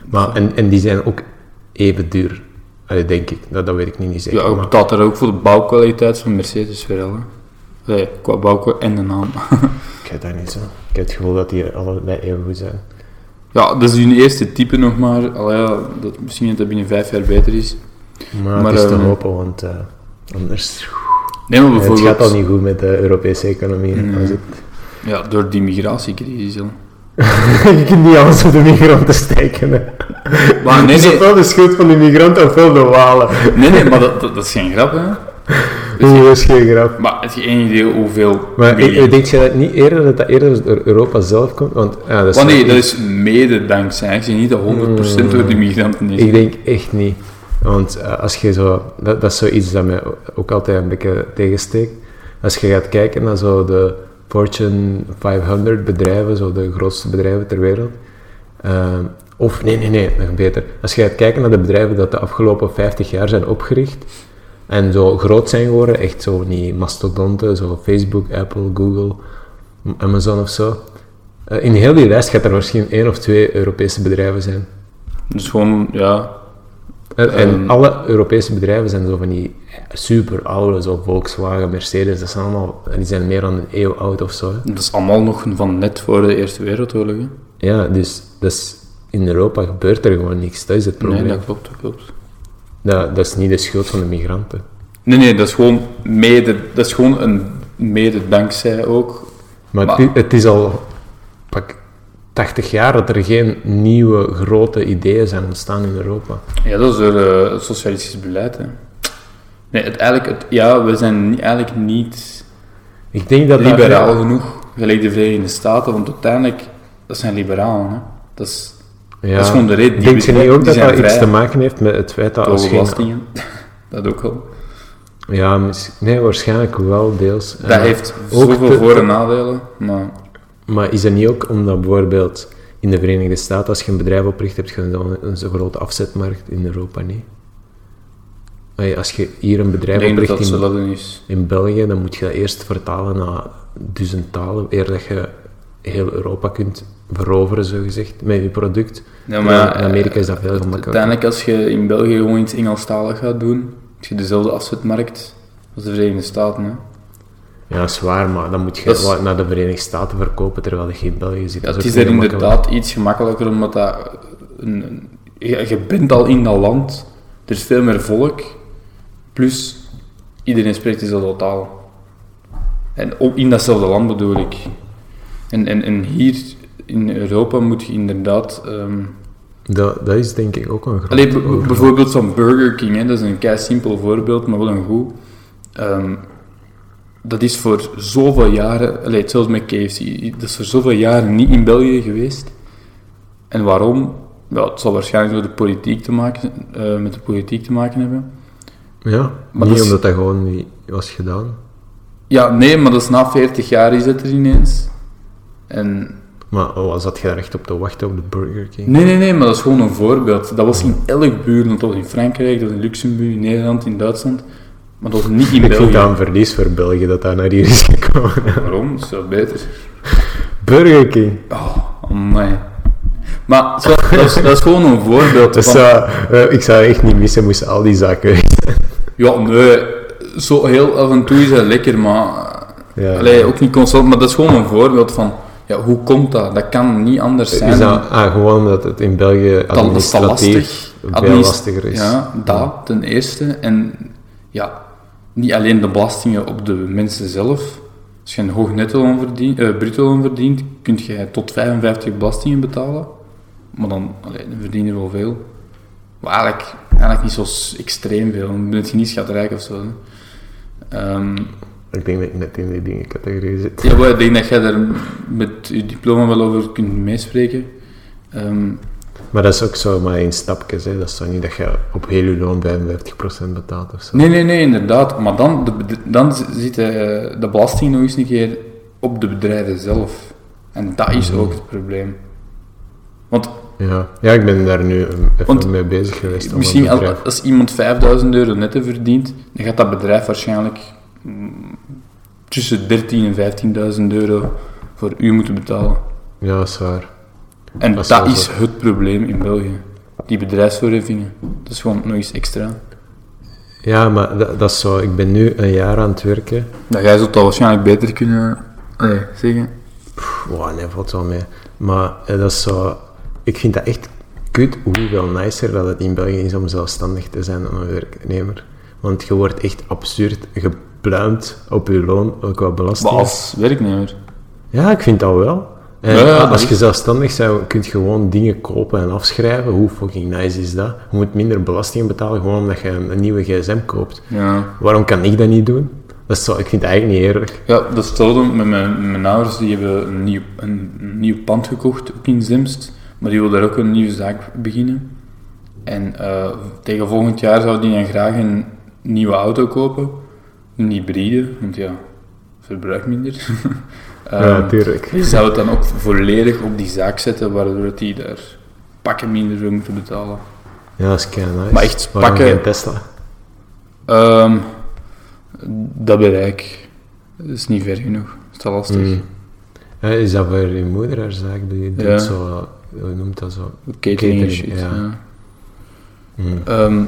[SPEAKER 3] Maar, en, en die zijn ook even duur, Allee, denk ik. Dat, dat weet ik niet, niet
[SPEAKER 2] Ja,
[SPEAKER 3] zeker.
[SPEAKER 2] ook
[SPEAKER 3] maar-
[SPEAKER 2] betaalt daar ook voor de bouwkwaliteit van Mercedes weer al, hè. Nee, qua bouwkwaliteit en de naam.
[SPEAKER 3] Ik weet dat niet zo. Ik heb het gevoel dat die allebei even goed zijn.
[SPEAKER 2] ja, dat is hun eerste type nog maar. Al ja, dat, misschien dat dat binnen vijf jaar beter is.
[SPEAKER 3] Maar,
[SPEAKER 2] Maar,
[SPEAKER 3] het is te
[SPEAKER 2] ehm,
[SPEAKER 3] hopen, want eh, anders...
[SPEAKER 2] Nee, maar
[SPEAKER 3] Het
[SPEAKER 2] bijvoorbeeld...
[SPEAKER 3] gaat al niet goed met de Europese economie.
[SPEAKER 2] Nee.
[SPEAKER 3] Als het-
[SPEAKER 2] Ja, door die migratiecrisis al.
[SPEAKER 3] je kunt niet alles op de migranten steken. hè.
[SPEAKER 2] Maar nee,
[SPEAKER 3] Het is
[SPEAKER 2] nee,
[SPEAKER 3] ofwel de schuld van de migranten ofwel de walen.
[SPEAKER 2] nee, nee, maar dat, dat, dat is geen grap, hè. Dus
[SPEAKER 3] Dat is geen grap.
[SPEAKER 2] Maar het je geen idee hoeveel...
[SPEAKER 3] Maar
[SPEAKER 2] miljoen-
[SPEAKER 3] ik- denk je dat niet eerder dat dat eerder door Europa zelf komt? Want, ja, dat is
[SPEAKER 2] Want nee,
[SPEAKER 3] niet-
[SPEAKER 2] dat is mede dankzij. Ik zie niet dat 100% door de migranten is.
[SPEAKER 3] Hmm. Ik denk echt niet. Want eh, als je zo, dat, dat is zoiets dat mij ook altijd een beetje tegensteekt. Als je gaat kijken naar zo de Fortune 500 bedrijven, zo de grootste bedrijven ter wereld. ehm, of nee, nee, nee, nog beter. Als je gaat kijken naar de bedrijven dat de afgelopen 50 jaar zijn opgericht en zo groot zijn geworden, echt zo niet mastodonten, zo Facebook, Apple, Google, Amazon of zo. Eh, in heel die lijst gaat er misschien één of twee Europese bedrijven zijn.
[SPEAKER 2] Dus gewoon, ja...
[SPEAKER 3] En, en
[SPEAKER 2] Ehm.
[SPEAKER 3] alle Europese bedrijven zijn zo van die super oude, zo Volkswagen, Mercedes, dat zijn allemaal, die zijn meer dan een eeuw oud of zo. hè.
[SPEAKER 2] Dat is allemaal nog van net voor de Eerste Wereldoorlog, hè.
[SPEAKER 3] Ja, dus dat is, in Europa gebeurt er gewoon niks, dat is het probleem.
[SPEAKER 2] Nee,
[SPEAKER 3] dat...
[SPEAKER 2] dat klopt, dat klopt.
[SPEAKER 3] Dat, is niet de schuld van de migranten.
[SPEAKER 2] Nee, nee, dat is gewoon mede... Dat is gewoon een mede dankzij ook.
[SPEAKER 3] Maar,
[SPEAKER 2] Maar-
[SPEAKER 3] Het, i- het is al pak 80 jaar dat er geen nieuwe grote ideeën zijn ontstaan in Europa.
[SPEAKER 2] Ja, dat is door eh, het socialistisch beleid, hè. Nee, het, eigenlijk... Het, ja, we zijn niet- eigenlijk niet...
[SPEAKER 3] Ik denk dat dat-
[SPEAKER 2] liberaal genoeg, gelijk de Verenigde Staten, want uiteindelijk, dat zijn liberalen. Hè. Dat is
[SPEAKER 3] Ja.
[SPEAKER 2] dat is gewoon de reden. Die
[SPEAKER 3] Denk je
[SPEAKER 2] we-
[SPEAKER 3] niet ook
[SPEAKER 2] die
[SPEAKER 3] dat
[SPEAKER 2] zijn
[SPEAKER 3] dat iets
[SPEAKER 2] vrij.
[SPEAKER 3] te maken heeft met het feit dat als
[SPEAKER 2] door
[SPEAKER 3] geen...
[SPEAKER 2] belastingen. Dat ook wel.
[SPEAKER 3] Ja, mis- nee, waarschijnlijk wel deels.
[SPEAKER 2] Dat heeft
[SPEAKER 3] ook
[SPEAKER 2] zoveel
[SPEAKER 3] te-
[SPEAKER 2] voor- en nadelen, maar
[SPEAKER 3] Maar is dat niet ook omdat bijvoorbeeld in de Verenigde Staten, als je een bedrijf opricht, heb je dan een zo grote afzetmarkt in Europa niet? Allee, Als je hier een
[SPEAKER 2] ik
[SPEAKER 3] bedrijf
[SPEAKER 2] denk dat dat
[SPEAKER 3] opricht in,
[SPEAKER 2] hetzelfde is.
[SPEAKER 3] in België, dan moet je dat eerst vertalen naar duizend talen, eer dat je heel Europa kunt veroveren, zogezegd, met je product.
[SPEAKER 2] Ja,
[SPEAKER 3] Ja,
[SPEAKER 2] maar, eh,
[SPEAKER 3] in Amerika is dat veel gemakkelijker.
[SPEAKER 2] Uiteindelijk, als je in België gewoon iets Engelstalig gaat doen, heb je dezelfde afzetmarkt als de Verenigde Staten. Hè.
[SPEAKER 3] Ja, dat is waar, maar dan moet je
[SPEAKER 2] Dat is-
[SPEAKER 3] wat naar de Verenigde Staten verkopen, terwijl je in België zit.
[SPEAKER 2] Ja,
[SPEAKER 3] Dat
[SPEAKER 2] het
[SPEAKER 3] ook
[SPEAKER 2] is daar
[SPEAKER 3] niet gemakkelijk.
[SPEAKER 2] inderdaad iets gemakkelijker, omdat dat een, een- je, je bent al in dat land, er is veel meer volk, plus iedereen spreekt dezelfde taal. En ook in datzelfde land bedoel ik. En, en, en hier in Europa moet je inderdaad... ehm
[SPEAKER 3] Dat, dat is denk ik ook een groot
[SPEAKER 2] Allee, b- b-
[SPEAKER 3] overval.
[SPEAKER 2] bijvoorbeeld zo'n Burger King, hè, dat is een kei simpel voorbeeld, maar wel een goed. Ehm, dat is voor zoveel jaren, allee, hetzelfde met KFC, dat is voor zoveel jaren niet in België geweest. En waarom? Ja, het zal waarschijnlijk door de politiek te maken, eh, met de politiek te maken hebben.
[SPEAKER 3] Ja,
[SPEAKER 2] Maar
[SPEAKER 3] niet
[SPEAKER 2] dat is-
[SPEAKER 3] omdat dat gewoon niet was gedaan.
[SPEAKER 2] Ja, nee, maar dat is na 40 jaar is het er ineens. En
[SPEAKER 3] Maar oh, zat je daar echt op te wachten op de Burger King?
[SPEAKER 2] Nee, nee, nee, maar dat is gewoon een voorbeeld. Dat was in elk buurland, dat was in Frankrijk, dat was in Luxemburg, in Nederland, in Duitsland. Maar dat was niet in
[SPEAKER 3] ik vind
[SPEAKER 2] België.
[SPEAKER 3] dat een verlies voor België dat dat naar hier is gekomen.
[SPEAKER 2] Waarom? Dat is wel beter.
[SPEAKER 3] Burger King.
[SPEAKER 2] Oh, amai. Maar zo, dat, is, dat is gewoon een voorbeeld.
[SPEAKER 3] Dus,
[SPEAKER 2] Van,
[SPEAKER 3] ik zou echt niet missen, moesten al die zaken weg zijn.
[SPEAKER 2] ja, nee, zo heel af en toe is dat lekker, maar...
[SPEAKER 3] Ja.
[SPEAKER 2] Allee, ook niet constant, maar dat is gewoon een voorbeeld van... Ja, hoe komt dat? Dat kan niet anders zijn.
[SPEAKER 3] Is dat ah, Dus, eh, gewoon omdat het in België
[SPEAKER 2] dat is te
[SPEAKER 3] administratief
[SPEAKER 2] lastig.
[SPEAKER 3] veel lastiger is.
[SPEAKER 2] Ja, dat ten eerste. En ja, niet alleen de belastingen op de mensen zelf. Als je een hoog netto verdient, eh, bruto verdient, kun je tot 55 belastingen betalen. Maar dan, allee, dan verdien je wel veel. Maar eigenlijk, eigenlijk niet zo s- extreem veel. Dan ben je niet schatrijk of zo. hè. Ehm,
[SPEAKER 3] Ik denk dat ik net in die dingencategorie zit.
[SPEAKER 2] ja, maar ik denk dat jij daar met je diploma wel over kunt meespreken. Ehm,
[SPEAKER 3] Maar dat is ook zo maar in stapjes. Hè. Dat is zo niet dat je op heel je loon 55% betaalt of zo.
[SPEAKER 2] Nee, nee, nee, inderdaad. Maar dan, de, bed- dan z- zit eh, de belasting nog eens een keer op de bedrijven zelf. En dat is ook het probleem. Want
[SPEAKER 3] Ja. ja, ik ben daar nu um, even
[SPEAKER 2] Want-
[SPEAKER 3] mee bezig geweest. om
[SPEAKER 2] misschien
[SPEAKER 3] een
[SPEAKER 2] als,
[SPEAKER 3] bedrijf-
[SPEAKER 2] als iemand 5000 euro netto verdient, dan gaat dat bedrijf waarschijnlijk mm, tussen 13 en 15.000 euro voor u moeten betalen.
[SPEAKER 3] Ja, dat is waar.
[SPEAKER 2] En
[SPEAKER 3] Dat is
[SPEAKER 2] dat,
[SPEAKER 3] wel
[SPEAKER 2] is
[SPEAKER 3] zo.
[SPEAKER 2] het probleem in België. Die bedrijfsvoorheffingen. Dat is gewoon nog iets extra.
[SPEAKER 3] Ja, maar dat, dat is zo. Ik ben nu een jaar aan het werken.
[SPEAKER 2] Dat jij zult dat waarschijnlijk beter kunnen allee, zeggen.
[SPEAKER 3] Pff, Wow, nee, valt wel mee. Maar eh, dat is zo... Ik vind dat echt kut hoeveel nicer dat het in België is om zelfstandig te zijn dan een werknemer. Want je wordt echt absurd gepluimd op je loon, ook qua
[SPEAKER 2] Maar
[SPEAKER 3] belasting.
[SPEAKER 2] als werknemer.
[SPEAKER 3] Ja, ik vind dat wel. En
[SPEAKER 2] Ja, ja, dat
[SPEAKER 3] als je
[SPEAKER 2] is-
[SPEAKER 3] zelfstandig bent, kun je gewoon dingen kopen en afschrijven. Hoe fucking nice is dat? Je moet minder belasting betalen gewoon omdat je een, een nieuwe gsm koopt.
[SPEAKER 2] Ja.
[SPEAKER 3] Waarom kan ik dat niet doen? Dat is zo, ik vind het eigenlijk niet eerlijk.
[SPEAKER 2] Ja, dat is hetzelfde met mijn, mijn ouders. Die hebben een nieuw, een, een nieuw pand gekocht, ook in Zemst. Maar die wil daar ook een nieuwe zaak beginnen. En eh, tegen volgend jaar zou die dan graag een nieuwe auto kopen. Een hybride, want ja, verbruikt minder.
[SPEAKER 3] ja,
[SPEAKER 2] Ehm,
[SPEAKER 3] natuurlijk.
[SPEAKER 2] die zou het dan ook volledig op die zaak zetten, waardoor die daar pakken minder voor moeten betalen.
[SPEAKER 3] Ja, dat is kei nice.
[SPEAKER 2] Maar echt
[SPEAKER 3] Waarom
[SPEAKER 2] pakken-
[SPEAKER 3] geen Tesla?
[SPEAKER 2] Ehm, dat bereik is niet ver genoeg. Dat is te lastig.
[SPEAKER 3] Mm. Ja, is dat voor je moeder haar zaak? Die doet
[SPEAKER 2] Ja.
[SPEAKER 3] zo... Hoe noemt dat zo?
[SPEAKER 2] Catering en
[SPEAKER 3] Catering,
[SPEAKER 2] shit,
[SPEAKER 3] ja.
[SPEAKER 2] ja.
[SPEAKER 3] Mm.
[SPEAKER 2] Ehm,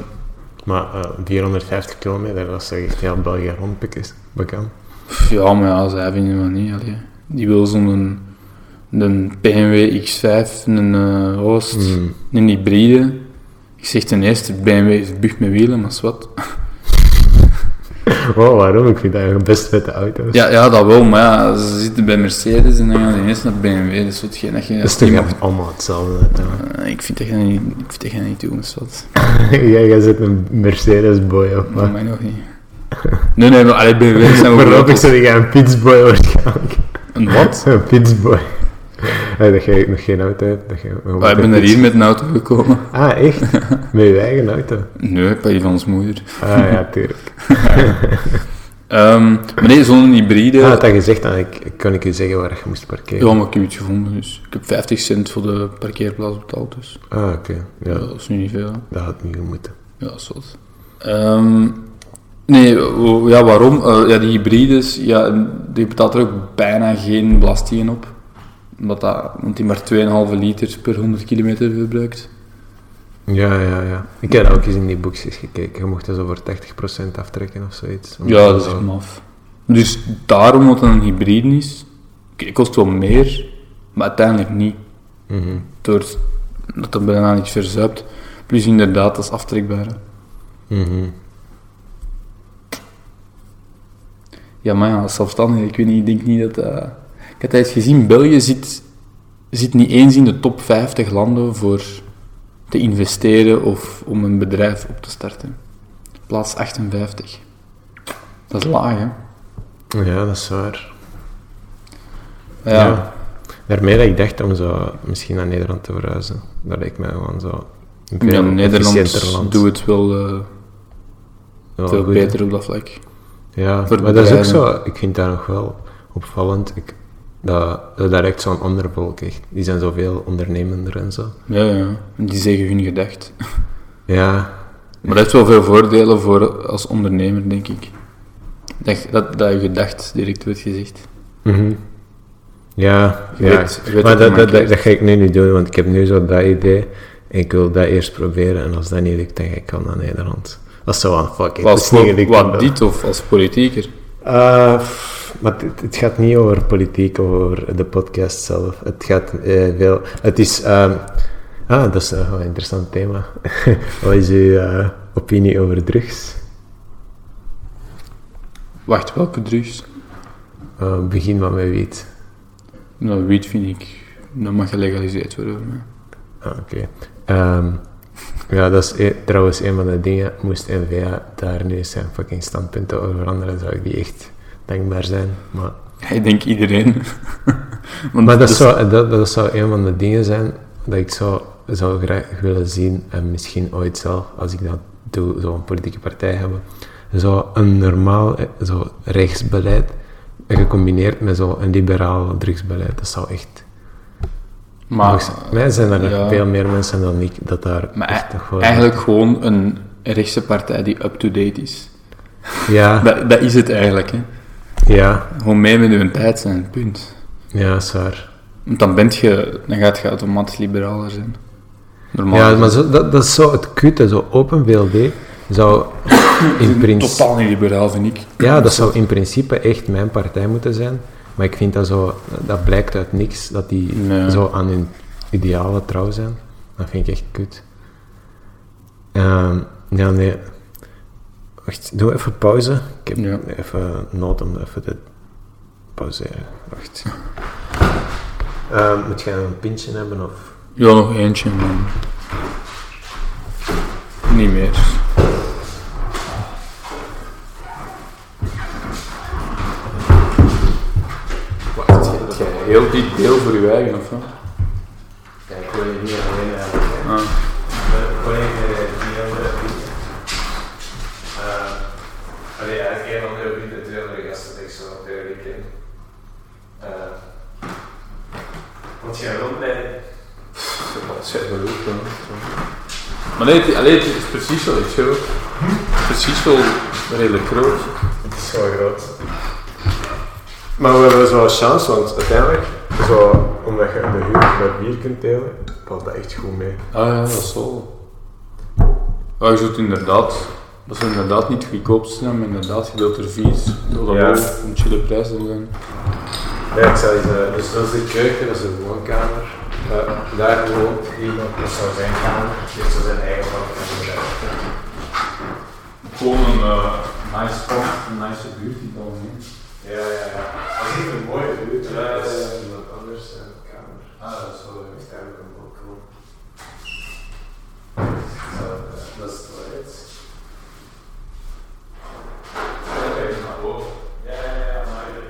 [SPEAKER 3] Maar eh, 450 kilometer, dat is echt heel België rondpikken. is Bekend.
[SPEAKER 2] pff, ja, maar ja, zij vinden het niet. allee. Die wil zo'n een BMW X5, een eh Oost,
[SPEAKER 3] Mm.
[SPEAKER 2] een hybride. Ik zeg ten eerste, BMW is bug met wielen, maar zwart.
[SPEAKER 3] Wow, Oh, waarom? Ik vind dat eigenlijk best vette auto's.
[SPEAKER 2] Ja, ja, dat wel, maar ja, ze zitten bij Mercedes en dan gaan ze ineens naar BMW. Dat is wat geen, dat je,
[SPEAKER 3] Dat is toch
[SPEAKER 2] die mag-
[SPEAKER 3] echt allemaal hetzelfde. uiteindelijk.
[SPEAKER 2] Eh, ik vind dat je dat niet, ik vind dat je dat niet doen, zwart.
[SPEAKER 3] Jij, jij zit een Mercedes-boy of
[SPEAKER 2] Dat
[SPEAKER 3] wat?
[SPEAKER 2] mij nog niet. Nee, nee, maar allee, BMW zijn we
[SPEAKER 3] Voorlopig zit jij een pitsboy waarschijnlijk.
[SPEAKER 2] nou Een wat?
[SPEAKER 3] Een pitsboy. Hey, dat jij nog geen auto hebt. Dat jij gewoon
[SPEAKER 2] Ah, ik ben
[SPEAKER 3] een
[SPEAKER 2] er
[SPEAKER 3] pits-
[SPEAKER 2] hier met een auto gekomen.
[SPEAKER 3] Ah, echt? Met je eigen auto?
[SPEAKER 2] Nee, bij die van ons moeder.
[SPEAKER 3] Ah, ja, tuurlijk.
[SPEAKER 2] Ehm, maar nee, zo'n hybride.
[SPEAKER 3] Ah, had dat gezegd, dan ik, kon ik je zeggen waar je moest parkeren.
[SPEAKER 2] Ja, maar ik heb iets gevonden, dus ik heb 50 cent voor de parkeerplaats betaald, dus
[SPEAKER 3] Ah, oké. Ja,
[SPEAKER 2] dat is nu niet veel. hè.
[SPEAKER 3] dat had niet gemoeten.
[SPEAKER 2] Ja, dat is wat. Ehm, nee, w- ja, waarom? Eh, ja, die hybrides, ja, die betaalt er ook bijna geen belastingen op. Omdat dat, want die maar 2,5 liter per 100 kilometer verbruikt.
[SPEAKER 3] Ja, ja, ja. Ik heb dat ook eens in die boekjes gekeken. Je mocht dus dat zo voor 80% aftrekken of zoiets.
[SPEAKER 2] Ja, dat is echt maf. Dus daarom, omdat het een hybride is, k- kost wel meer, maar uiteindelijk niet.
[SPEAKER 3] Mhm.
[SPEAKER 2] Door het- dat het bijna niks verzuipt. Plus inderdaad, dat is aftrekbaar. hè.
[SPEAKER 3] Mhm.
[SPEAKER 2] Ja, maar ja, als zelfstandige, ik weet niet, ik denk niet dat... eh, Ik had eens gezien, België zit, zit niet eens in de top 50 landen voor te investeren of om een bedrijf op te starten. Plaats 58. Dat is laag, hè?
[SPEAKER 3] Ja, dat is waar.
[SPEAKER 2] Ja.
[SPEAKER 3] Daarmee dat ik dacht om zo misschien naar Nederland te verhuizen. Dat lijkt mij gewoon zo een
[SPEAKER 2] Ja,
[SPEAKER 3] veel efficiënter
[SPEAKER 2] Nederland
[SPEAKER 3] land.
[SPEAKER 2] doet het wel eh,
[SPEAKER 3] Ja,
[SPEAKER 2] veel
[SPEAKER 3] goed, hè.
[SPEAKER 2] beter op dat vlak.
[SPEAKER 3] Ja,
[SPEAKER 2] voor
[SPEAKER 3] maar dat is ook
[SPEAKER 2] bedrijven.
[SPEAKER 3] zo. Ik vind dat nog wel opvallend. Ik, dat, dat lijkt zo'n ander volk echt. Die zijn zoveel ondernemender en zo.
[SPEAKER 2] Ja, ja. Die zeggen hun gedacht.
[SPEAKER 3] Ja,
[SPEAKER 2] Maar dat heeft wel veel voordelen voor als ondernemer, denk ik. Dat, dat, dat je gedacht direct wordt gezegd.
[SPEAKER 3] Mhm. Ja,
[SPEAKER 2] Je
[SPEAKER 3] ja.
[SPEAKER 2] weet- je weet
[SPEAKER 3] maar
[SPEAKER 2] wat je
[SPEAKER 3] dat, dat, dat,
[SPEAKER 2] markeert.
[SPEAKER 3] dat ga ik nu niet doen, want ik heb nu zo dat idee. En ik wil dat eerst proberen. En als dat niet lukt, dan ga ik al naar Nederland. Dat is zo aan fucking.
[SPEAKER 2] Als
[SPEAKER 3] dat is niet
[SPEAKER 2] voor-
[SPEAKER 3] gelukt.
[SPEAKER 2] wat dit of als politieker.
[SPEAKER 3] Eh, pff, maar het, het gaat niet over politiek of over de podcast zelf. Het gaat eh, veel. Het is. ehm, Ah, dat is eh, wel een interessant thema. Wat is uw eh, opinie over drugs?
[SPEAKER 2] Wacht, welke drugs?
[SPEAKER 3] Eh, begin maar met wiet.
[SPEAKER 2] Nou, wiet vind ik... Dat mag gelegaliseerd worden voor mij.
[SPEAKER 3] Ah, oké. Ehm, ja, dat is e- trouwens een van de dingen. Moest NVA daar nu eens zijn fucking standpunten over veranderen, zou ik die echt dankbaar zijn. Maar,
[SPEAKER 2] Ja, Ik denk iedereen. Want
[SPEAKER 3] maar dat,
[SPEAKER 2] dus-
[SPEAKER 3] zou, dat, dat zou een van de dingen zijn dat ik zou, zou graag willen zien, en misschien ooit zelf, als ik dat doe, zo'n politieke partij hebben. Zo een normaal eh, zo rechtsbeleid gecombineerd met zo'n liberaal drugsbeleid. Dat zou echt.
[SPEAKER 2] Maar,
[SPEAKER 3] Volgens mij zijn er nog
[SPEAKER 2] ja.
[SPEAKER 3] veel meer mensen dan ik dat daar
[SPEAKER 2] maar
[SPEAKER 3] echt
[SPEAKER 2] e-
[SPEAKER 3] nog wel-
[SPEAKER 2] eigenlijk gewoon een rechtse partij die up-to-date is.
[SPEAKER 3] Ja,
[SPEAKER 2] Dat, dat is het eigenlijk. Hè.
[SPEAKER 3] ja,
[SPEAKER 2] Gewoon mee met hun tijd zijn, punt.
[SPEAKER 3] ja, is waar.
[SPEAKER 2] Want dan, bent je, dan gaat je automatisch liberaler zijn. Normaal.
[SPEAKER 3] Ja,
[SPEAKER 2] gezien.
[SPEAKER 3] maar zo, dat, dat is zo het kutte, zo Open VLD zou in principe...
[SPEAKER 2] Totaal niet liberaal, vind ik.
[SPEAKER 3] Ja, dat zou in principe echt mijn partij moeten zijn. Maar ik vind dat zo, dat blijkt uit niks, dat die
[SPEAKER 2] Nee.
[SPEAKER 3] zo aan hun idealen trouw zijn. Dat vind ik echt kut. Ehm, ja, nee. Wacht, doe even pauze. Ik heb
[SPEAKER 2] Ja.
[SPEAKER 3] even nood om even te pauzeren. Wacht. Ehm, moet jij een pintje hebben of...
[SPEAKER 2] Ja, nog eentje, man. Niet meer.
[SPEAKER 3] Wacht,
[SPEAKER 2] Heel dit deel voor je eigen, of wat?
[SPEAKER 3] Ja, ik wil je niet alleen hebben.
[SPEAKER 2] Ah.
[SPEAKER 3] Mijn collega die andere vrienden. Uh, allee, eigenlijk één andere vriend en twee andere gasten die ik zo duidelijk ken. Eh, want jij wilt mij.
[SPEAKER 2] Dat is beroep, Maar nee, het, allee, het is precies wel iets groot. Precies wel redelijk groot.
[SPEAKER 3] Het is zo groot. Maar we hebben zo'n chance, want uiteindelijk, zo, omdat je de huur met bier kunt delen, valt dat echt goed mee.
[SPEAKER 2] Ah ja, dat is zo. Ja, je zult inderdaad, dat is inderdaad niet goedkoop zijn, maar inderdaad, je deelt er vier. Dat dat
[SPEAKER 3] Ja.
[SPEAKER 2] wel een chille prijs zal zijn.
[SPEAKER 3] Nee, ik zou zeggen, dus dat is de keuken, dat is de woonkamer. Eh, daar woont iemand, dat zou zijn kamer, dit zou zijn eigen badkamer. zijn.
[SPEAKER 2] Gewoon een
[SPEAKER 3] eh,
[SPEAKER 2] nice spot, een nice buurt die dan
[SPEAKER 3] Ja, ja, ja. Als ik een mooie buurt heb,
[SPEAKER 2] Ja, ja,
[SPEAKER 3] is
[SPEAKER 2] ja.
[SPEAKER 3] iemand anders zijn kamer. eh,
[SPEAKER 2] Ah, dat is wel
[SPEAKER 3] Dat is eigenlijk een balkon. Zo, eh, Dat is het toilet. Ja, ja, ja, maar ik heb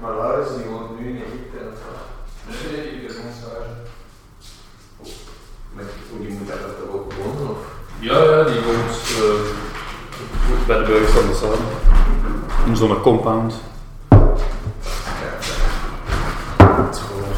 [SPEAKER 3] Maar Laurens die woont nu in Egypte of wat? Nee, nee, ik ben Maar oh, die moet daar toch ook wonen of?
[SPEAKER 2] Ja, ja, die woont eh, bij de Belgische ambassade. In zo'n compound.
[SPEAKER 3] Dat is gewoon.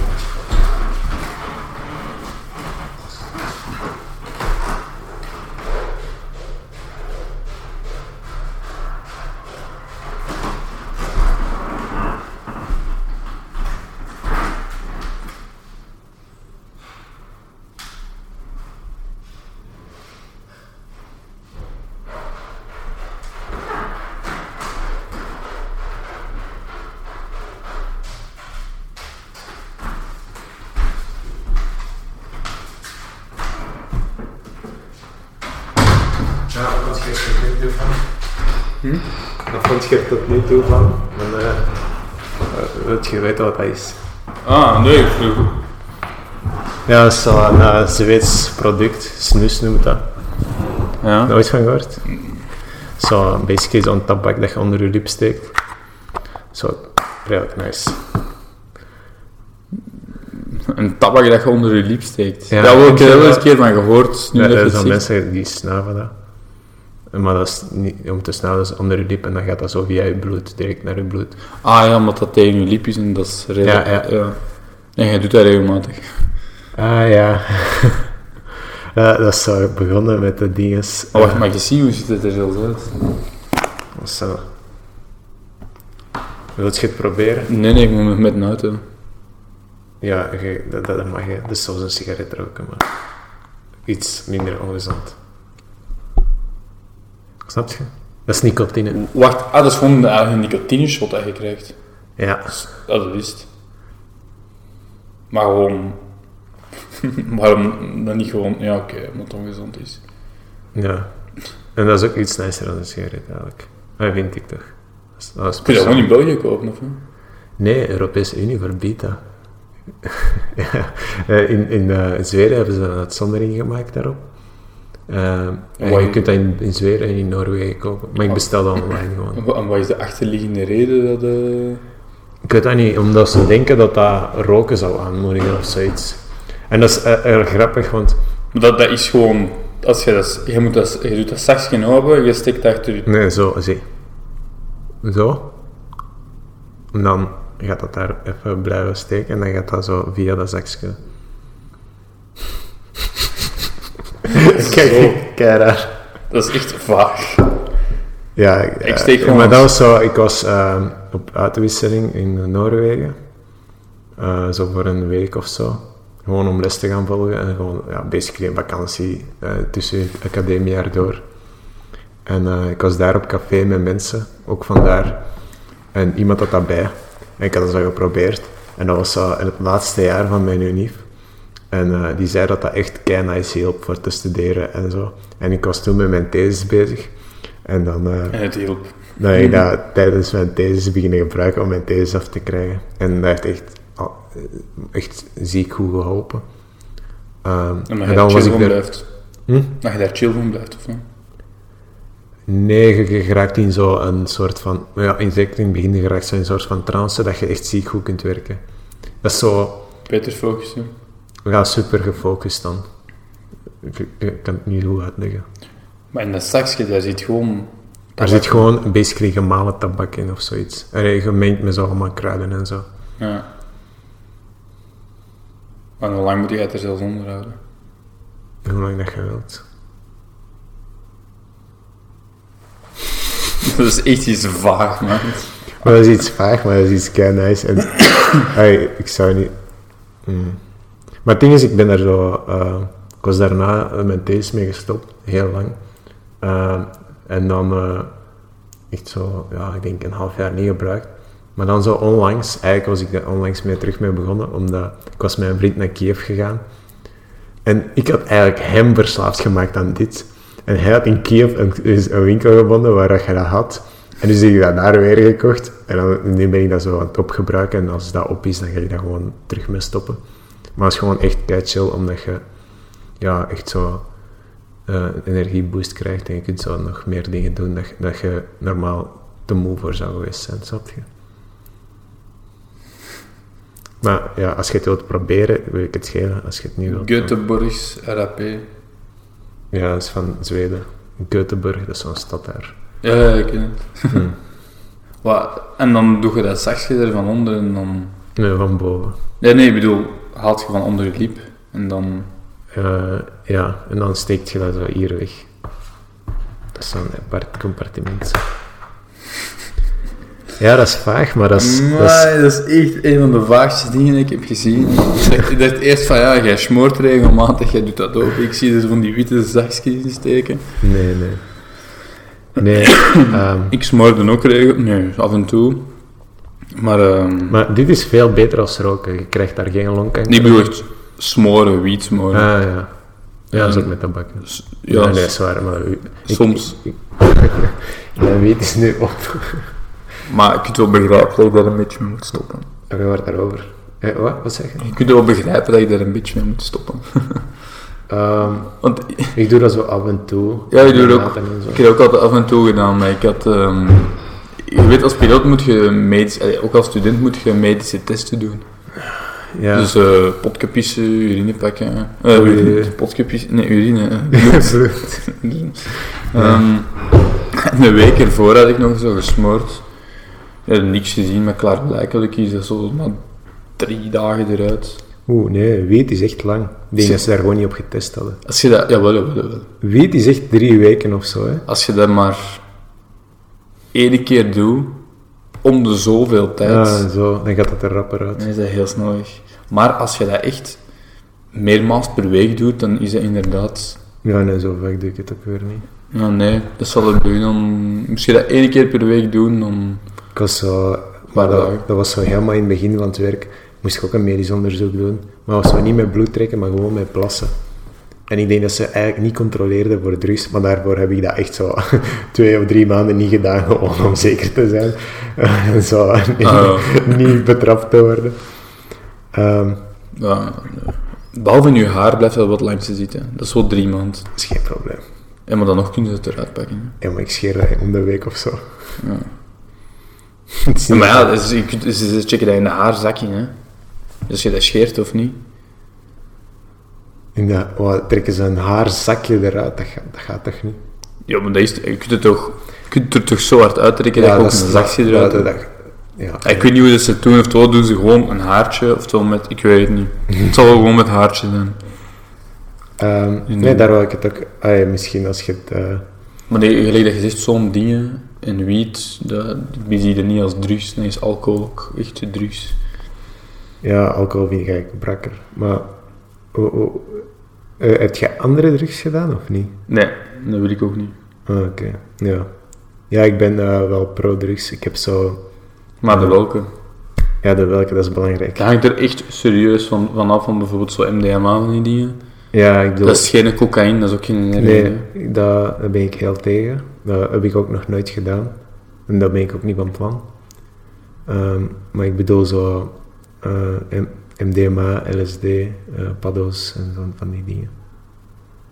[SPEAKER 4] Hm? Wat vond je er tot nu toe van? Want, eh, eh, Wilt je weten wat dat is?
[SPEAKER 2] Ah, nee, ik vroeg.
[SPEAKER 4] Ja, dat is zo'n eh, Zweeds product. Snus noemt dat.
[SPEAKER 2] Ja.
[SPEAKER 4] Nooit van gehoord? Zo, basically zo'n tabak dat je onder je lip steekt. Zo, redelijk nice.
[SPEAKER 2] Een tabak dat je onder je liep steekt.
[SPEAKER 4] Ja.
[SPEAKER 2] Daar heb ik er wel eens een keer van gehoord. Nu
[SPEAKER 4] Ja,
[SPEAKER 2] dat je
[SPEAKER 4] er
[SPEAKER 2] het
[SPEAKER 4] zijn
[SPEAKER 2] zegt.
[SPEAKER 4] mensen die snuiven dat. Maar dat is niet om te snuiven, dat is onder je lip en dan gaat dat zo via je bloed, direct naar je bloed.
[SPEAKER 2] Ah ja, omdat dat tegen je lip is en dat is redelijk.
[SPEAKER 4] Ja, ja.
[SPEAKER 2] En jij doet dat regelmatig.
[SPEAKER 4] Ah ja. Ja, dat is zo begonnen met de dinges.
[SPEAKER 2] Maar wacht, mag je zien hoe ziet het er zelfs uit?
[SPEAKER 4] eh, Zo. Wil je het proberen?
[SPEAKER 2] Nee, nee, ik moet me met een auto.
[SPEAKER 4] Ja, je- dat, dat mag je. Dat is zoals een sigaret roken, maar iets minder ongezond. Snap je? Dat is nicotine.
[SPEAKER 2] Wacht, ah, dat is gewoon de eigen nicotine shot dat je krijgt.
[SPEAKER 4] Ja.
[SPEAKER 2] Ja, dat is het. Maar gewoon... Waarom dan niet gewoon... Ja, oké, omdat het ongezond is.
[SPEAKER 4] Ja. En dat is ook iets nicer dan een sigaret eigenlijk. Dat vind ik toch. Dat is, dat is
[SPEAKER 2] Kun je dat
[SPEAKER 4] persoonlijk.
[SPEAKER 2] gewoon in België kopen, of wat?
[SPEAKER 4] Nee, de Europese Unie verbiedt dat. Ja, eh, in in eh, Zweden hebben ze een uitzondering gemaakt daarop. Eh, en
[SPEAKER 2] Why?
[SPEAKER 4] je kunt dat in, in Zweden en in Noorwegen kopen. Maar ik bestel dat online gewoon.
[SPEAKER 2] En wa- En wat is de achterliggende reden dat... eh,
[SPEAKER 4] Ik weet dat niet, omdat ze denken dat dat roken zou aanmoedigen of zoiets. En dat is eh, erg grappig, want...
[SPEAKER 2] Maar dat, dat is gewoon... Als je, dat, je, moet dat, je doet dat zachtjes open, je steekt achter je...
[SPEAKER 4] Nee, zo, zie. Zo. En dan gaat dat daar even blijven steken en dan gaat dat zo via dat zakje.
[SPEAKER 2] Zo.
[SPEAKER 4] Kijk, kijk daar.
[SPEAKER 2] Dat is echt vaag.
[SPEAKER 4] Ja, ik,
[SPEAKER 2] Ik
[SPEAKER 4] eh,
[SPEAKER 2] steek gewoon
[SPEAKER 4] Maar dat
[SPEAKER 2] eens.
[SPEAKER 4] was zo, ik was ehm, op uitwisseling in Noorwegen. Eh, zo voor een week of zo. Gewoon om les te gaan volgen en gewoon, ja, basically een vakantie eh, tussen het academiejaar door. En eh, ik was daar op café met mensen, ook vandaar. En iemand had dat bij. En ik had dat zo geprobeerd. En dat was zo in het laatste jaar van mijn unief. En eh, die zei dat dat echt kei nice hielp voor te studeren en zo. En ik was toen met mijn thesis bezig. En dan... eh,
[SPEAKER 2] En het hielp.
[SPEAKER 4] dat ik dat tijdens mijn thesis beginnen gebruiken om mijn thesis af te krijgen. En dat heeft echt, al- eh, echt ziek goed geholpen. Ehm,
[SPEAKER 2] En dat
[SPEAKER 4] en
[SPEAKER 2] je
[SPEAKER 4] dan
[SPEAKER 2] daar
[SPEAKER 4] was
[SPEAKER 2] chill
[SPEAKER 4] ik
[SPEAKER 2] van
[SPEAKER 4] er
[SPEAKER 2] blijft.
[SPEAKER 4] Hm?
[SPEAKER 2] Dat je daar chill van blijft, of wat?
[SPEAKER 4] negen geraakt in zo'n soort van... nou Ja, in zeker in het begin geraakt zo'n soort van trance dat je echt ziek goed kunt werken. Dat is zo...
[SPEAKER 2] Beter focussen.
[SPEAKER 4] Ja, super gefocust dan. Ik, ik- ik kan het niet goed uitleggen.
[SPEAKER 2] Maar in dat zakje, daar zit gewoon...
[SPEAKER 4] Er zit gewoon basically gemalen tabak in of zoiets. En gemengd met zo allemaal kruiden en zo.
[SPEAKER 2] Ja. En hoe lang moet je het er zelfs onder houden?
[SPEAKER 4] Hoe lang dat je wilt.
[SPEAKER 2] Dat is echt iets vaag, man.
[SPEAKER 4] Maar dat is iets vaag, maar dat is iets kei nice. En, Ai, ik zou niet. Mm. Maar het ding is, ik ben daar zo. eh, ik was daarna eh, met deze mee gestopt, heel lang. Eh, en dan eh, echt zo, ja, ik denk een half jaar niet gebruikt. Maar dan zo onlangs, eigenlijk was ik daar onlangs mee terug mee begonnen, omdat ik was met een vriend naar Kiev gegaan. En ik had eigenlijk hem verslaafd gemaakt aan dit. En hij had in Kiev een, dus een winkel gevonden waar dat je dat had. En dus heb ik dat daar weer gekocht. En dan, nu ben ik dat zo aan het opgebruiken. En als dat op is, dan ga ik dat gewoon terug mee stoppen. Maar het is gewoon echt kei chill, omdat je ja, echt zo eh, een energieboost krijgt. En je kunt zo nog meer dingen doen dat, je- dat je normaal te moe voor zou geweest zijn, snap je? Maar ja, als je het wilt proberen, wil ik het schelen. Als je het niet wilt... dan-
[SPEAKER 2] Göteborgs RAP.
[SPEAKER 4] ja, dat is van Zweden. Göteborg, dat is zo'n stad daar.
[SPEAKER 2] Ja, ja, ik ken het.
[SPEAKER 4] Hmm.
[SPEAKER 2] Wat? En dan doe je dat zakje er van onder en dan...
[SPEAKER 4] Nee, van boven.
[SPEAKER 2] Nee, nee, ik bedoel, haalt je van onder je liep en dan...
[SPEAKER 4] Eh, ja, en dan steekt je dat zo hier weg. Dat is zo'n apart compartiment. Ja, dat is vaag, maar dat is... dat is-
[SPEAKER 2] Maar dat is echt een van de vaagste dingen die ik heb gezien. Ik dacht- Ik dacht eerst van, ja, jij smoort regelmatig, jij doet dat ook. Ik zie er van die witte zakjes in steken.
[SPEAKER 4] Nee, nee. Nee, ehm,
[SPEAKER 2] Ik smoorde ook regel... Nee, af en toe. Maar... ehm
[SPEAKER 4] maar dit is veel beter als roken. Je krijgt daar geen longkanker.
[SPEAKER 2] Ik bedoel echt smoren, wiet smoren.
[SPEAKER 4] Ah, ja. Ja, dat is ook met tabak.
[SPEAKER 2] S-
[SPEAKER 4] Ja,
[SPEAKER 2] Ja,
[SPEAKER 4] nee, dat is waar, maar... u- ik-
[SPEAKER 2] Soms.
[SPEAKER 4] Ik, mijn weet is nu op.
[SPEAKER 2] Maar je kunt wel begrijpen dat je daar een beetje mee moet stoppen.
[SPEAKER 4] Heb je waar daarover? Eh, wat? Wat zeg je?
[SPEAKER 2] Je kunt wel begrijpen dat je daar een beetje mee moet stoppen.
[SPEAKER 4] Ehm,
[SPEAKER 2] Want
[SPEAKER 4] ik doe dat zo af en toe.
[SPEAKER 2] ja, je doet
[SPEAKER 4] Met
[SPEAKER 2] ook,
[SPEAKER 4] maten en zo.
[SPEAKER 2] ik heb dat ook altijd af en toe gedaan, maar ik had... ehm, je weet, als piloot moet je medisch, eh, ook als student moet je medische testen doen.
[SPEAKER 4] Ja.
[SPEAKER 2] Dus eh potkepissen, urine pakken. eh,
[SPEAKER 4] Oei.
[SPEAKER 2] urine, potkepissen, nee, urine. eh, bloed.
[SPEAKER 4] Bloed.
[SPEAKER 2] Ehm, de week ervoor had ik nog zo gesmoord. Ja, niks gezien, maar klaarblijkelijk is dat zo na drie dagen eruit.
[SPEAKER 4] Oeh, nee, wiet is echt lang. Ik denk
[SPEAKER 2] Zie-
[SPEAKER 4] dat ze daar gewoon niet op getest hadden.
[SPEAKER 2] Als je dat, jawel, jawel, jawel.
[SPEAKER 4] Wiet is echt drie weken of zo, hè.
[SPEAKER 2] Als je dat maar één keer doet, om de zoveel tijd,
[SPEAKER 4] Ja, Ah, zo. Dan gaat dat er rapper uit.
[SPEAKER 2] dan is dat heel snel weg. Maar als je dat echt meermaals per week doet, dan is dat inderdaad...
[SPEAKER 4] Ja, nee, zo vaak doe ik het ook weer niet.
[SPEAKER 2] Ja, nee, dat zal het doen. Dan, moest je dat één keer per week doen, dan...
[SPEAKER 4] Ik was zo... Maar dat, dat was zo helemaal in het begin van het werk. Moest ik ook een medisch onderzoek doen. Maar dat was zo niet met bloed trekken, maar gewoon met plassen. En ik denk dat ze eigenlijk niet controleerden voor drugs. Maar daarvoor heb ik dat echt zo twee of drie maanden niet gedaan. Gewoon om zeker te zijn. En zo niet,
[SPEAKER 2] Ah,
[SPEAKER 4] niet betrapt te worden. Ehm
[SPEAKER 2] Ja, nee. Behalve in je haar blijft dat wat langs te zitten. Dat is wel drie maanden.
[SPEAKER 4] dat is geen probleem.
[SPEAKER 2] Ja, maar dan nog kunnen ze het eruit pakken.
[SPEAKER 4] Ja, maar ik scheer dat om de week of zo.
[SPEAKER 2] Ja.
[SPEAKER 4] Het is
[SPEAKER 2] Ja,
[SPEAKER 4] niet-
[SPEAKER 2] maar ja, dus, je kunt- dus ze checken dat in de haarzakje, hè. Dus je dat scheert of niet.
[SPEAKER 4] in de- oh, trekken ze een haarzakje eruit. Dat, gaat- dat gaat toch niet?
[SPEAKER 2] Ja, maar dat is, je kunt het toch, je kunt het er toch zo hard uittrekken dat je ook een zakje eruit
[SPEAKER 4] dat-
[SPEAKER 2] hebt.
[SPEAKER 4] dat- ja.
[SPEAKER 2] Ik weet niet hoe dat ze het doen, oftewel doen ze gewoon een haartje, oftewel met, ik weet het niet. Het zal wel gewoon met haartje zijn.
[SPEAKER 4] Ehm, nee, daar wil ik het ook... ah ja, misschien als je het... eh,
[SPEAKER 2] Maar nee, gelijk dat je zegt, zo'n dingen en wiet, dat, die zie je niet als drugs, nee, is alcohol ook echt drugs.
[SPEAKER 4] ja, alcohol vind ik eigenlijk brakker. Maar... Oh, oh, eh, heb je andere drugs gedaan of niet?
[SPEAKER 2] Nee, dat wil ik ook niet.
[SPEAKER 4] Ah, Oké, ja. Ja, ik ben eh, wel pro-drugs. Ik heb zo...
[SPEAKER 2] Maar de welke?
[SPEAKER 4] Ja, de welke, dat is belangrijk.
[SPEAKER 2] Het hangt er echt serieus van, van af, van bijvoorbeeld zo MDMA en die dingen.
[SPEAKER 4] Ja, ik bedoel...
[SPEAKER 2] Dat is geen cocaïne, dat is ook geen heroïne.
[SPEAKER 4] Nee, dat- daar ben ik heel tegen. Dat heb ik ook nog nooit gedaan. En dat ben ik ook niet van plan. Ehm, maar ik bedoel zo eh, M- MDMA, LSD, eh, paddo's en zo van die dingen.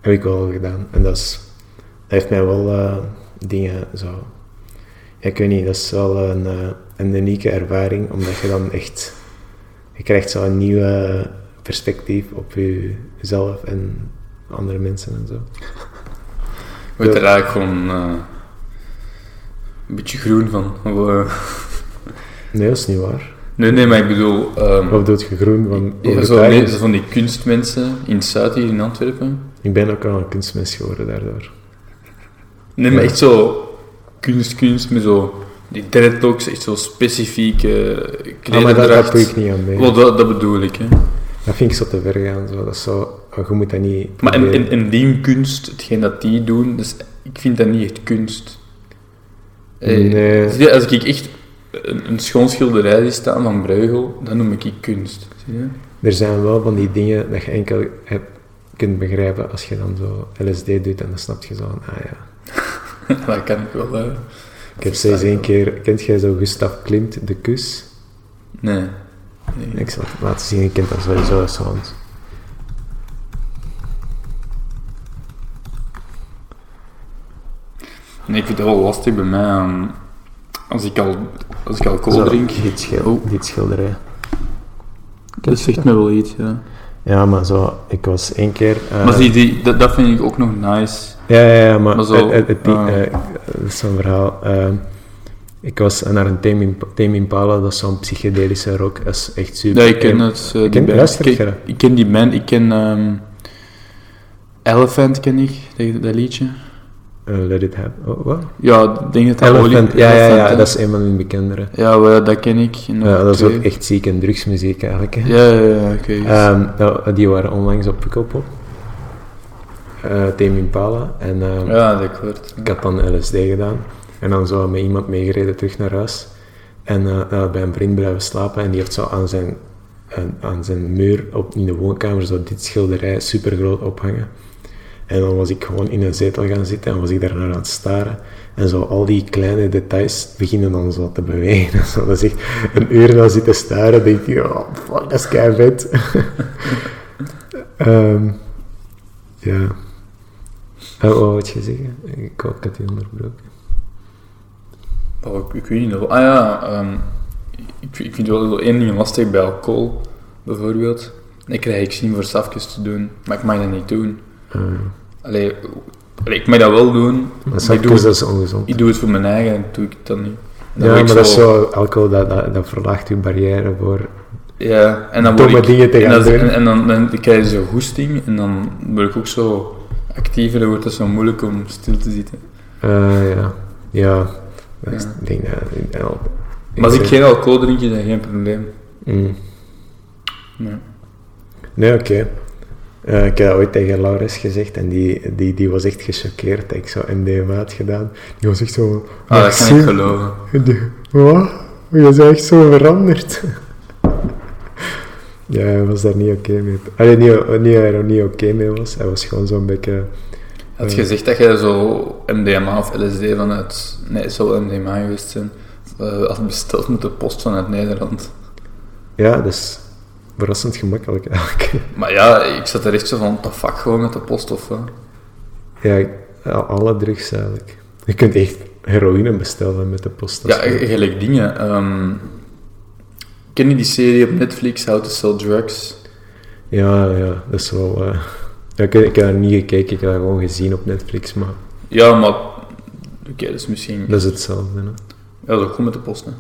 [SPEAKER 4] Heb ik wel gedaan. En dat, is, dat heeft mij wel eh, dingen zo... Ja, ik weet niet, dat is wel een, eh, een unieke ervaring, omdat je dan echt... Je krijgt zo'n nieuwe eh, perspectief op jezelf en andere mensen en zo.
[SPEAKER 2] Je wordt er eigenlijk gewoon eh, een beetje groen van. Of, eh,
[SPEAKER 4] Nee, dat is niet waar.
[SPEAKER 2] nee, nee, maar ik bedoel... ehm,
[SPEAKER 4] Of doet je groen van
[SPEAKER 2] ja, zo,
[SPEAKER 4] overtuiging?
[SPEAKER 2] nee, zo van die kunstmensen in het zuid hier in Antwerpen.
[SPEAKER 4] Ik ben ook al een kunstmens geworden daardoor.
[SPEAKER 2] Nee, maar echt zo kunst, kunst, met zo... Die dreadlocks, echt zo specifieke klederdracht.
[SPEAKER 4] Ah, maar daar, daar doe ik niet aan mee.
[SPEAKER 2] Wel, dat, dat bedoel ik, hè.
[SPEAKER 4] Dat vind ik zo te ver gaan. Zo. Dat is zo, oh, je moet dat niet
[SPEAKER 2] Maar en,
[SPEAKER 4] proberen.
[SPEAKER 2] en, en die kunst, hetgeen dat die doen, dus ik vind dat niet echt kunst. Eh,
[SPEAKER 4] Nee.
[SPEAKER 2] zie je, Als ik echt een, een schoon schilderij zie staan van Bruegel, dan noem ik die kunst. Zie je?
[SPEAKER 4] Er zijn wel van die dingen dat je enkel hebt, kunt begrijpen als je dan zo LSD doet en dan snap je zo van, ah ja.
[SPEAKER 2] dat kan ik wel. hè.
[SPEAKER 4] Ik heb steeds één keer... Kent jij zo Gustav Klimt, De Kus?
[SPEAKER 2] Nee.
[SPEAKER 4] Ik zal het laten zien, je kent dat sowieso als hand.
[SPEAKER 2] nee. Ik vind het wel lastig bij mij. ehm, als ik al als ik alcohol
[SPEAKER 4] Zo,
[SPEAKER 2] drink,
[SPEAKER 4] Dit, schil,
[SPEAKER 2] Oh.
[SPEAKER 4] dit schilderij.
[SPEAKER 2] dat zegt me wel iets. Ja.
[SPEAKER 4] Ja, maar zo, ik was één keer... eh,
[SPEAKER 2] Maar zie, die, dat, dat vind ik ook nog nice.
[SPEAKER 4] Ja, ja, ja, maar,
[SPEAKER 2] Maar zo,
[SPEAKER 4] het, het, het- die-
[SPEAKER 2] ah.
[SPEAKER 4] eh, dat is zo'n verhaal. Ehm, ik was naar een Tame Imp- Tame Impala, dat is zo'n psychedelische rock, dat is echt super.
[SPEAKER 2] Ja, ik ken het. eh, die
[SPEAKER 4] ken-
[SPEAKER 2] band.
[SPEAKER 4] luister
[SPEAKER 2] ik,
[SPEAKER 4] jij
[SPEAKER 2] ken,
[SPEAKER 4] dat?
[SPEAKER 2] ik ken die band, ik ken ehm, Elephant ken ik, dat, dat liedje.
[SPEAKER 4] Eh, let it happen. Oh, wat?
[SPEAKER 2] Ja, ik denk dat dat
[SPEAKER 4] Elephant,
[SPEAKER 2] olie-
[SPEAKER 4] ja, ja,
[SPEAKER 2] Elephant,
[SPEAKER 4] ja,
[SPEAKER 2] hè?
[SPEAKER 4] dat is een van hun bekendere.
[SPEAKER 2] Ja, wel, dat ken ik. En nog
[SPEAKER 4] Ja, dat is
[SPEAKER 2] twee.
[SPEAKER 4] ook echt ziek en drugsmuziek eigenlijk. hè.
[SPEAKER 2] Ja, ja, ja, oké.
[SPEAKER 4] Ehm, nou, die waren onlangs op Pukkelpop. Eh Tame Impala. En, ehm,
[SPEAKER 2] ja, dat klopt.
[SPEAKER 4] Ik had dan LSD gedaan. En dan zo met iemand meegereden terug naar huis. En eh, ja, bij een vriend blijven slapen. En die heeft zo aan zijn,
[SPEAKER 3] eh,
[SPEAKER 4] aan, aan zijn muur op, in de woonkamer zo dit schilderij super groot ophangen.
[SPEAKER 3] En dan was ik gewoon in een zetel gaan zitten en was ik daar naar aan het staren. En zo al die kleine details beginnen dan zo te bewegen. Zo, dat ik een uur naar zitten staren, denk je, oh fuck, dat is kei vet. Ehm, ja. Eh, wat wou je zeggen? Ik wou- ik had je onderbroken.
[SPEAKER 2] Oh, ik, ik weet niet. nog- Ah ja, ehm, ik, ik vind wel één ding lastig bij alcohol, bijvoorbeeld. Ik krijg ik zin voor safjes te doen, maar ik mag dat niet doen.
[SPEAKER 3] Eh,
[SPEAKER 2] Allee, allee, ik mag dat wel doen, maar ik
[SPEAKER 3] maar
[SPEAKER 2] doe,
[SPEAKER 3] sapjes,
[SPEAKER 2] het,
[SPEAKER 3] dat is ongezond.
[SPEAKER 2] ik doe het voor mijn eigen en doe ik dat niet. En dan
[SPEAKER 3] ja,
[SPEAKER 2] word ik
[SPEAKER 3] maar dat is zo, alcohol, dat, dat, dat verlaagt je barrière voor...
[SPEAKER 2] Ja, en dan
[SPEAKER 3] Domme
[SPEAKER 2] word ik...
[SPEAKER 3] dingen te
[SPEAKER 2] en
[SPEAKER 3] gaan
[SPEAKER 2] dat-
[SPEAKER 3] doen.
[SPEAKER 2] En, en dan, dan krijg je zo'n goesting en dan word ik ook zo actiever, dan wordt het zo moeilijk om stil te zitten.
[SPEAKER 3] eh, ja, ja, dat is-
[SPEAKER 2] Ja.
[SPEAKER 3] ik denk dat... ik- ja,
[SPEAKER 2] Maar als ik
[SPEAKER 3] zeg-
[SPEAKER 2] geen alcohol drink, is dat geen probleem.
[SPEAKER 3] Mm.
[SPEAKER 2] Nee.
[SPEAKER 3] Nee, oké. Eh, ik heb dat ooit tegen Laurens gezegd en die, die, die was echt gechoqueerd dat ik zo MDMA had gedaan. Die was echt zo...
[SPEAKER 2] Ah, dat kan
[SPEAKER 3] "Maxime,
[SPEAKER 2] ik geloven.
[SPEAKER 3] De- Wat? Je bent echt zo veranderd. ja, hij was daar niet oké mee. Allee, niet, niet dat hij er niet oké mee was. Hij was gewoon zo'n beetje...
[SPEAKER 2] Had je gezegd dat je zo MDMA of LSD vanuit... Nee, het zou MDMA geweest zijn. eh, had besteld met de post vanuit Nederland.
[SPEAKER 3] Ja, dat is verrassend gemakkelijk eigenlijk.
[SPEAKER 2] Maar ja, ik zat er echt zo van, what the fuck, gewoon met de post of wat?
[SPEAKER 3] ja, ik- al- alle drugs eigenlijk. Je kunt echt heroïne bestellen met de post.
[SPEAKER 2] Ja, e- gelijk dingen. ehm, ken je die serie op Netflix, How to Sell Drugs?
[SPEAKER 3] Ja, ja, dat is wel... eh, ja, ik, ik heb daar niet gekeken, ik heb dat gewoon gezien op Netflix, maar
[SPEAKER 2] Ja, maar... Oké, dat is misschien...
[SPEAKER 3] dat is hetzelfde. Hè?
[SPEAKER 2] Ja, dat is ook goed met de post, hè.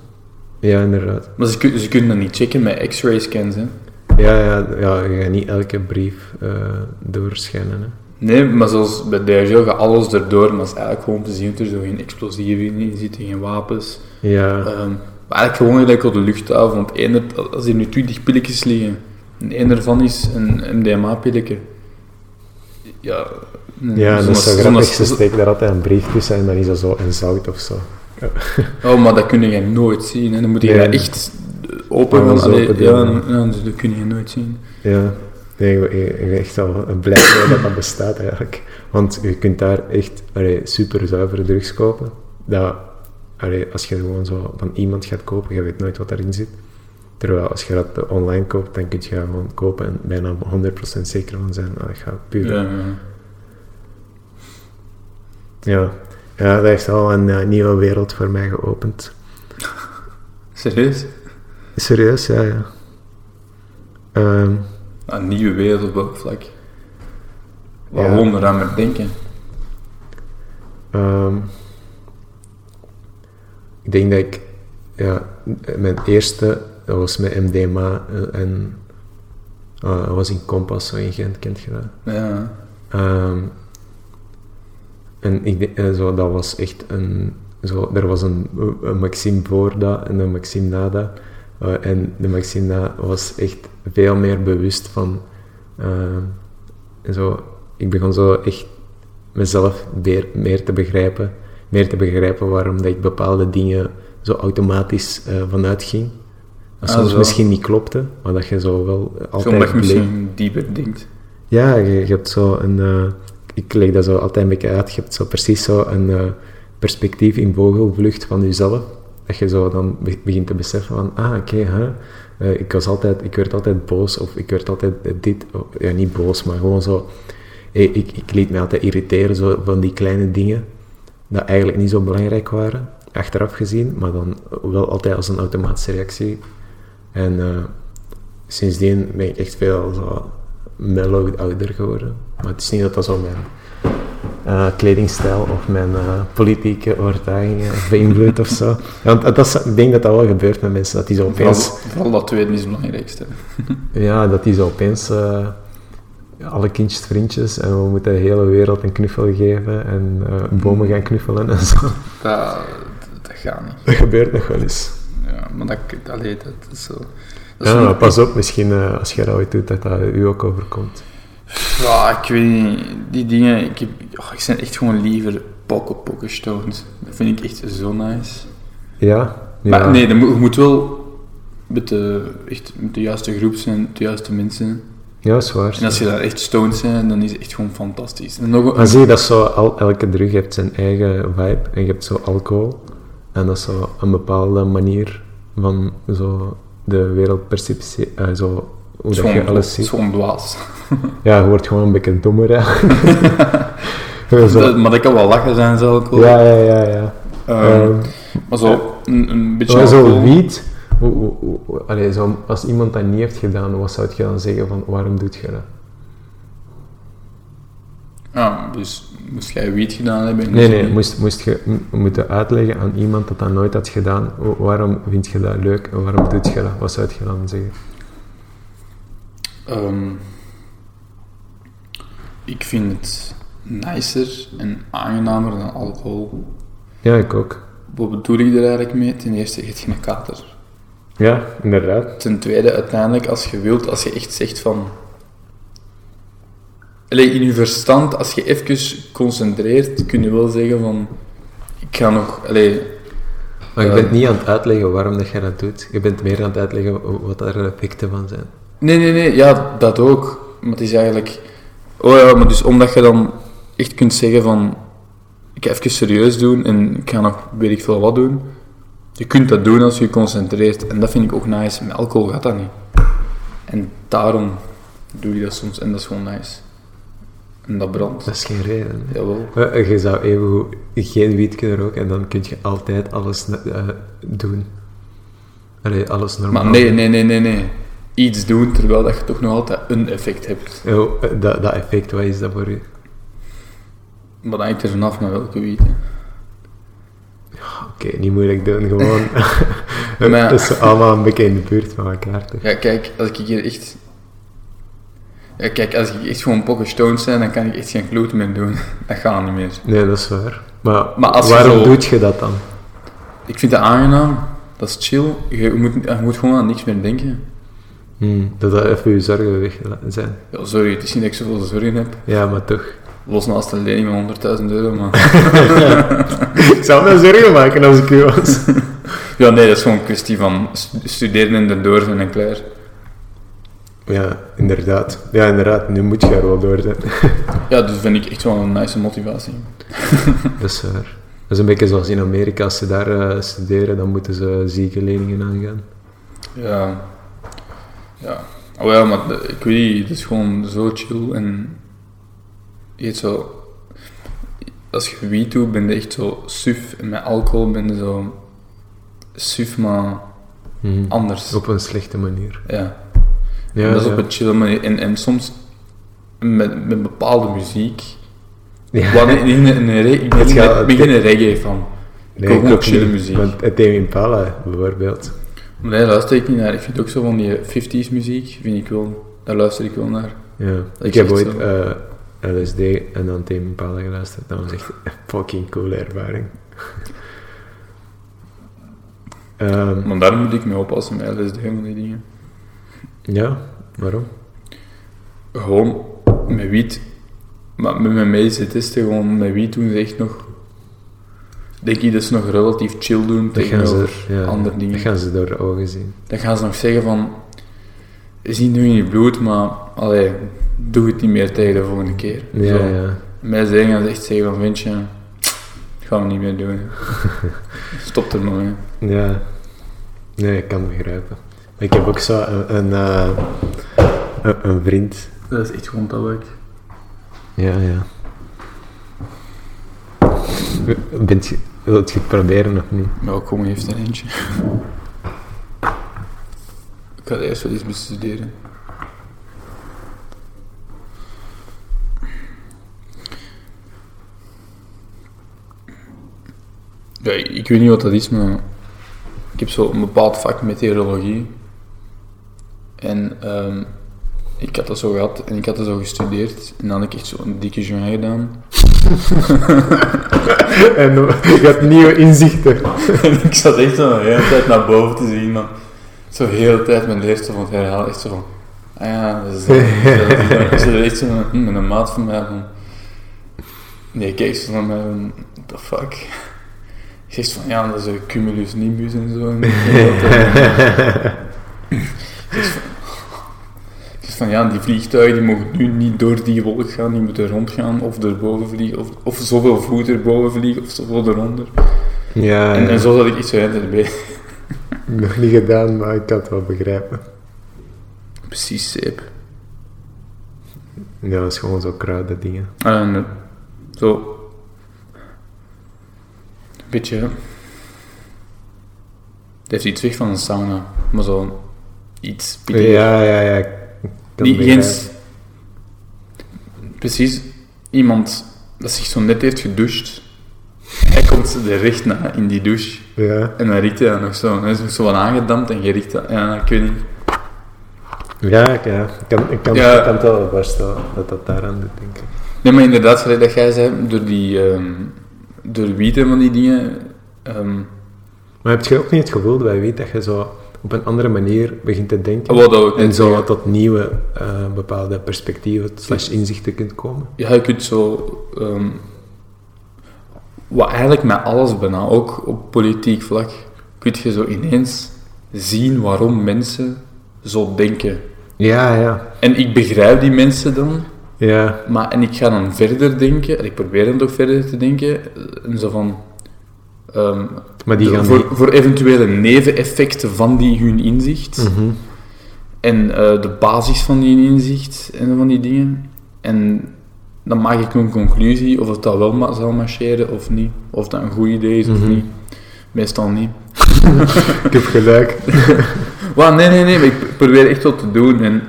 [SPEAKER 3] Ja, inderdaad.
[SPEAKER 2] Maar ze, kun- ze kunnen dat niet checken met x-ray scans, hè.
[SPEAKER 3] Ja, ja, ja, je gaat niet elke brief eh, doorschijnen. Hè?
[SPEAKER 2] Nee, maar zoals bij DHL gaat alles erdoor, maar het is eigenlijk gewoon om te zien dat er zo geen explosieven in zitten, geen wapens.
[SPEAKER 3] Ja,
[SPEAKER 2] Ehm, maar eigenlijk gewoon gelijk op de luchthaven, want één, er- als hier nu 20 pilletjes liggen, en één ervan is een MDMA-pilletje, ja...
[SPEAKER 3] ja dat is zo
[SPEAKER 2] zonder-
[SPEAKER 3] grappig. Ze
[SPEAKER 2] zonder-
[SPEAKER 3] steken daar altijd een brief tussen en dan is dat zo een zout of zo.
[SPEAKER 2] Oh, maar dat kun je nooit zien, hè. Dan moet je
[SPEAKER 3] Nee.
[SPEAKER 2] dat echt open gaan.
[SPEAKER 3] Alles
[SPEAKER 2] Allee,
[SPEAKER 3] open doen,
[SPEAKER 2] ja,
[SPEAKER 3] ja.
[SPEAKER 2] dan- ja, dus dat kun je nooit zien.
[SPEAKER 3] Ja, nee, ik, ik- ik ben echt al blij mee dat dat bestaat eigenlijk. Want je kunt daar echt allee, super zuivere drugs kopen. Dat, allee, als je gewoon zo van iemand gaat kopen, je weet nooit wat daarin zit. Terwijl als je dat online koopt, dan kun je dat gewoon kopen en bijna 100% zeker van zijn. Dat gaat puur
[SPEAKER 2] Ja, ja.
[SPEAKER 3] Ja, ja dat heeft al een eh, nieuwe wereld voor mij geopend.
[SPEAKER 2] Serieus?
[SPEAKER 3] Serieus, ja, ja. Ehm,
[SPEAKER 2] Ah, Een nieuwe wereld op welk vlak?
[SPEAKER 3] Ja.
[SPEAKER 2] Waarom ja. eraan maar denken?
[SPEAKER 3] ehm, ik denk dat ik... Ja, mijn eerste, dat was met MDMA eh, en... eh, dat was in Kompas, zo in Gent, kent je dat?
[SPEAKER 2] Ja.
[SPEAKER 3] Ehm, en ik denk- eh, zo, dat was echt een... Zo, er was een, eh, een Maxime voor dat en een Maxime na dat. Eh, en de Maxime na was echt veel meer bewust van... ehm, en zo, ik begon zo echt mezelf weer, meer te begrijpen. Meer te begrijpen waarom dat ik bepaalde dingen zo automatisch eh, vanuit ging. Dat
[SPEAKER 2] Ah,
[SPEAKER 3] soms
[SPEAKER 2] zo.
[SPEAKER 3] misschien niet klopte, maar dat je zo wel altijd...
[SPEAKER 2] Zo omdat je
[SPEAKER 3] bleef-
[SPEAKER 2] misschien dieper denkt.
[SPEAKER 3] ja, je, je hebt zo een. eh, ik leg dat zo altijd een beetje uit. Je hebt zo precies zo een eh, perspectief in vogelvlucht van jezelf. Dat je zo dan be- begint te beseffen van, ah, oké, hè. Eh, ik was altijd, ik werd altijd boos of ik werd altijd dit, of- ja, niet boos, maar gewoon zo, eh, ik, ik liet me altijd irriteren zo, van die kleine dingen, dat eigenlijk niet zo belangrijk waren, achteraf gezien, maar dan wel altijd als een automatische reactie. En eh, sindsdien ben ik echt veel zo mellow ouder geworden. Maar het is niet dat dat zo mijn eh, kledingstijl of mijn eh, politieke overtuigingen beïnvloedt of zo. Want dat is, ik denk dat dat wel gebeurt met mensen, dat die zo
[SPEAKER 2] Vooral,
[SPEAKER 3] opeens...
[SPEAKER 2] vooral dat tweede is het belangrijkste.
[SPEAKER 3] Ja, dat is opeens eh, alle kindjes vriendjes en we moeten de hele wereld een knuffel geven en eh, bomen gaan knuffelen en zo.
[SPEAKER 2] Dat, dat gaat niet.
[SPEAKER 3] Dat gebeurt nog wel eens.
[SPEAKER 2] Ja, maar dat, allee, dat is zo... Dat is
[SPEAKER 3] Ja,
[SPEAKER 2] zo-
[SPEAKER 3] maar pas op, misschien eh, als je dat ooit doet, dat dat u ook overkomt.
[SPEAKER 2] Ja, ik weet niet. Die dingen... Ik, heb, oh, ik zijn echt gewoon liever pokken pokken stoned. Dat vind ik echt zo nice.
[SPEAKER 3] Ja? ja.
[SPEAKER 2] Maar nee, dan moet, je moet wel met de, echt, met de juiste groep zijn, de juiste mensen.
[SPEAKER 3] Ja, dat is waar.
[SPEAKER 2] En als je daar echt stoned bent, dan is het echt gewoon fantastisch. En nog
[SPEAKER 3] Maar
[SPEAKER 2] een,
[SPEAKER 3] zie je dat zo, al, elke drug heeft zijn eigen vibe en je hebt zo alcohol. En dat is zo een bepaalde manier van zo de wereldperceptie, eh, zo
[SPEAKER 2] het
[SPEAKER 3] hoe
[SPEAKER 2] is
[SPEAKER 3] dat je
[SPEAKER 2] gewoon,
[SPEAKER 3] alles
[SPEAKER 2] het is
[SPEAKER 3] ziet.
[SPEAKER 2] gewoon blaas.
[SPEAKER 3] Ja, je wordt gewoon een beetje dommer eigenlijk. Ja, zo.
[SPEAKER 2] Dat- maar dat kan wel lachen zijn, zelf ook. wel.
[SPEAKER 3] Ja, ja, ja, ja.
[SPEAKER 2] Ehm,
[SPEAKER 3] Ehm,
[SPEAKER 2] maar zo, een, een beetje...
[SPEAKER 3] maar zo
[SPEAKER 2] alcohol.
[SPEAKER 3] wiet, hoe, hoe, hoe- hoe- allee, zo, als iemand dat niet heeft gedaan, wat zou je dan zeggen van waarom doet je dat?
[SPEAKER 2] Ja, dus moest jij wiet gedaan hebben? en dus-
[SPEAKER 3] Nee,
[SPEAKER 2] zo
[SPEAKER 3] nee,
[SPEAKER 2] niet.
[SPEAKER 3] moest, moest je m- moeten uitleggen aan iemand dat dat nooit had gedaan. wa- Waarom vind je dat leuk en waarom doet je dat? Wat zou je dan zeggen?
[SPEAKER 2] Ehm, ik vind het nicer en aangenamer dan alcohol.
[SPEAKER 3] Ja, ik ook.
[SPEAKER 2] Wat bedoel ik er eigenlijk mee? Ten eerste, je hebt geen kater.
[SPEAKER 3] Ja, inderdaad.
[SPEAKER 2] Ten tweede, uiteindelijk, als je wilt, als je echt zegt van... Allee, in je verstand, als je even concentreert, kun je wel zeggen van... Ik ga nog... Allee,
[SPEAKER 3] Maar je
[SPEAKER 2] Ja.
[SPEAKER 3] bent niet aan het uitleggen waarom dat jij dat doet. Je bent meer aan het uitleggen wat er effecten van zijn.
[SPEAKER 2] Nee, nee, nee, ja, dat ook. Maar het is eigenlijk. Oh ja, maar dus omdat je dan echt kunt zeggen van. Ik ga even serieus doen en ik ga nog weet ik veel wat doen. Je kunt dat doen als je je concentreert. En dat vind ik ook nice. Met alcohol gaat dat niet. En daarom doe je dat soms en dat is gewoon nice. En dat brandt.
[SPEAKER 3] Dat is geen reden. hè.
[SPEAKER 2] Jawel.
[SPEAKER 3] Maar Eh, Je zou evengoed geen wiet kunnen roken en dan kun je altijd alles eh, doen. Allee, alles normaal.
[SPEAKER 2] Maar nee, nee, nee, nee, nee. Iets doen terwijl dat je toch nog altijd een effect hebt.
[SPEAKER 3] Oh, eh, dat, dat effect, wat is dat voor u?
[SPEAKER 2] Maar dat hangt er vanaf met welke wiet. hè.
[SPEAKER 3] Oké, niet moeilijk doen, gewoon.
[SPEAKER 2] Maar-
[SPEAKER 3] dat is allemaal een beetje in de buurt van elkaar. toch?
[SPEAKER 2] Ja, kijk, als ik hier echt... Ja, kijk, als ik echt gewoon pokken stoned ben, dan kan ik echt geen kloot meer doen. Dat gaat niet meer.
[SPEAKER 3] Nee, dat is waar. Maar,
[SPEAKER 2] Maar als je
[SPEAKER 3] waarom
[SPEAKER 2] zo-
[SPEAKER 3] doet je dat dan?
[SPEAKER 2] Ik vind dat aangenaam. Dat is chill. Je moet, je moet gewoon aan niks meer denken.
[SPEAKER 3] Hmm, dat dat even je zorgen weg zijn.
[SPEAKER 2] Ja, sorry, het is niet dat ik zoveel zorgen heb.
[SPEAKER 3] Ja, maar toch.
[SPEAKER 2] Los naast een lening van 100.000 euro, maar...
[SPEAKER 3] Ik zou me zorgen maken als ik u was.
[SPEAKER 2] Ja, nee, dat is gewoon een kwestie van stu- studeren en erdoor zijn en klaar.
[SPEAKER 3] Ja, inderdaad. Ja, inderdaad. Nu moet je er wel door zijn.
[SPEAKER 2] Ja, dus vind ik echt wel een nice motivatie.
[SPEAKER 3] Dat is waar. Dat is een beetje zoals in Amerika. Als ze daar eh, studeren, dan moeten ze ziekenleningen aangaan.
[SPEAKER 2] Ja. Ja. Oh ja, maar de- ik weet niet, het is gewoon zo chill en... Je weet zo... Als je wiet doet, ben je echt zo suf. En met alcohol ben je zo... Suf, maar
[SPEAKER 3] Hmm.
[SPEAKER 2] anders.
[SPEAKER 3] Op een slechte manier.
[SPEAKER 2] Ja.
[SPEAKER 3] Ja,
[SPEAKER 2] dat is
[SPEAKER 3] ja.
[SPEAKER 2] op een chille manier. En, en soms... Met, met bepaalde muziek...
[SPEAKER 3] Ja.
[SPEAKER 2] Wat in, in, in, in, ik begin,
[SPEAKER 3] gaat-
[SPEAKER 2] ik begin een reggae van.
[SPEAKER 3] Nee,
[SPEAKER 2] ik ook
[SPEAKER 3] ook
[SPEAKER 2] chille
[SPEAKER 3] niet.
[SPEAKER 2] muziek.
[SPEAKER 3] Want het Dave Impala, bijvoorbeeld.
[SPEAKER 2] Maar daar luister ik niet naar. Ik vind ook zo van die 50s muziek, vind ik wel... Daar luister ik wel naar.
[SPEAKER 3] Ja.
[SPEAKER 2] Dat is
[SPEAKER 3] Ik heb
[SPEAKER 2] echt
[SPEAKER 3] ooit
[SPEAKER 2] zo.
[SPEAKER 3] eh, LSD en dan Dave Impala geluisterd. Dat was echt een fucking coole ervaring. Ehm,
[SPEAKER 2] Maar daar moet ik mee oppassen met LSD en die dingen.
[SPEAKER 3] ja, waarom?
[SPEAKER 2] Gewoon met wiet. Maar met mijn medische testen, gewoon met wiet doen ze echt nog... Denk ik dat ze nog relatief chill doen
[SPEAKER 3] Dat gaan,
[SPEAKER 2] tegenover
[SPEAKER 3] ze, ja,
[SPEAKER 2] andere dingen.
[SPEAKER 3] dat
[SPEAKER 2] Dan gaan...
[SPEAKER 3] gaan ze door de ogen zien.
[SPEAKER 2] ze nog zeggen van... Is niet nu in je bloed, maar... Allee, doe het niet meer tegen de volgende keer.
[SPEAKER 3] Ja,
[SPEAKER 2] Zo.
[SPEAKER 3] ja.
[SPEAKER 2] Mij zeggen gaan ze echt zeggen van... Vind je, dat gaan we niet meer doen. Stop er maar mee.
[SPEAKER 3] Ja, nee, ik kan het begrijpen. Maar ik heb ook zo een, een, eh, een, een vriend.
[SPEAKER 2] Dat is echt gewoon tabak.
[SPEAKER 3] Ja, ja. Bent je, wilt je het proberen of niet?
[SPEAKER 2] Welkom heeft er eentje. Ik had eerst wel iets bestuderen. Ja, ik ik weet niet wat dat is, maar ik heb zo een bepaald vak meteorologie. En ehm, ik had dat zo gehad en ik had dat zo gestudeerd. En dan had ik echt zo'n dikke joint gedaan.
[SPEAKER 3] En
[SPEAKER 2] eh,
[SPEAKER 3] je hebt nieuwe inzichten.
[SPEAKER 2] En ik zat echt zo de hele tijd naar boven te zien, man. Zo de hele tijd mijn leerstof aan het herhalen. Echt zo van, ah ja, dat is dat. Ik zat er echt zo met, met een maat van mij van... Nee, kijk zo naar mij van, what the fuck? Ik zeg zo van, ja, dat is een cumulus nimbus en zo. En ik zeg van, van ja, die vliegtuigen die mogen nu niet door die wolk gaan, die moeten rondgaan of erboven vliegen, of, of zoveel voet erboven vliegen of zoveel eronder.
[SPEAKER 4] Ja,
[SPEAKER 2] En,
[SPEAKER 4] ja.
[SPEAKER 2] en zo zat ik iets erbij.
[SPEAKER 4] nog niet gedaan, maar ik kan het wel begrijpen.
[SPEAKER 2] Precies, zeep.
[SPEAKER 4] Ja, dat is gewoon zo kruiden dingen.
[SPEAKER 2] En eh, zo. Een beetje. Het heeft iets weg van een sauna, maar zo iets. pittiger.
[SPEAKER 4] Ja, ja, ja. ik kan
[SPEAKER 2] Niet
[SPEAKER 4] het
[SPEAKER 2] eens. Precies, iemand dat zich zo net heeft gedoucht. Hij komt er recht na in die douche.
[SPEAKER 4] begrijpen. Ja.
[SPEAKER 2] En dan riekt hij dat nog zo. Hij is nog zo wat aangedampt en je riekt dat. Ja, nou, ik weet niet.
[SPEAKER 4] Ja, ik- ja. Ik, kan, ik, kan,
[SPEAKER 2] Ja.
[SPEAKER 4] ik kan het wel voorstellen dat dat daaraan doet, denk ik.
[SPEAKER 2] Nee, maar inderdaad, gelijk dat jij zei, door die. ehm, door wieten van die dingen. ehm,
[SPEAKER 4] Maar heb je ook niet het gevoel dat wij weten dat je zo op een andere manier begint te denken?
[SPEAKER 2] wat ook.
[SPEAKER 4] en zo tot nieuwe eh, bepaalde perspectieven slash inzichten kunt komen?
[SPEAKER 2] Ja, je kunt zo. ehm, wat eigenlijk met alles bijna, ook op politiek vlak, kun je zo ineens zien waarom mensen zo denken.
[SPEAKER 4] Ja, ja.
[SPEAKER 2] En ik begrijp die mensen dan,
[SPEAKER 4] Ja,
[SPEAKER 2] maar, en ik ga dan verder denken, en ik probeer dan toch verder te denken, en zo van... ehm,
[SPEAKER 4] maar die
[SPEAKER 2] de-
[SPEAKER 4] gaan
[SPEAKER 2] voor,
[SPEAKER 4] niet-
[SPEAKER 2] voor eventuele neveneffecten van die hun inzicht.
[SPEAKER 4] Mhm.
[SPEAKER 2] En eh, de basis van die inzicht en van die dingen. En dan maak ik een conclusie of het dat wel ma zal marcheren of niet. Of dat een goed idee is
[SPEAKER 4] Mhm.
[SPEAKER 2] of niet. Meestal niet.
[SPEAKER 4] Ik heb gelijk.
[SPEAKER 2] Wel, nee, nee, nee, maar ik probeer echt wat te doen. En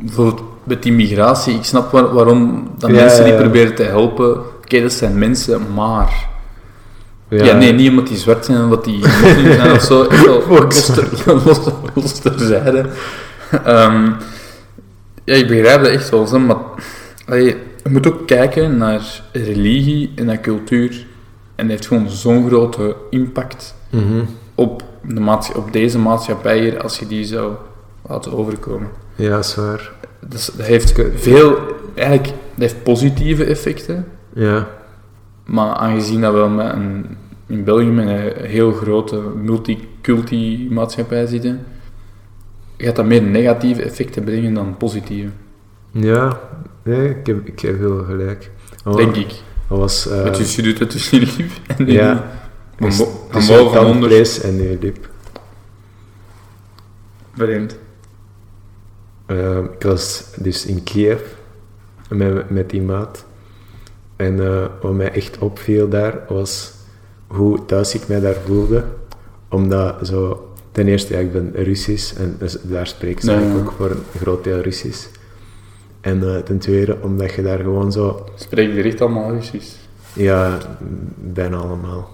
[SPEAKER 2] bijvoorbeeld met die migratie, ik snap waar- waarom dat
[SPEAKER 4] Ja,
[SPEAKER 2] mensen die
[SPEAKER 4] ja, ja.
[SPEAKER 2] proberen te helpen. Oké, dat zijn mensen, maar... Ja, nee, niet omdat die zwart zijn, omdat die moslim zijn of zo. Echt wel
[SPEAKER 4] Ook
[SPEAKER 2] los ter- los- los terzijde. Ehm, ja, ik begrijp dat echt wel, zo, maar allee, je moet ook kijken naar religie en naar cultuur. En dat heeft gewoon zo'n grote impact
[SPEAKER 4] Mhm.
[SPEAKER 2] op, de maatsch- op deze maatschappij hier, als je die zou laten overkomen.
[SPEAKER 4] Ja, dat is waar.
[SPEAKER 2] Dus dat heeft veel, eigenlijk, dat heeft positieve effecten.
[SPEAKER 4] Ja.
[SPEAKER 2] Maar aangezien dat we met een, in België met een heel grote multiculti-maatschappij zitten, gaat dat meer negatieve effecten brengen dan positieve,
[SPEAKER 4] Ja. Nee, ik heb, ik heb heel gelijk. Al-
[SPEAKER 2] denk ik.
[SPEAKER 4] al was... Oh. eh,
[SPEAKER 2] Want dus je doet het tussen je lief en je
[SPEAKER 4] ja.
[SPEAKER 2] van
[SPEAKER 4] Dus-
[SPEAKER 2] bo- van
[SPEAKER 4] tussen
[SPEAKER 2] boven van onder.
[SPEAKER 4] tandvlees en je lip.
[SPEAKER 2] Vreemd.
[SPEAKER 4] Ehm, ik was dus in Kiev met, met die maat. En eh, wat mij echt opviel daar was hoe thuis ik mij daar voelde. Omdat zo, ten eerste, ja, ik ben Russisch en dus daar spreken ze
[SPEAKER 2] Ja, ja.
[SPEAKER 4] eigenlijk ook voor een groot deel Russisch. En eh, ten tweede, omdat je daar gewoon zo,
[SPEAKER 2] Spreek je echt allemaal Russisch?
[SPEAKER 4] ja, m, bijna allemaal.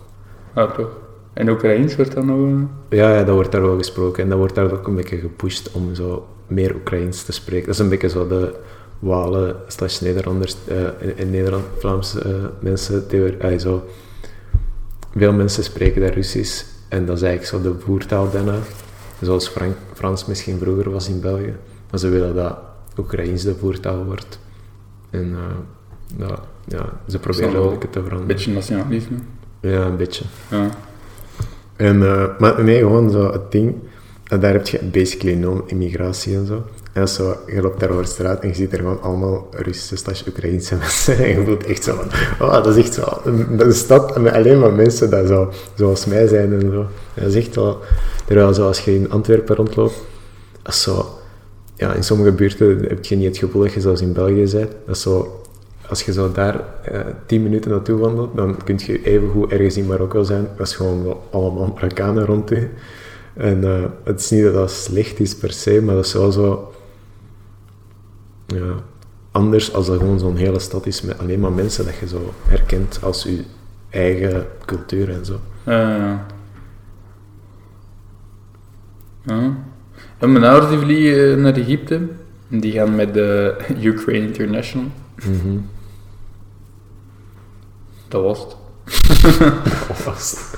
[SPEAKER 2] Ja, Ah, toch? En Oekraïens wordt dan nog... eh,
[SPEAKER 4] Ja, ja, dat wordt daar wel gesproken en dat wordt daar ook een beetje gepusht om zo meer Oekraïens te spreken. Dat is een beetje zo de Walen slash Nederlanders eh, en- en Nederland-Vlaamse eh, mensen. theorie- ah, zo. Veel mensen spreken daar Russisch en dat is eigenlijk zo de voertaal daarna. Zoals Frank, Frans misschien vroeger was in België. Maar ze willen dat Oekraïens de voertaal wordt. En eh, dat- ja, ze proberen
[SPEAKER 2] wel.
[SPEAKER 4] dat ook te veranderen.
[SPEAKER 2] Een beetje nationalisme.
[SPEAKER 4] Ja, een beetje.
[SPEAKER 2] Ja.
[SPEAKER 4] En, eh, maar nee, gewoon zo het ding. eh, Daar heb je basically no immigratie en zo. En zo, je loopt daar over straat en je ziet er gewoon allemaal Russische slash Oekraïnse mensen. En je voelt echt zo van, oh, dat is echt zo een, een stad met alleen maar mensen dat zo, zoals mij zijn en zo. Dat is echt wel... Terwijl zo, als je in Antwerpen rondloopt, dat is zo... Ja, in sommige buurten heb je niet het gevoel dat je zoals in België bent. Dat is zo... Als je zo daar eh, tien minuten naartoe wandelt, dan kun je evengoed ergens in Marokko zijn. Dat is gewoon wel allemaal Marokkanen rond u. En eh, het is niet dat dat slecht is per se, maar dat is wel zo... Ja, anders als dat gewoon zo'n hele stad is met alleen maar mensen dat je zo herkent als je eigen cultuur en zo.
[SPEAKER 2] Eh. ja. En mijn ouders die vliegen eh, naar Egypte. En Die gaan met de Ukraine International.
[SPEAKER 4] Mhm.
[SPEAKER 2] Dat was het.
[SPEAKER 4] Oh, Vast.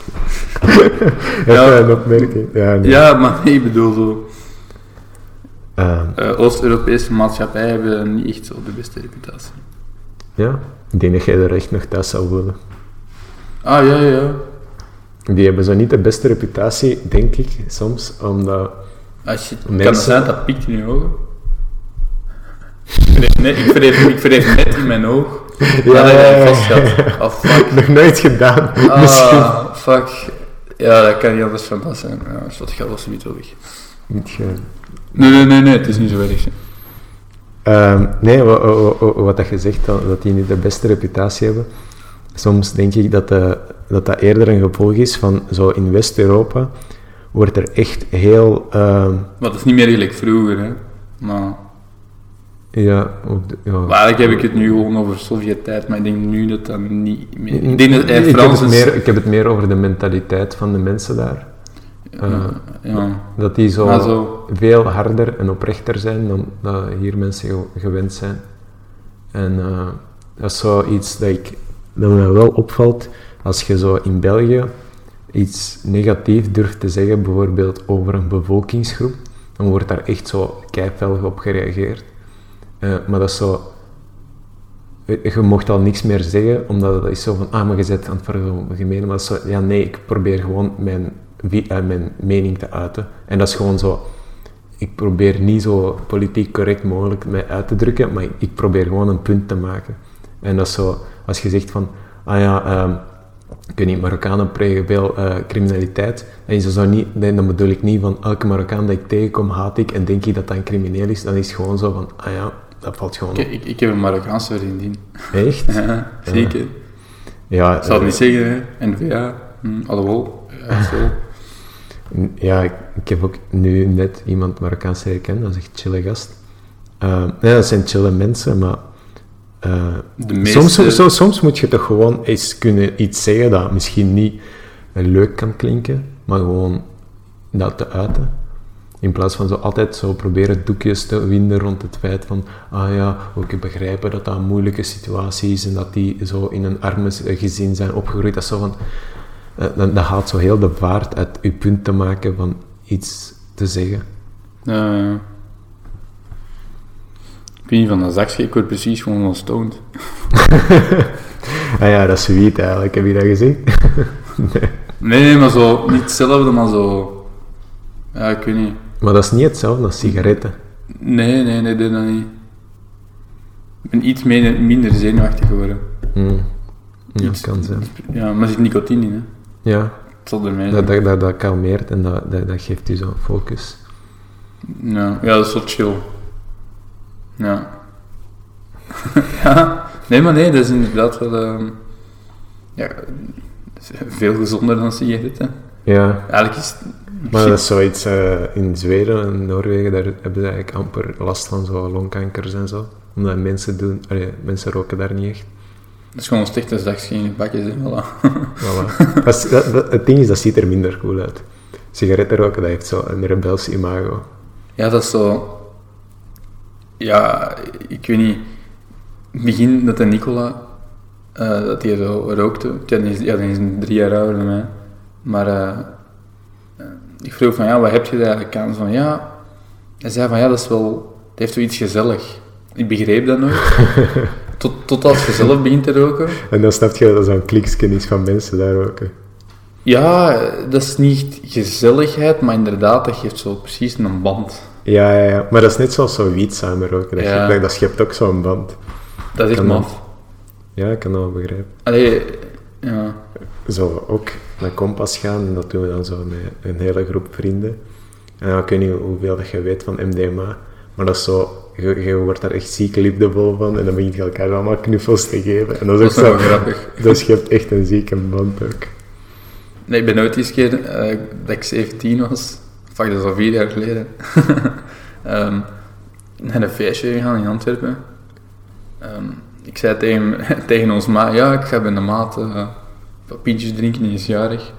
[SPEAKER 4] Heb jij een opmerking? Ja, nee.
[SPEAKER 2] Ja, maar nee, ik bedoel zo.
[SPEAKER 4] Ehm,
[SPEAKER 2] eh, Oost-Europese maatschappijen hebben niet echt zo de beste reputatie.
[SPEAKER 4] ja, ik denk dat jij er echt nog thuis zou voelen.
[SPEAKER 2] Ah, ja, ja.
[SPEAKER 4] Die hebben zo niet de beste reputatie, denk ik, soms, omdat...
[SPEAKER 2] Als je, Kan het
[SPEAKER 4] Mensen-
[SPEAKER 2] zijn dat piekt in je ogen? verreef net- ik verreef, ik verreef net in mijn oog.
[SPEAKER 4] Ja,
[SPEAKER 2] nadat ik
[SPEAKER 4] ja, ja.
[SPEAKER 2] dat vast had. Oh, fuck.
[SPEAKER 4] Nog nooit gedaan. Misschien
[SPEAKER 2] Ah, fuck. Ja, dat kan niet anders van pas zijn. Ja, dus dat geld was niet wel weg.
[SPEAKER 4] niet gedaan.
[SPEAKER 2] Nee, nee, nee, nee, het is niet zo erg. hè.
[SPEAKER 4] Ehm, nee, wa- wa- wa- wa- wat dat je zegt, dat, dat die niet de beste reputatie hebben. Soms denk ik dat de- dat, dat eerder een gevolg is van zo in West-Europa wordt er echt heel... ehm,
[SPEAKER 2] Maar dat is niet meer gelijk vroeger, hè. Maar,
[SPEAKER 4] ja, ook de- ja.
[SPEAKER 2] maar eigenlijk heb ik het nu gewoon over Sovjet-tijd, maar ik denk nu dat dat niet meer... Ik
[SPEAKER 4] Ik,
[SPEAKER 2] denk dat eh,
[SPEAKER 4] heb
[SPEAKER 2] Frans
[SPEAKER 4] het
[SPEAKER 2] is-
[SPEAKER 4] meer, ik heb het meer over de mentaliteit van de mensen daar. eh,
[SPEAKER 2] ja.
[SPEAKER 4] Dat die zo,
[SPEAKER 2] Maar zo-
[SPEAKER 4] veel harder en oprechter zijn dan dat hier mensen ge- gewend zijn. En eh, dat is zoiets dat, ik, dat me wel opvalt als je zo in België iets negatief durft te zeggen, bijvoorbeeld over een bevolkingsgroep, dan wordt daar echt zo keivelg op gereageerd. Eh, maar dat is zo... Je mocht al niks meer zeggen, omdat dat is zo van, ah, maar je bent aan het vergemenen. Maar dat is zo, ja, nee, ik probeer gewoon mijn, vi- eh, mijn mening te uiten. En dat is gewoon zo, ik probeer niet zo politiek correct mogelijk mij uit te drukken, maar ik, ik probeer gewoon een punt te maken. En dat is zo, als je zegt van, ah ja, ehm ik weet niet, Marokkanen plegen veel eh, criminaliteit. En je zou niet, nee, dan bedoel ik niet van elke Marokkaan dat ik tegenkom haat ik en denk ik dat dat een crimineel is. Dan is het gewoon zo van, ah ja, dat valt gewoon
[SPEAKER 2] Ik,
[SPEAKER 4] op.
[SPEAKER 2] ik, ik heb een Marokkaanse vriendin.
[SPEAKER 4] Echt?
[SPEAKER 2] Ja, zeker. Ik
[SPEAKER 4] Ja,
[SPEAKER 2] zal het
[SPEAKER 4] eh,
[SPEAKER 2] niet zeggen, hè. N-VA. Hm, alhoewel. Ja, zo.
[SPEAKER 4] N- Ja, ik, ik heb ook nu net iemand Marokkaans herkend, dat is echt chille gast. Eh, nee, dat zijn chille mensen, maar... eh,
[SPEAKER 2] De meeste...
[SPEAKER 4] soms, soms, soms moet je toch gewoon eens kunnen iets zeggen dat misschien niet eh, leuk kan klinken, maar gewoon dat te uiten. In plaats van zo altijd zo proberen doekjes te winden rond het feit van, ah ja, ook begrijpen dat dat een moeilijke situatie is en dat die zo in een arme s- gezin zijn opgegroeid. Dat is zo van, eh, dan, dat haalt zo heel de vaart uit je punt te maken van iets te zeggen.
[SPEAKER 2] Ja, ja. ik weet niet van dat zakje, ik word precies gewoon wel stoned.
[SPEAKER 4] Ah ja, dat is wiet eigenlijk, heb je dat gezien?
[SPEAKER 2] Nee, maar zo, niet hetzelfde, maar zo... Ja, ik weet niet.
[SPEAKER 4] Maar dat is niet hetzelfde als sigaretten.
[SPEAKER 2] Nee, nee, nee, nee, dat niet. Ik ben iets minder, minder zenuwachtig geworden.
[SPEAKER 4] Hmm. Ja,
[SPEAKER 2] Mm. Iets-
[SPEAKER 4] kan zijn.
[SPEAKER 2] Ja, maar er zit nicotine in, hè.
[SPEAKER 4] Ja,
[SPEAKER 2] Het zal ermee zijn.
[SPEAKER 4] dat, dat, dat, dat kalmeert en dat, dat, dat geeft u zo'n focus.
[SPEAKER 2] Ja, ja, dat is wel chill. Ja. ja. Nee, maar nee, dat is inderdaad wel... ehm, ja, dat is veel gezonder dan sigaretten.
[SPEAKER 4] Ja,
[SPEAKER 2] Eigenlijk is het...
[SPEAKER 4] maar dat is zoiets eh, in Zweden en Noorwegen, daar hebben ze eigenlijk amper last van zo'n longkankers en zo. Omdat mensen doen, allee, mensen roken daar niet echt.
[SPEAKER 2] Dat is gewoon een stichtersdagje in je bakjes, hè. Voilà.
[SPEAKER 4] Voilà. dat is- dat- dat- het ding is, dat ziet er minder cool uit. Sigaretten roken, dat heeft zo een rebels imago.
[SPEAKER 2] Ja, dat is zo... Ja, ik weet niet... In het begin dat de Nicola... eh, dat hij zo rookte... Ja, die is, ja, die is drie jaar ouder dan mij. Maar... eh, eh, ik vroeg van, ja, wat heb je daar eigenlijk aan? Zo Van, ja... Hij zei van, ja, dat is wel... Het heeft wel iets gezellig. Ik begreep dat nooit. Tot, tot als je zelf begint te roken...
[SPEAKER 4] En dan snap je dat dat zo'n kliksken is van mensen daar roken.
[SPEAKER 2] Ja, dat is niet echt gezelligheid, maar inderdaad, dat geeft zo precies een band.
[SPEAKER 4] Ja, ja, ja. Maar dat is net zoals zo wiet samen roken. Dat,
[SPEAKER 2] Ja.
[SPEAKER 4] schept- dat, dat schept ook zo'n band.
[SPEAKER 2] Dat is echt
[SPEAKER 4] Kan dat.
[SPEAKER 2] maf.
[SPEAKER 4] Ja, ik kan dat wel begrijpen.
[SPEAKER 2] Allee, ja...
[SPEAKER 4] zo ook naar Kompas gaan. En dat doen we dan zo met een hele groep vrienden. En dan, ik weet niet hoeveel dat je weet van MDMA. Maar dat is zo... Je, je wordt daar echt ziek liefdevol van. En dan begint je elkaar allemaal knuffels te geven. En dat is ook
[SPEAKER 2] Dat is wel
[SPEAKER 4] zo
[SPEAKER 2] grappig.
[SPEAKER 4] Dat schept echt een zieke band ook.
[SPEAKER 2] Nee, ik ben ooit eens keer, eh, dat ik 17 was, fuck, dat is al vier jaar geleden, Ehm naar een feestje gegaan in Antwerpen. Ehm, ik zei tegen, tegen ons ma, ja, ik ga bij de maat eh, wat pintjes drinken, die is jarig.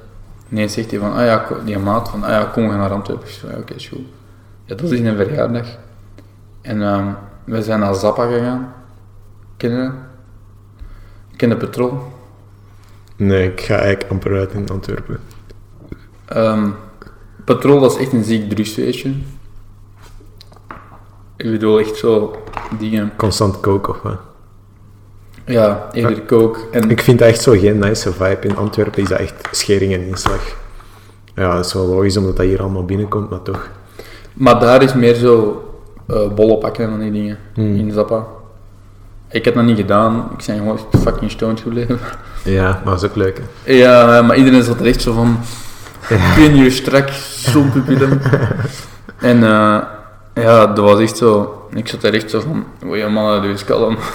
[SPEAKER 2] Ineens zegt hij van, ah ja, ko- die maat, van, ah ja, kom, we gaan naar Antwerpen. Ik zei, ja, oké, is goed. Ja, dat was in een verjaardag. En ehm, we zijn naar Zappa gegaan. Kennen we? Kennen Petrol.
[SPEAKER 4] Nee, ik ga eigenlijk amper uit in Antwerpen.
[SPEAKER 2] Ehm Patrol was echt een ziek drugsfeestje. Ik bedoel, echt zo dingen.
[SPEAKER 4] Constant koken of wat.
[SPEAKER 2] Ja, eerder kook. En
[SPEAKER 4] Ik vind dat echt zo geen nice vibe. In Antwerpen is dat echt schering en inslag. Ja, dat is wel logisch omdat dat hier allemaal binnenkomt, maar toch.
[SPEAKER 2] Maar daar is meer zo eh bollen pakken en van die dingen in Zappa. Ik heb dat niet gedaan, ik ben gewoon fucking stoned gebleven.
[SPEAKER 4] Ja, maar dat is ook leuk. hè.
[SPEAKER 2] Ja, maar iedereen zat er echt zo van... Pin je strak, zo'n pupillen. en eh, ja, dat was echt zo... Ik zat er echt zo van... Wil je mannen, doe eens kalm.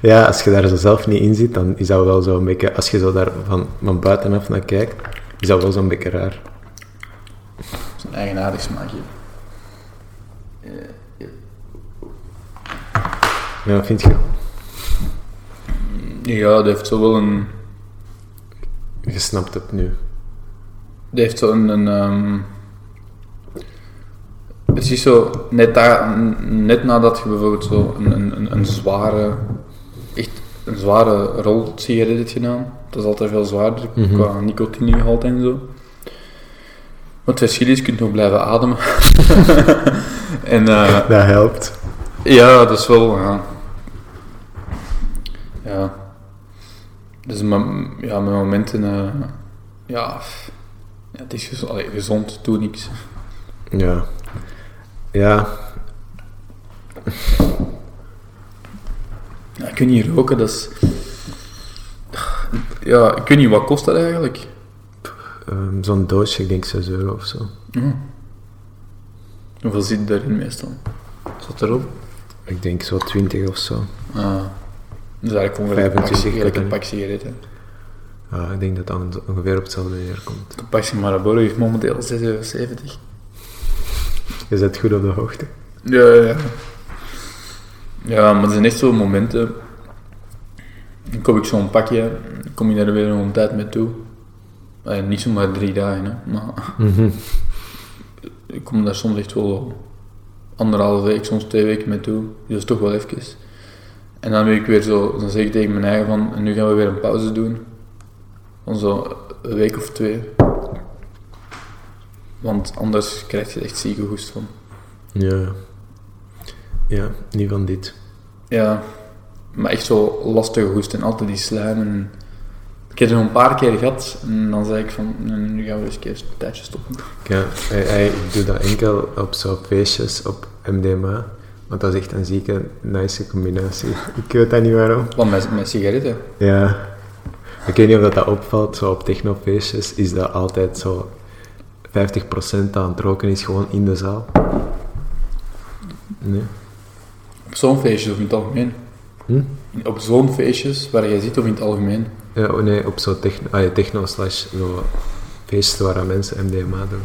[SPEAKER 4] Ja, als je daar zo zelf niet in zit, dan is dat wel zo'n beetje... Als je zo daar van, van buitenaf naar kijkt, is dat wel zo'n beetje raar.
[SPEAKER 2] Dat is een eigenaardig smaakje.
[SPEAKER 4] Ja, wat vind je?
[SPEAKER 2] Ja, dat heeft zo wel een...
[SPEAKER 4] Je snapt het nu.
[SPEAKER 2] Die heeft zo'n... Een, ehm, het is zo, net, daar, net nadat je bijvoorbeeld zo een, een, een, een zware, echt een zware rol sigaret hebt gedaan, dat is altijd veel zwaarder qua nicotinegehalte en zo. Maar het verschil is, je kunt nog blijven ademen. en eh,
[SPEAKER 4] Dat helpt.
[SPEAKER 2] ja, dat is wel. Ja. ja. Dus mijn, ja, mijn momenten. eh, ja, f- ja, het is gezond, allee, gezond doe niks.
[SPEAKER 4] Ja. Ja.
[SPEAKER 2] Ja, je kunt niet roken, dat is. Ja, ik weet niet, wat kost dat eigenlijk?
[SPEAKER 4] ehm, zo'n doosje, ik denk 6 euro of zo.
[SPEAKER 2] Hoeveel zit daarin meestal? Zat erop?
[SPEAKER 4] Ik denk zo 20 of zo.
[SPEAKER 2] Ah. Dus eigenlijk ongeveer een pak,
[SPEAKER 4] 25
[SPEAKER 2] eigenlijk een
[SPEAKER 4] kan
[SPEAKER 2] pak sigaretten.
[SPEAKER 4] Ja, ik denk dat dat ongeveer op hetzelfde neer komt.
[SPEAKER 2] Een pak Marlboro is momenteel 6,70 euro.
[SPEAKER 4] Je zit goed op de hoogte.
[SPEAKER 2] Ja, ja, ja. Ja, maar er zijn echt zo momenten. Dan koop ik zo'n pakje, dan kom je daar weer een tijd mee toe. Eh, niet zomaar drie dagen, hè, maar ik kom daar soms echt wel anderhalve week, soms twee weken mee toe. Dus toch wel even. En dan ben ik weer zo, dan zeg ik tegen mijn eigen van, en nu gaan we weer een pauze doen. Van zo een week of twee. Want anders krijg je er echt zieke hoest van.
[SPEAKER 4] Ja. Ja, niet van dit.
[SPEAKER 2] Ja, maar echt zo lastige hoest en altijd die slijm. En... Ik heb het nog een paar keer gehad en dan zei ik van, "Nee, nu gaan we eens een keer een tijdje stoppen.
[SPEAKER 4] Ja, hij, hij- ik doe dat enkel op zo'n feestjes op MDMA. Want dat is echt een zieke, nice combinatie. Ik weet dat niet waarom.
[SPEAKER 2] Want met, met sigaretten.
[SPEAKER 4] Ja. Ik weet niet of dat, dat opvalt, zo op technofeestjes is dat altijd zo... 50% aan het roken is gewoon in de zaal. Nee?
[SPEAKER 2] Op zo'n feestjes of in het algemeen.
[SPEAKER 4] Hm?
[SPEAKER 2] Op zo'n feestjes waar jij zit of in het algemeen.
[SPEAKER 4] Ja, oh nee, op zo'n techno, ah ja, techno slash zo feesten waar dan mensen MDMA doen.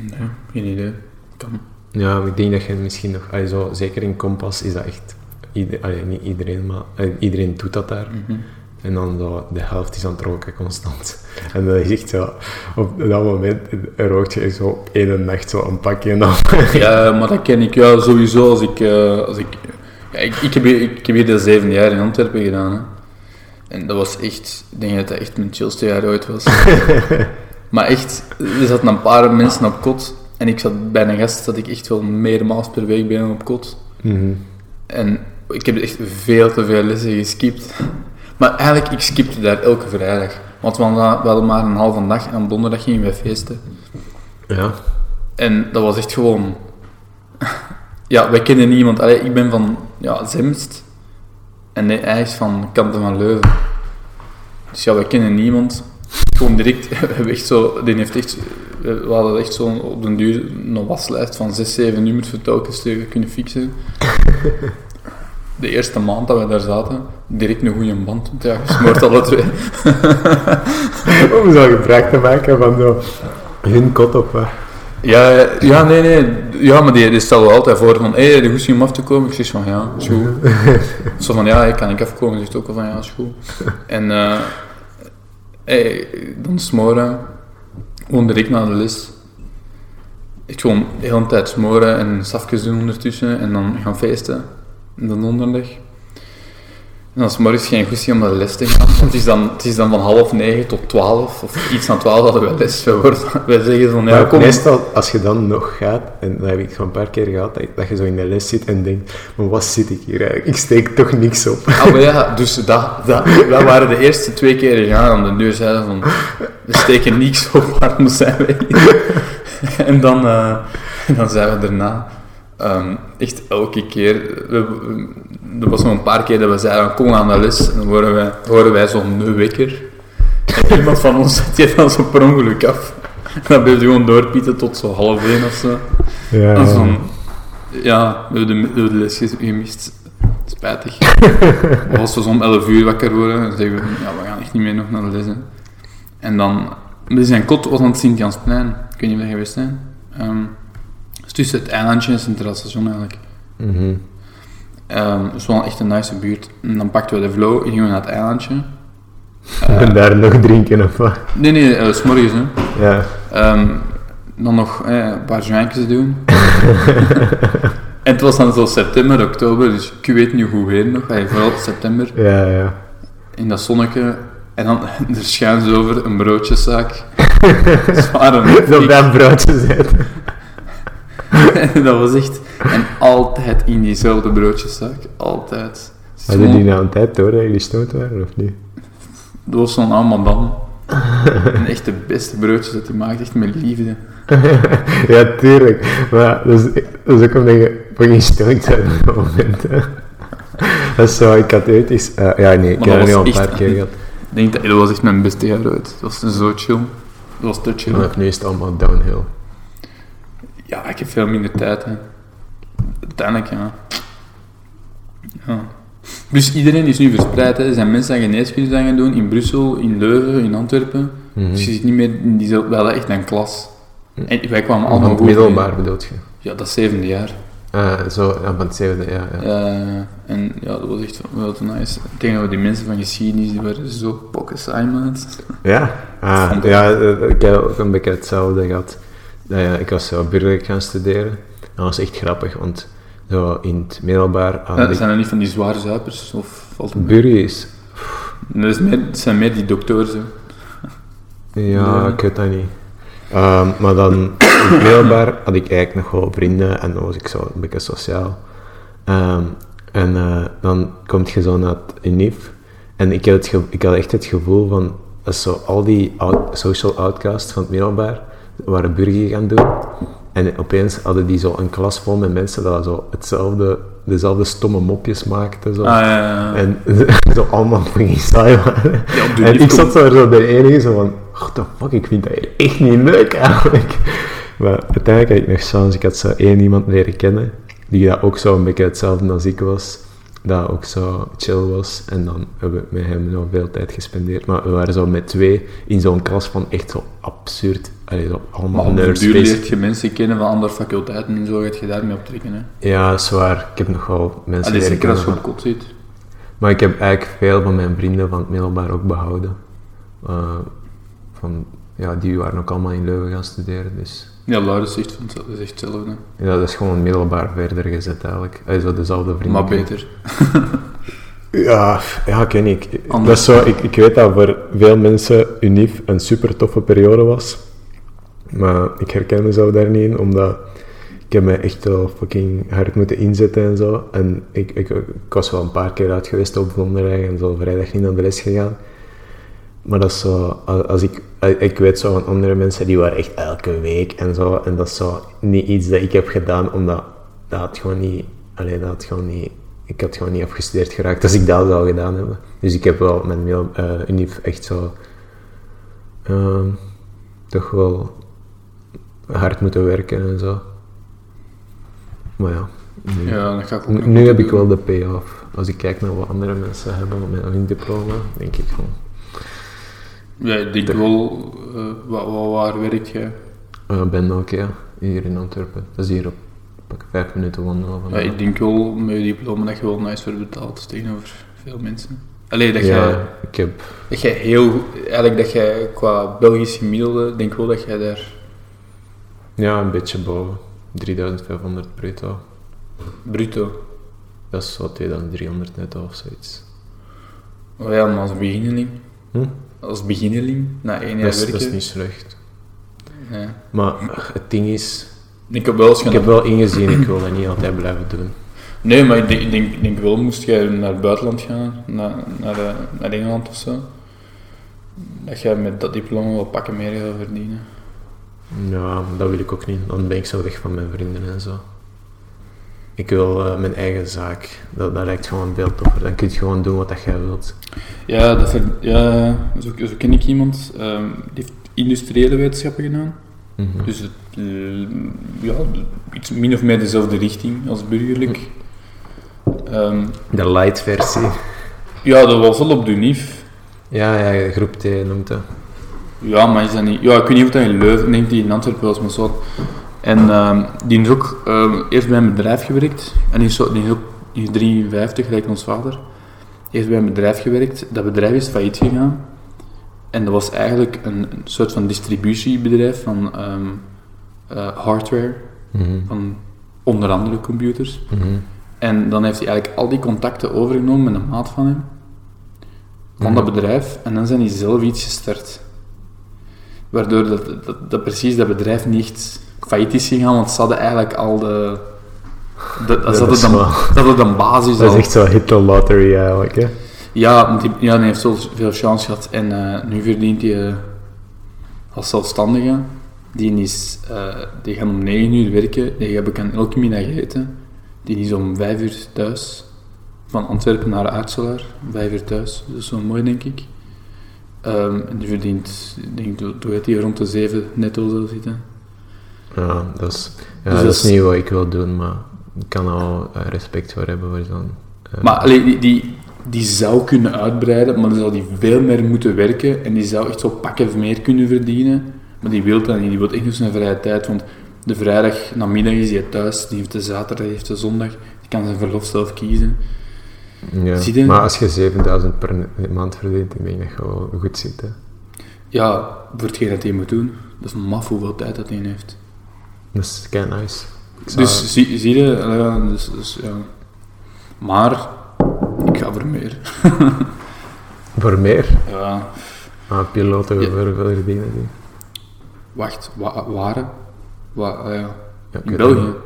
[SPEAKER 2] Nee, geen idee. Kan.
[SPEAKER 4] Ja, maar ik denk dat je misschien nog, ah, zo, zeker in Kompas is dat echt, ieder, ah ja, niet iedereen, maar eh, iedereen doet dat daar.
[SPEAKER 2] Mhm.
[SPEAKER 4] En dan zo, de helft is aan het roken constant. En dan is echt zo, op dat moment rookt je zo op één nacht zo een pakje en dan...
[SPEAKER 2] Ja, eh, maar dat ken ik ja, sowieso als ik... eh, als ik, ja, ik, ik, heb hier, ik heb hier de zevende jaar in Antwerpen gedaan. Hè. En dat was echt... Ik denk dat dat echt mijn chillste jaar ooit was. maar echt, er zaten een paar mensen op kot. En ik zat bij een gast dat ik echt wel meermaals per week ben op kot. En ik heb echt veel te veel lessen geskipt. Maar eigenlijk, ik skipte daar elke vrijdag. Want we hadden we hadden maar een halve dag en op donderdag gingen we feesten.
[SPEAKER 4] Ja,
[SPEAKER 2] En dat was echt gewoon... ja, wij kennen niemand. Allee, ik ben van ja, Zemst. En hij- hij is van Kanten van Leuven. Dus ja, wij kennen niemand. Gewoon direct, we hebben echt zo... Die heeft echt, we hadden echt zo op den duur een waslijst van 6, 7 nummers voor telkens te kunnen fixen. De eerste maand dat we daar zaten, direct een goede band. Want ja, je smoort alle twee.
[SPEAKER 4] om zo gebruik te maken van zo, hun kot op eh. wat.
[SPEAKER 2] Ja, ja, nee, nee. Ja, maar die, die stelde wel altijd voor van, hé, hey, de goesting om af te komen. Ik zeg van, ja, is goed. Zo van, ja, ik kan ik afkomen. Die zegt ook al van, ja, is goed. En, eh hey, dan smoren. Gewoon direct na de les. Ik gewoon de hele tijd smoren en safjes doen ondertussen. En dan gaan feesten. En dan donderdag. En dan is morgens geen goesting om naar de les te gaan. Want het is dan, het is dan van half negen tot twaalf. Of iets na twaalf hadden we les. Wij, worden, wij zeggen van, ja,
[SPEAKER 4] Maar
[SPEAKER 2] kom.
[SPEAKER 4] meestal, als je dan nog gaat, en dat heb ik zo'n paar keer gehad, dat, dat je zo in de les zit en denkt, maar wat zit ik hier eigenlijk? Ik steek toch niks op.
[SPEAKER 2] Ah, maar ja, dus dat, dat, dat waren de eerste twee keer gegaan aan de deur zeiden van, we steken niks op, waarom zijn wij hier? en dan, eh, dan zijn we daarna ehm, echt elke keer... We, we- er was nog een paar keer dat we zeiden, kom aan de les. En dan horen wij, horen wij zo'n neuwekker. En iemand van ons zet die dan zo per ongeluk af. En dan bleef hij gewoon doorpieten tot zo half één of zo.
[SPEAKER 4] Ja,
[SPEAKER 2] En zo, ja, we hebben de, we hebben de les ge- gemist. Spijtig. Of Als we zo om 11 uur wakker worden, dan zeggen we, ja, we gaan echt niet meer nog naar de les. hè. En dan, dus zijn kot was aan het Sint-Jansplein. Ik weet niet of je geweest bent. Ehm, het is tussen het eilandje en Centraal Station eigenlijk.
[SPEAKER 4] Mhm.
[SPEAKER 2] Ehm dus wel echt een nice buurt. En dan pakten we de flow en gingen we naar het eilandje. Ah.
[SPEAKER 4] En daar nog drinken of wat?
[SPEAKER 2] Nee, nee, eh, s morgens hè.
[SPEAKER 4] Ja.
[SPEAKER 2] Ehm, dan nog eh, een paar jointjes doen. en het was dan zo september, oktober, dus ik weet niet hoe weer nog. Hey, vooral september,
[SPEAKER 4] Ja, ja.
[SPEAKER 2] in dat zonnetje. En dan er schuins over een broodjeszaak. Zware
[SPEAKER 4] Zo bij een broodje zitten.
[SPEAKER 2] En dat was echt... En altijd in diezelfde broodjeszaak. Altijd. Het is
[SPEAKER 4] Hadden
[SPEAKER 2] gewoon-
[SPEAKER 4] die nou een tijd door dat jullie stoned waren, of niet?
[SPEAKER 2] Dat was zo'n Amadam. En echt de beste broodjes dat hij maakt. Echt met liefde.
[SPEAKER 4] ja, tuurlijk. Maar dat is, dat is ook omdat je fucking stoned bent op dat moment, hè. Dat is zo, ik had ooit eens... eh, ja, nee, ik
[SPEAKER 2] Maar
[SPEAKER 4] heb
[SPEAKER 2] dat
[SPEAKER 4] dat nu al
[SPEAKER 2] was
[SPEAKER 4] een
[SPEAKER 2] echt-
[SPEAKER 4] paar keer gehad.
[SPEAKER 2] Ik denk dat, dat was echt mijn beste jaar uit. Dat was zo chill. Dat was te chill.
[SPEAKER 4] Vanaf nu is het allemaal downhill.
[SPEAKER 2] Ja, ik heb veel minder tijd. Hè. Uiteindelijk, ja. ja. Dus iedereen is nu verspreid. Hè. Er zijn mensen die geneeskunde zijn gaan doen in Brussel, in Leuven, in Antwerpen.
[SPEAKER 4] Mhm.
[SPEAKER 2] Dus je zit niet meer in diezelfde... Wel echt een klas. En wij kwamen allemaal
[SPEAKER 4] Van het
[SPEAKER 2] goed.
[SPEAKER 4] middelbaar bedoel je?
[SPEAKER 2] Ja, dat zevende jaar.
[SPEAKER 4] Ah, zo, ja, van het zevende, ja. ja.
[SPEAKER 2] Eh, en ja, dat was echt wel te nice. Tegenover die mensen van geschiedenis, die waren zo pokken saai, maat.
[SPEAKER 4] Ja, ah,
[SPEAKER 2] Vond ik.
[SPEAKER 4] ja eh, ik heb ook een beetje hetzelfde gehad. Nou ja, ik was zo burgerlijk gaan studeren. En dat was echt grappig, want zo in het middelbaar had
[SPEAKER 2] Eh,
[SPEAKER 4] ik...
[SPEAKER 2] Zijn dat niet van die zware zuipers? Of valt het mee?
[SPEAKER 4] Burger is...
[SPEAKER 2] Dat is meer, het zijn meer die Ah, doktoren. zo.
[SPEAKER 4] Ja, ik weet dat niet. Ehm, maar dan in het middelbaar had ik eigenlijk nog wel vrienden en dan was ik zo een beetje sociaal. Ehm, en eh, dan kom je zo naar het UNIF. En ik had, het ge- ik had echt het gevoel van, dat zo al die out- social outcasts van het middelbaar waren burger gaan doen. En opeens hadden die zo een klas vol met mensen dat zo hetzelfde, dezelfde stomme mopjes maakten. Zo.
[SPEAKER 2] Ah, ja, ja, ja.
[SPEAKER 4] En zo allemaal fucking saai waren.
[SPEAKER 2] Ja, op de
[SPEAKER 4] en ik
[SPEAKER 2] lift
[SPEAKER 4] zat zo zo de enige zo van, what the fuck, ik vind dat hier echt niet leuk eigenlijk. Maar uiteindelijk had ik nog chance, ik had zo één iemand leren kennen, die dat ook zo een beetje hetzelfde als ik was. Dat ook zo chill was. En dan hebben we met hem nog veel tijd gespendeerd. Maar we waren zo met twee in zo'n klas van echt zo absurd. Allee, zo
[SPEAKER 2] Maar
[SPEAKER 4] allemaal
[SPEAKER 2] op den
[SPEAKER 4] nerds.
[SPEAKER 2] duur leert je mensen kennen van andere faculteiten en zo gaat je daarmee optrekken. Hè.
[SPEAKER 4] Ja, zwaar. Ik heb nog wel mensen
[SPEAKER 2] Allee,
[SPEAKER 4] leren
[SPEAKER 2] zeker als je
[SPEAKER 4] kennen.
[SPEAKER 2] op kot zit.
[SPEAKER 4] Maar ik heb eigenlijk veel van mijn vrienden van het middelbaar ook behouden. Eh, van, ja, die waren ook allemaal in Leuven gaan studeren, dus...
[SPEAKER 2] Ja, Laurens zegt van hetzelfde, zegt hetzelfde.
[SPEAKER 4] Ja, dat is gewoon middelbaar verder gezet eigenlijk. Hij zo dezelfde vrienden.
[SPEAKER 2] Maar beter.
[SPEAKER 4] Ja, ja, ik weet niet. Ik- ik- Dat
[SPEAKER 2] Anders.
[SPEAKER 4] is zo, ik, ik weet dat voor veel mensen UNIF een super toffe periode was. Maar ik herken mezelf daar niet in, omdat ik heb me echt wel fucking hard moeten inzetten en zo. En ik, ik, ik was wel een paar keer uit geweest op Vlonderij en zo vrijdag niet naar de les gegaan. Maar dat is zo, als als ik, ik weet zo van andere mensen, die waren echt elke week en zo. En dat is zo niet iets dat ik heb gedaan, omdat dat had gewoon niet, alleen dat had gewoon niet, ik had gewoon niet afgestudeerd geraakt als ik dat zou gedaan hebben. Dus ik heb wel mijn mail, eh, unif echt zo, ehm, toch wel hard moeten werken en zo. Maar ja, nu,
[SPEAKER 2] Ja, dat ga ik ook
[SPEAKER 4] nu-
[SPEAKER 2] nog
[SPEAKER 4] nu
[SPEAKER 2] moeten
[SPEAKER 4] heb ik
[SPEAKER 2] doen.
[SPEAKER 4] wel de payoff. Als ik kijk naar wat andere mensen hebben met hun diploma, denk ik gewoon.
[SPEAKER 2] Ja, ik denk wel, eh, wa- wa- waar werk jij?
[SPEAKER 4] Eh, bij Nokia, hier in Antwerpen. Dat is hier op pak, vijf minuten wandelen van
[SPEAKER 2] Ja, ik denk wel met je diploma dat je wel nice wordt betaald tegenover veel mensen. Allee, dat jij,
[SPEAKER 4] Ja, ik heb...
[SPEAKER 2] dat jij heel, goed- eigenlijk dat jij qua Belgische gemiddelde, denk wel dat jij daar
[SPEAKER 4] Ja, een beetje boven. 3500 bruto.
[SPEAKER 2] bruto.
[SPEAKER 4] Dat is zo 2300 netto of zoiets.
[SPEAKER 2] Oh ja, maar als beginneling,
[SPEAKER 4] Hm?
[SPEAKER 2] als beginneling, na één jaar
[SPEAKER 4] dat, is,
[SPEAKER 2] werken.
[SPEAKER 4] dat is niet slecht.
[SPEAKER 2] ja.
[SPEAKER 4] Maar eh, het ding is,
[SPEAKER 2] Ik heb wel eens gaan
[SPEAKER 4] ik heb wel ingezien, ik wil dat niet altijd blijven doen.
[SPEAKER 2] Nee, maar ik denk, ik denk, ik denk wel, moest jij naar het buitenland gaan, naar, naar, eh, naar Engeland of zo, dat jij met dat diploma wel pakken meer gaat verdienen.
[SPEAKER 3] Ja, dat wil ik ook niet. Dan ben ik zo weg van mijn vrienden en zo. Ik wil eh, mijn eigen zaak. Dat, dat lijkt gewoon veel toffer. Dan kun je gewoon doen wat dat jij wilt.
[SPEAKER 2] Ja, dat ver- ja zo, zo ken ik iemand. ehm, die heeft industriële wetenschappen gedaan. Dus het, eh, ja, iets min of meer dezelfde richting als burgerlijk. Ehm,
[SPEAKER 3] De light versie.
[SPEAKER 2] ja, dat was wel op de UNIF.
[SPEAKER 3] Ja, ja, groep T noemt dat.
[SPEAKER 2] Ja, maar is dat niet... Ja, ik weet niet of dat in Leuven, denk die in Antwerpen was, maar zo. En ehm, die is ook ehm, eerst bij een bedrijf gewerkt. En die is, zo, die is ook die is 53, gelijk ons vader. Eerst bij een bedrijf gewerkt. Dat bedrijf is failliet gegaan. En dat was eigenlijk een, een soort van distributiebedrijf van ehm, eh, hardware.
[SPEAKER 3] Mhm.
[SPEAKER 2] Van onder andere computers. En dan heeft hij eigenlijk al die contacten overgenomen met een maat van hem. Van
[SPEAKER 3] Mhm.
[SPEAKER 2] dat bedrijf. En dan zijn die zelf iets gestart. Waardoor dat, dat, dat precies dat bedrijf niet echt failliet is gegaan, want ze hadden eigenlijk al de... de
[SPEAKER 3] Ja,
[SPEAKER 2] ze
[SPEAKER 3] dat
[SPEAKER 2] hadden
[SPEAKER 3] is
[SPEAKER 2] dan,
[SPEAKER 3] wel-
[SPEAKER 2] ze hadden dan basis
[SPEAKER 3] Dat
[SPEAKER 2] al.
[SPEAKER 3] is echt zo Hitler Lottery eigenlijk, hè?
[SPEAKER 2] Ja, want die, ja, die heeft zo veel chance gehad. En eh, nu verdient hij eh, als zelfstandige. Die, is, eh, die gaan om 9 uur werken. Die heb ik aan elke middag gegeten. Die is om 5 uur thuis. Van Antwerpen naar Aartselaar. om 5 uur thuis. Dat is wel mooi, denk ik. Ehm, en die verdient, ik denk dat dat hij rond de 7 netto zou zitten.
[SPEAKER 3] Ja, dat is, ja,
[SPEAKER 2] Dus
[SPEAKER 3] dat
[SPEAKER 2] dat
[SPEAKER 3] is
[SPEAKER 2] is-
[SPEAKER 3] niet wat ik wil doen, maar ik kan al eh, respect voor hebben voor zo'n... eh,
[SPEAKER 2] Maar allee, die, die, die zou kunnen uitbreiden, maar dan zal die veel meer moeten werken en die zou echt zo pakken meer kunnen verdienen. Maar die wil dat niet, die wil echt nog zijn vrije tijd, want de vrijdag namiddag is hij thuis, die heeft de zaterdag, die heeft de zondag, die kan zijn verlof zelf kiezen.
[SPEAKER 3] ja.
[SPEAKER 2] zie je-
[SPEAKER 3] Maar als je 7000 per ne- maand verdient, ik denk dat je wel goed zit, hè?
[SPEAKER 2] Ja, voor hetgeen dat hij moet doen, dat is maf hoeveel tijd dat hij heeft.
[SPEAKER 3] Dat is kei nice. Ik zou-
[SPEAKER 2] Dus zie, zie je, eh, ja, dus, dus, ja. maar ik ga voor meer.
[SPEAKER 3] Voor meer?
[SPEAKER 2] Ja,
[SPEAKER 3] Ah, piloten
[SPEAKER 2] Ja.
[SPEAKER 3] voor hoeveel verdienen die?
[SPEAKER 2] wacht, wa waren? Wa ah, ja.
[SPEAKER 3] Ja, ik
[SPEAKER 2] In
[SPEAKER 3] weet
[SPEAKER 2] België?
[SPEAKER 3] het niet.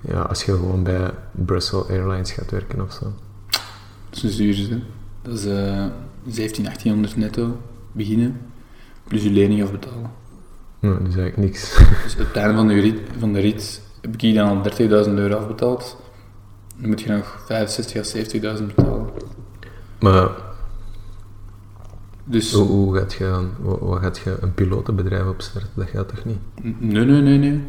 [SPEAKER 3] Ja, als je gewoon bij Brussel Airlines gaat werken of zo.
[SPEAKER 2] Dat is dus duurste. Dat is eh 17, 1800 netto beginnen, plus je lening afbetalen.
[SPEAKER 3] Nou, dat is eigenlijk niks.
[SPEAKER 2] Dus op het einde van de rit, van de rit heb ik hier dan al 30.000 euro afbetaald. Dan moet je nog 65 à 70.000 betalen.
[SPEAKER 3] Maar
[SPEAKER 2] Dus
[SPEAKER 4] Oh.
[SPEAKER 3] hoe, hoe gaat je dan... Wat, wat gaat je een pilotenbedrijf opstarten? Dat gaat toch niet?
[SPEAKER 2] n- nee, nee, nee, nee.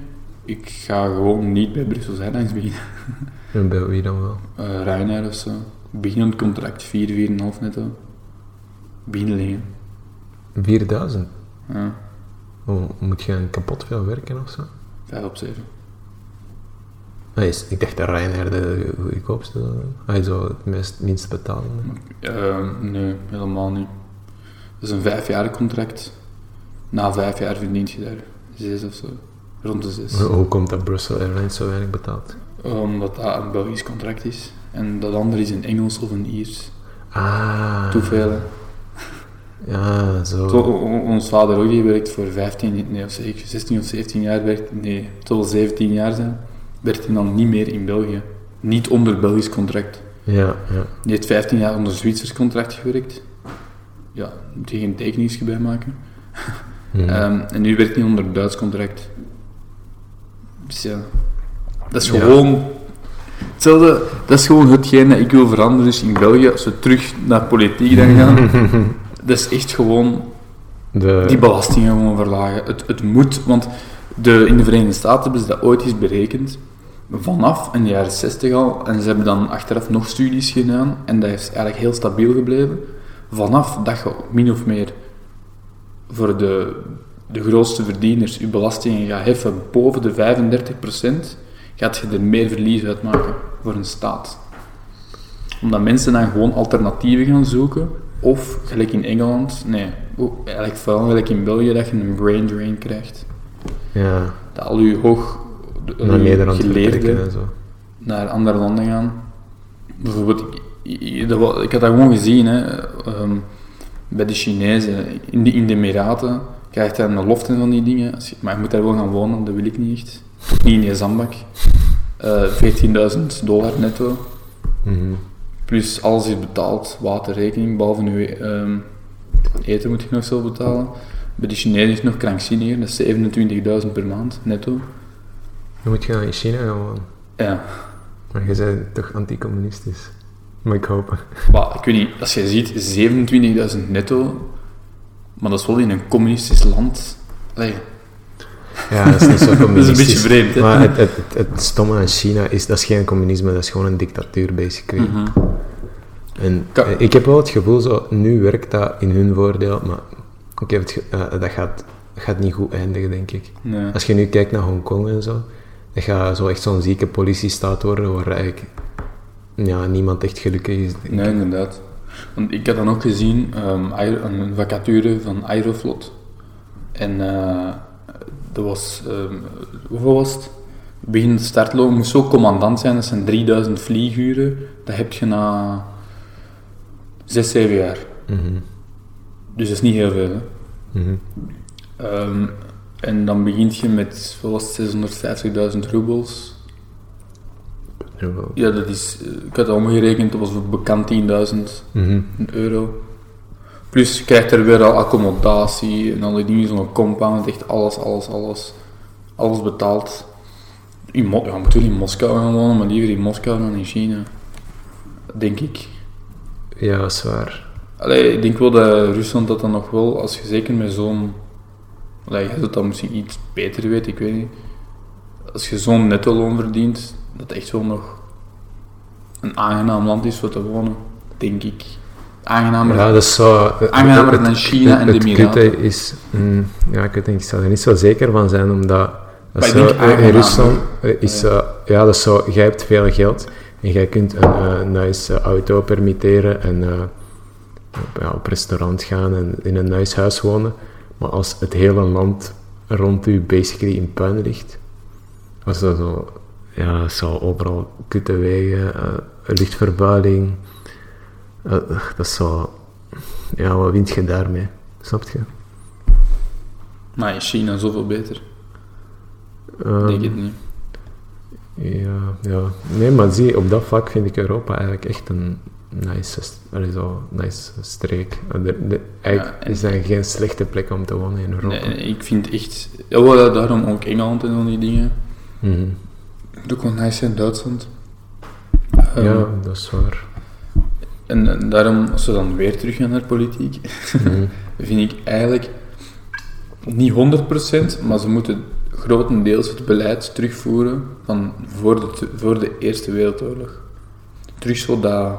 [SPEAKER 2] Ik ga gewoon niet bij Brussel Airlines beginnen.
[SPEAKER 3] En bij wie dan wel?
[SPEAKER 2] Eh Ryanair of zo. Beginnend contract 4, 4,5 netto. Beginnen liggen.
[SPEAKER 3] 4000?
[SPEAKER 2] Ja,
[SPEAKER 3] Oh, moet je dan kapot veel werken of zo?
[SPEAKER 2] 5 op 7.
[SPEAKER 3] Ah, is, ik dacht dat Ryanair de goedkoopste zou zijn. Hij zou het meest, minst betalende.
[SPEAKER 2] Ehm, nee, helemaal niet. Dat is een vijfjarig contract. Na vijf jaar verdient je daar zes of zo. Rond de zes.
[SPEAKER 3] Hoe- Hoe komt dat Brussel Airlines zo weinig betaalt?
[SPEAKER 2] Omdat dat een Belgisch contract is. En dat andere is een Engels of een Iers.
[SPEAKER 3] Ah.
[SPEAKER 2] Toeveel. hè.
[SPEAKER 3] Ja, zo.
[SPEAKER 2] Zo, o- o- ons vader ook, die werkt voor 15, nee, of zeker 16 of 17 jaar. Werkt, nee, het zal 17 jaar zijn. Werkt hij dan niet meer in België. Niet onder Belgisch contract.
[SPEAKER 3] Ja, ja.
[SPEAKER 2] Die heeft 15 jaar onder Zwitsers contract gewerkt. Ja, moet je geen tekeningsje bij maken.
[SPEAKER 3] Hm.
[SPEAKER 2] Ehm, en nu werkt hij onder Duits contract. Dus ja, dat is
[SPEAKER 3] Ja.
[SPEAKER 2] gewoon... Hetzelfde, dat is gewoon hetgeen dat ik wil veranderen. Dus in België, als we terug naar politiek dan gaan, dat is echt gewoon
[SPEAKER 3] de,
[SPEAKER 2] die belastingen gewoon verlagen. Het, het moet, want de, in de Verenigde Staten hebben ze dat ooit eens berekend. Vanaf in de jaren 60 al. En ze hebben dan achteraf nog studies gedaan. En dat is eigenlijk heel stabiel gebleven. Vanaf dat je min of meer voor de, de grootste verdieners je belastingen gaat heffen boven de 35%, gaat je er meer verlies uitmaken voor een staat. Omdat mensen dan gewoon alternatieven gaan zoeken. Of, gelijk in Engeland, nee, oeh, eigenlijk vooral gelijk in België, dat je een brain drain krijgt.
[SPEAKER 3] ja,
[SPEAKER 2] Dat al je hoog eh, de-
[SPEAKER 3] naar
[SPEAKER 2] je
[SPEAKER 3] Nederland
[SPEAKER 2] geleerden
[SPEAKER 3] vertrekken en zo.
[SPEAKER 2] naar andere landen gaan. Bijvoorbeeld, ik- ik, ik- dat wa- ik had dat gewoon gezien hè, ehm, bij de Chinezen. In de, in de Emiraten krijg je dan een loft en van die dingen. Als je- Maar je moet daar wel gaan wonen, dat wil ik niet echt. Niet in je zandbak. Eh, 14.000 dollar netto.
[SPEAKER 3] Mhm.
[SPEAKER 2] Plus alles is betaald, water, rekening, behalve nu ehm, eten moet je nog zelf betalen. Bij de Chinezen is het nog krankzinniger, dat is 27.000 per maand netto.
[SPEAKER 4] Dan moet je naar China gaan wonen.
[SPEAKER 2] Ja,
[SPEAKER 4] Maar je bent toch anticommunistisch. Moet ik hopen.
[SPEAKER 2] maar ik weet niet, als je ziet 27.000 netto, maar dat is wel in een communistisch land. Allee,
[SPEAKER 4] Ja, dat is niet zo
[SPEAKER 2] Dat
[SPEAKER 4] communistisch.
[SPEAKER 2] is een beetje vreemd, hè?
[SPEAKER 4] Maar het, het, het, het stomme aan China is, dat is geen communisme, dat is gewoon een dictatuur, basically. En
[SPEAKER 2] Ka-
[SPEAKER 4] eh, ik heb wel het gevoel, zo, nu werkt dat in hun voordeel, maar ik heb het ge- eh, dat gaat, gaat niet goed eindigen, denk ik.
[SPEAKER 2] nee.
[SPEAKER 4] Als je nu kijkt naar Hongkong en zo, dat gaat zo echt zo'n zieke politiestaat worden, waar eigenlijk ja, niemand echt gelukkig is. denk ik.
[SPEAKER 2] Nee, inderdaad. Want ik had dan ook gezien ehm, Aero- een vacature van Aeroflot. En eh, dat was, ehm, hoeveel was het? Begin startloon moest zo commandant zijn, dat zijn 3000 vlieguren. Dat heb je na 6, 7 jaar.
[SPEAKER 4] Mhm,
[SPEAKER 2] Dus dat is niet heel veel. Hè?
[SPEAKER 4] mhm.
[SPEAKER 2] Ehm, en dan begint je met, wat was het, 650.000 roebels.
[SPEAKER 4] Jawel.
[SPEAKER 2] Ja, dat is, eh, ik had het omgerekend, dat was bekend 10.000.
[SPEAKER 4] Mhm.
[SPEAKER 2] Een euro. Plus je krijgt er weer al accommodatie en al die dingen, zo'n compound, echt alles, alles, alles. Alles betaald. In Mo- ja, je moet wel in Moskou gaan wonen, maar liever in Moskou dan in China. Denk ik.
[SPEAKER 4] Ja, dat is waar.
[SPEAKER 2] Allee, ik denk wel dat Rusland dat dan nog wel, als je zeker met zo'n... Allee, jij zult dat misschien iets beter weten, ik weet niet. Als je zo'n netto loon verdient, dat echt wel nog een aangenaam land is voor te wonen. Denk ik. Aangenamer
[SPEAKER 4] Ja, dat is zo...
[SPEAKER 2] Aangenamer dan China en de
[SPEAKER 4] Het
[SPEAKER 2] Emiraten.
[SPEAKER 4] kutte is... mm, ja, ik weet niet, ik zou er niet zo zeker van zijn, omdat... Dat
[SPEAKER 2] Maar ik
[SPEAKER 4] is
[SPEAKER 2] denk
[SPEAKER 4] zo, eh, in
[SPEAKER 2] aangenamer.
[SPEAKER 4] Rusland eh, is... eh, ja, dat is zo... Jij hebt veel geld en jij kunt een eh, nice eh, auto permitteren en eh, op, ja, op restaurant gaan en in een nice huis wonen. Maar als het hele land rond u basically in puin ligt, als dat zo... Ja, dat zou overal kutte wegen, eh, luchtvervuiling... eh, dat is zo... Ja, wat wint je daarmee? Snap je?
[SPEAKER 2] Maar in China zoveel beter.
[SPEAKER 4] Ehm,
[SPEAKER 2] denk het niet.
[SPEAKER 4] ja, ja. Nee, maar zie, op dat vlak vind ik Europa eigenlijk echt een nice, s- allee, zo, nice streek. Eh, de- de- eigenlijk
[SPEAKER 2] Ja, en-
[SPEAKER 4] is dat geen slechte plek om te wonen in Europa.
[SPEAKER 2] Nee, ik vind echt... Ja, wel, daarom ook Engeland en al die dingen.
[SPEAKER 4] Mhm.
[SPEAKER 2] Doe ook nice in Duitsland. Ehm,
[SPEAKER 4] Ja, dat is waar.
[SPEAKER 2] en, en daarom, als we dan weer teruggaan naar politiek,
[SPEAKER 4] Mhm.
[SPEAKER 2] vind ik eigenlijk niet 100%, maar ze moeten grotendeels het beleid terugvoeren van voor de, te- voor de Eerste Wereldoorlog. Terug zo dat...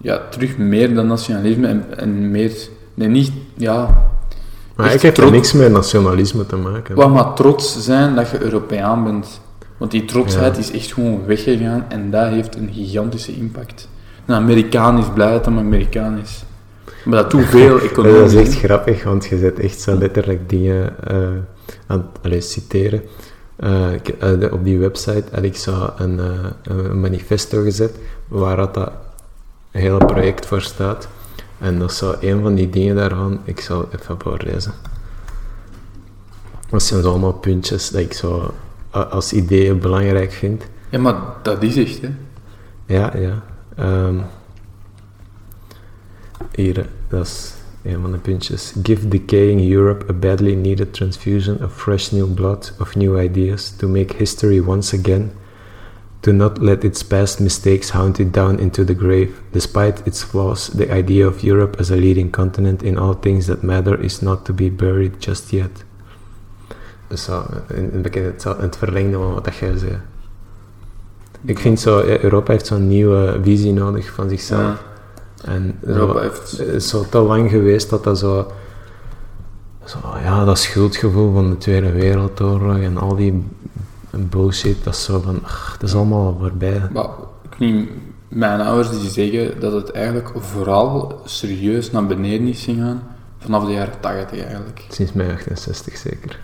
[SPEAKER 2] Ja, terug meer dan nationalisme en, en meer... Nee, niet... Ja,
[SPEAKER 4] Maar
[SPEAKER 2] Echt
[SPEAKER 4] ik heb er
[SPEAKER 2] trots-
[SPEAKER 4] niks met nationalisme te maken.
[SPEAKER 2] Wat maar trots zijn dat je Europeaan bent. Want die trotsheid
[SPEAKER 4] Ja.
[SPEAKER 2] is echt gewoon weggegaan en dat heeft een gigantische impact. Een Amerikaan is blij dat hij een Amerikaan is. Maar dat doet veel
[SPEAKER 4] Ja, dat
[SPEAKER 2] economisch.
[SPEAKER 4] is echt grappig, want je zet echt zo letterlijk dingen eh, aan het allee, citeren. Eh, ik- eh, de- op die website had ik zo een, eh, een manifesto gezet waar dat, dat hele project voor staat. En dat is zo een van die dingen daarvan. Ik zal het even voorlezen. Dat zijn zo allemaal puntjes dat ik zo a- als ideeën belangrijk vind.
[SPEAKER 2] Ja, maar dat is echt, hè.
[SPEAKER 4] Ja, ja. Ehm, hier, eh, dat is een van de puntjes. Give decaying Europe a badly needed transfusion of fresh new blood, of new ideas, to make history once again. Do not let its past mistakes hound it down into the grave. Despite its flaws, the idea of Europe as a leading continent in all things that matter is not to be buried just yet. Dus zo, in, in, bekende- het, het verlengde van wat dat jij zei. Ik vind zo, ja, e, Europa heeft zo'n nieuwe visie nodig van zichzelf.
[SPEAKER 2] Ja,
[SPEAKER 4] En zo-
[SPEAKER 2] Europa heeft...
[SPEAKER 4] het is Eh, zo te lang geweest dat dat zo, zo... Ja, dat schuldgevoel van de Tweede Wereldoorlog en al die bullshit, dat is zo van... ach, het is allemaal al voorbij.
[SPEAKER 2] Maar, ik niet, mijn ouders die zeggen dat het eigenlijk vooral serieus naar beneden is gegaan vanaf de jaren 80 eigenlijk.
[SPEAKER 4] Sinds mijn 68 zeker.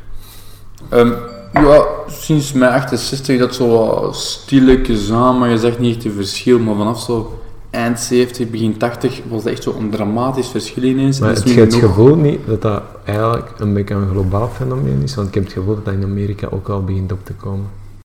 [SPEAKER 2] Ehm, ja, sinds mijn 68 dat zo wat stilletjes aan, maar je zegt niet echt een verschil. Maar vanaf zo eind 70, begin 80 was dat echt zo'n dramatisch verschil ineens.
[SPEAKER 4] Maar
[SPEAKER 2] en
[SPEAKER 4] het,
[SPEAKER 2] dat is
[SPEAKER 4] je
[SPEAKER 2] nu
[SPEAKER 4] hebt het
[SPEAKER 2] nog-
[SPEAKER 4] gevoel niet dat dat eigenlijk een beetje een globaal fenomeen is, want ik heb het gevoel dat dat in Amerika ook al begint op te komen.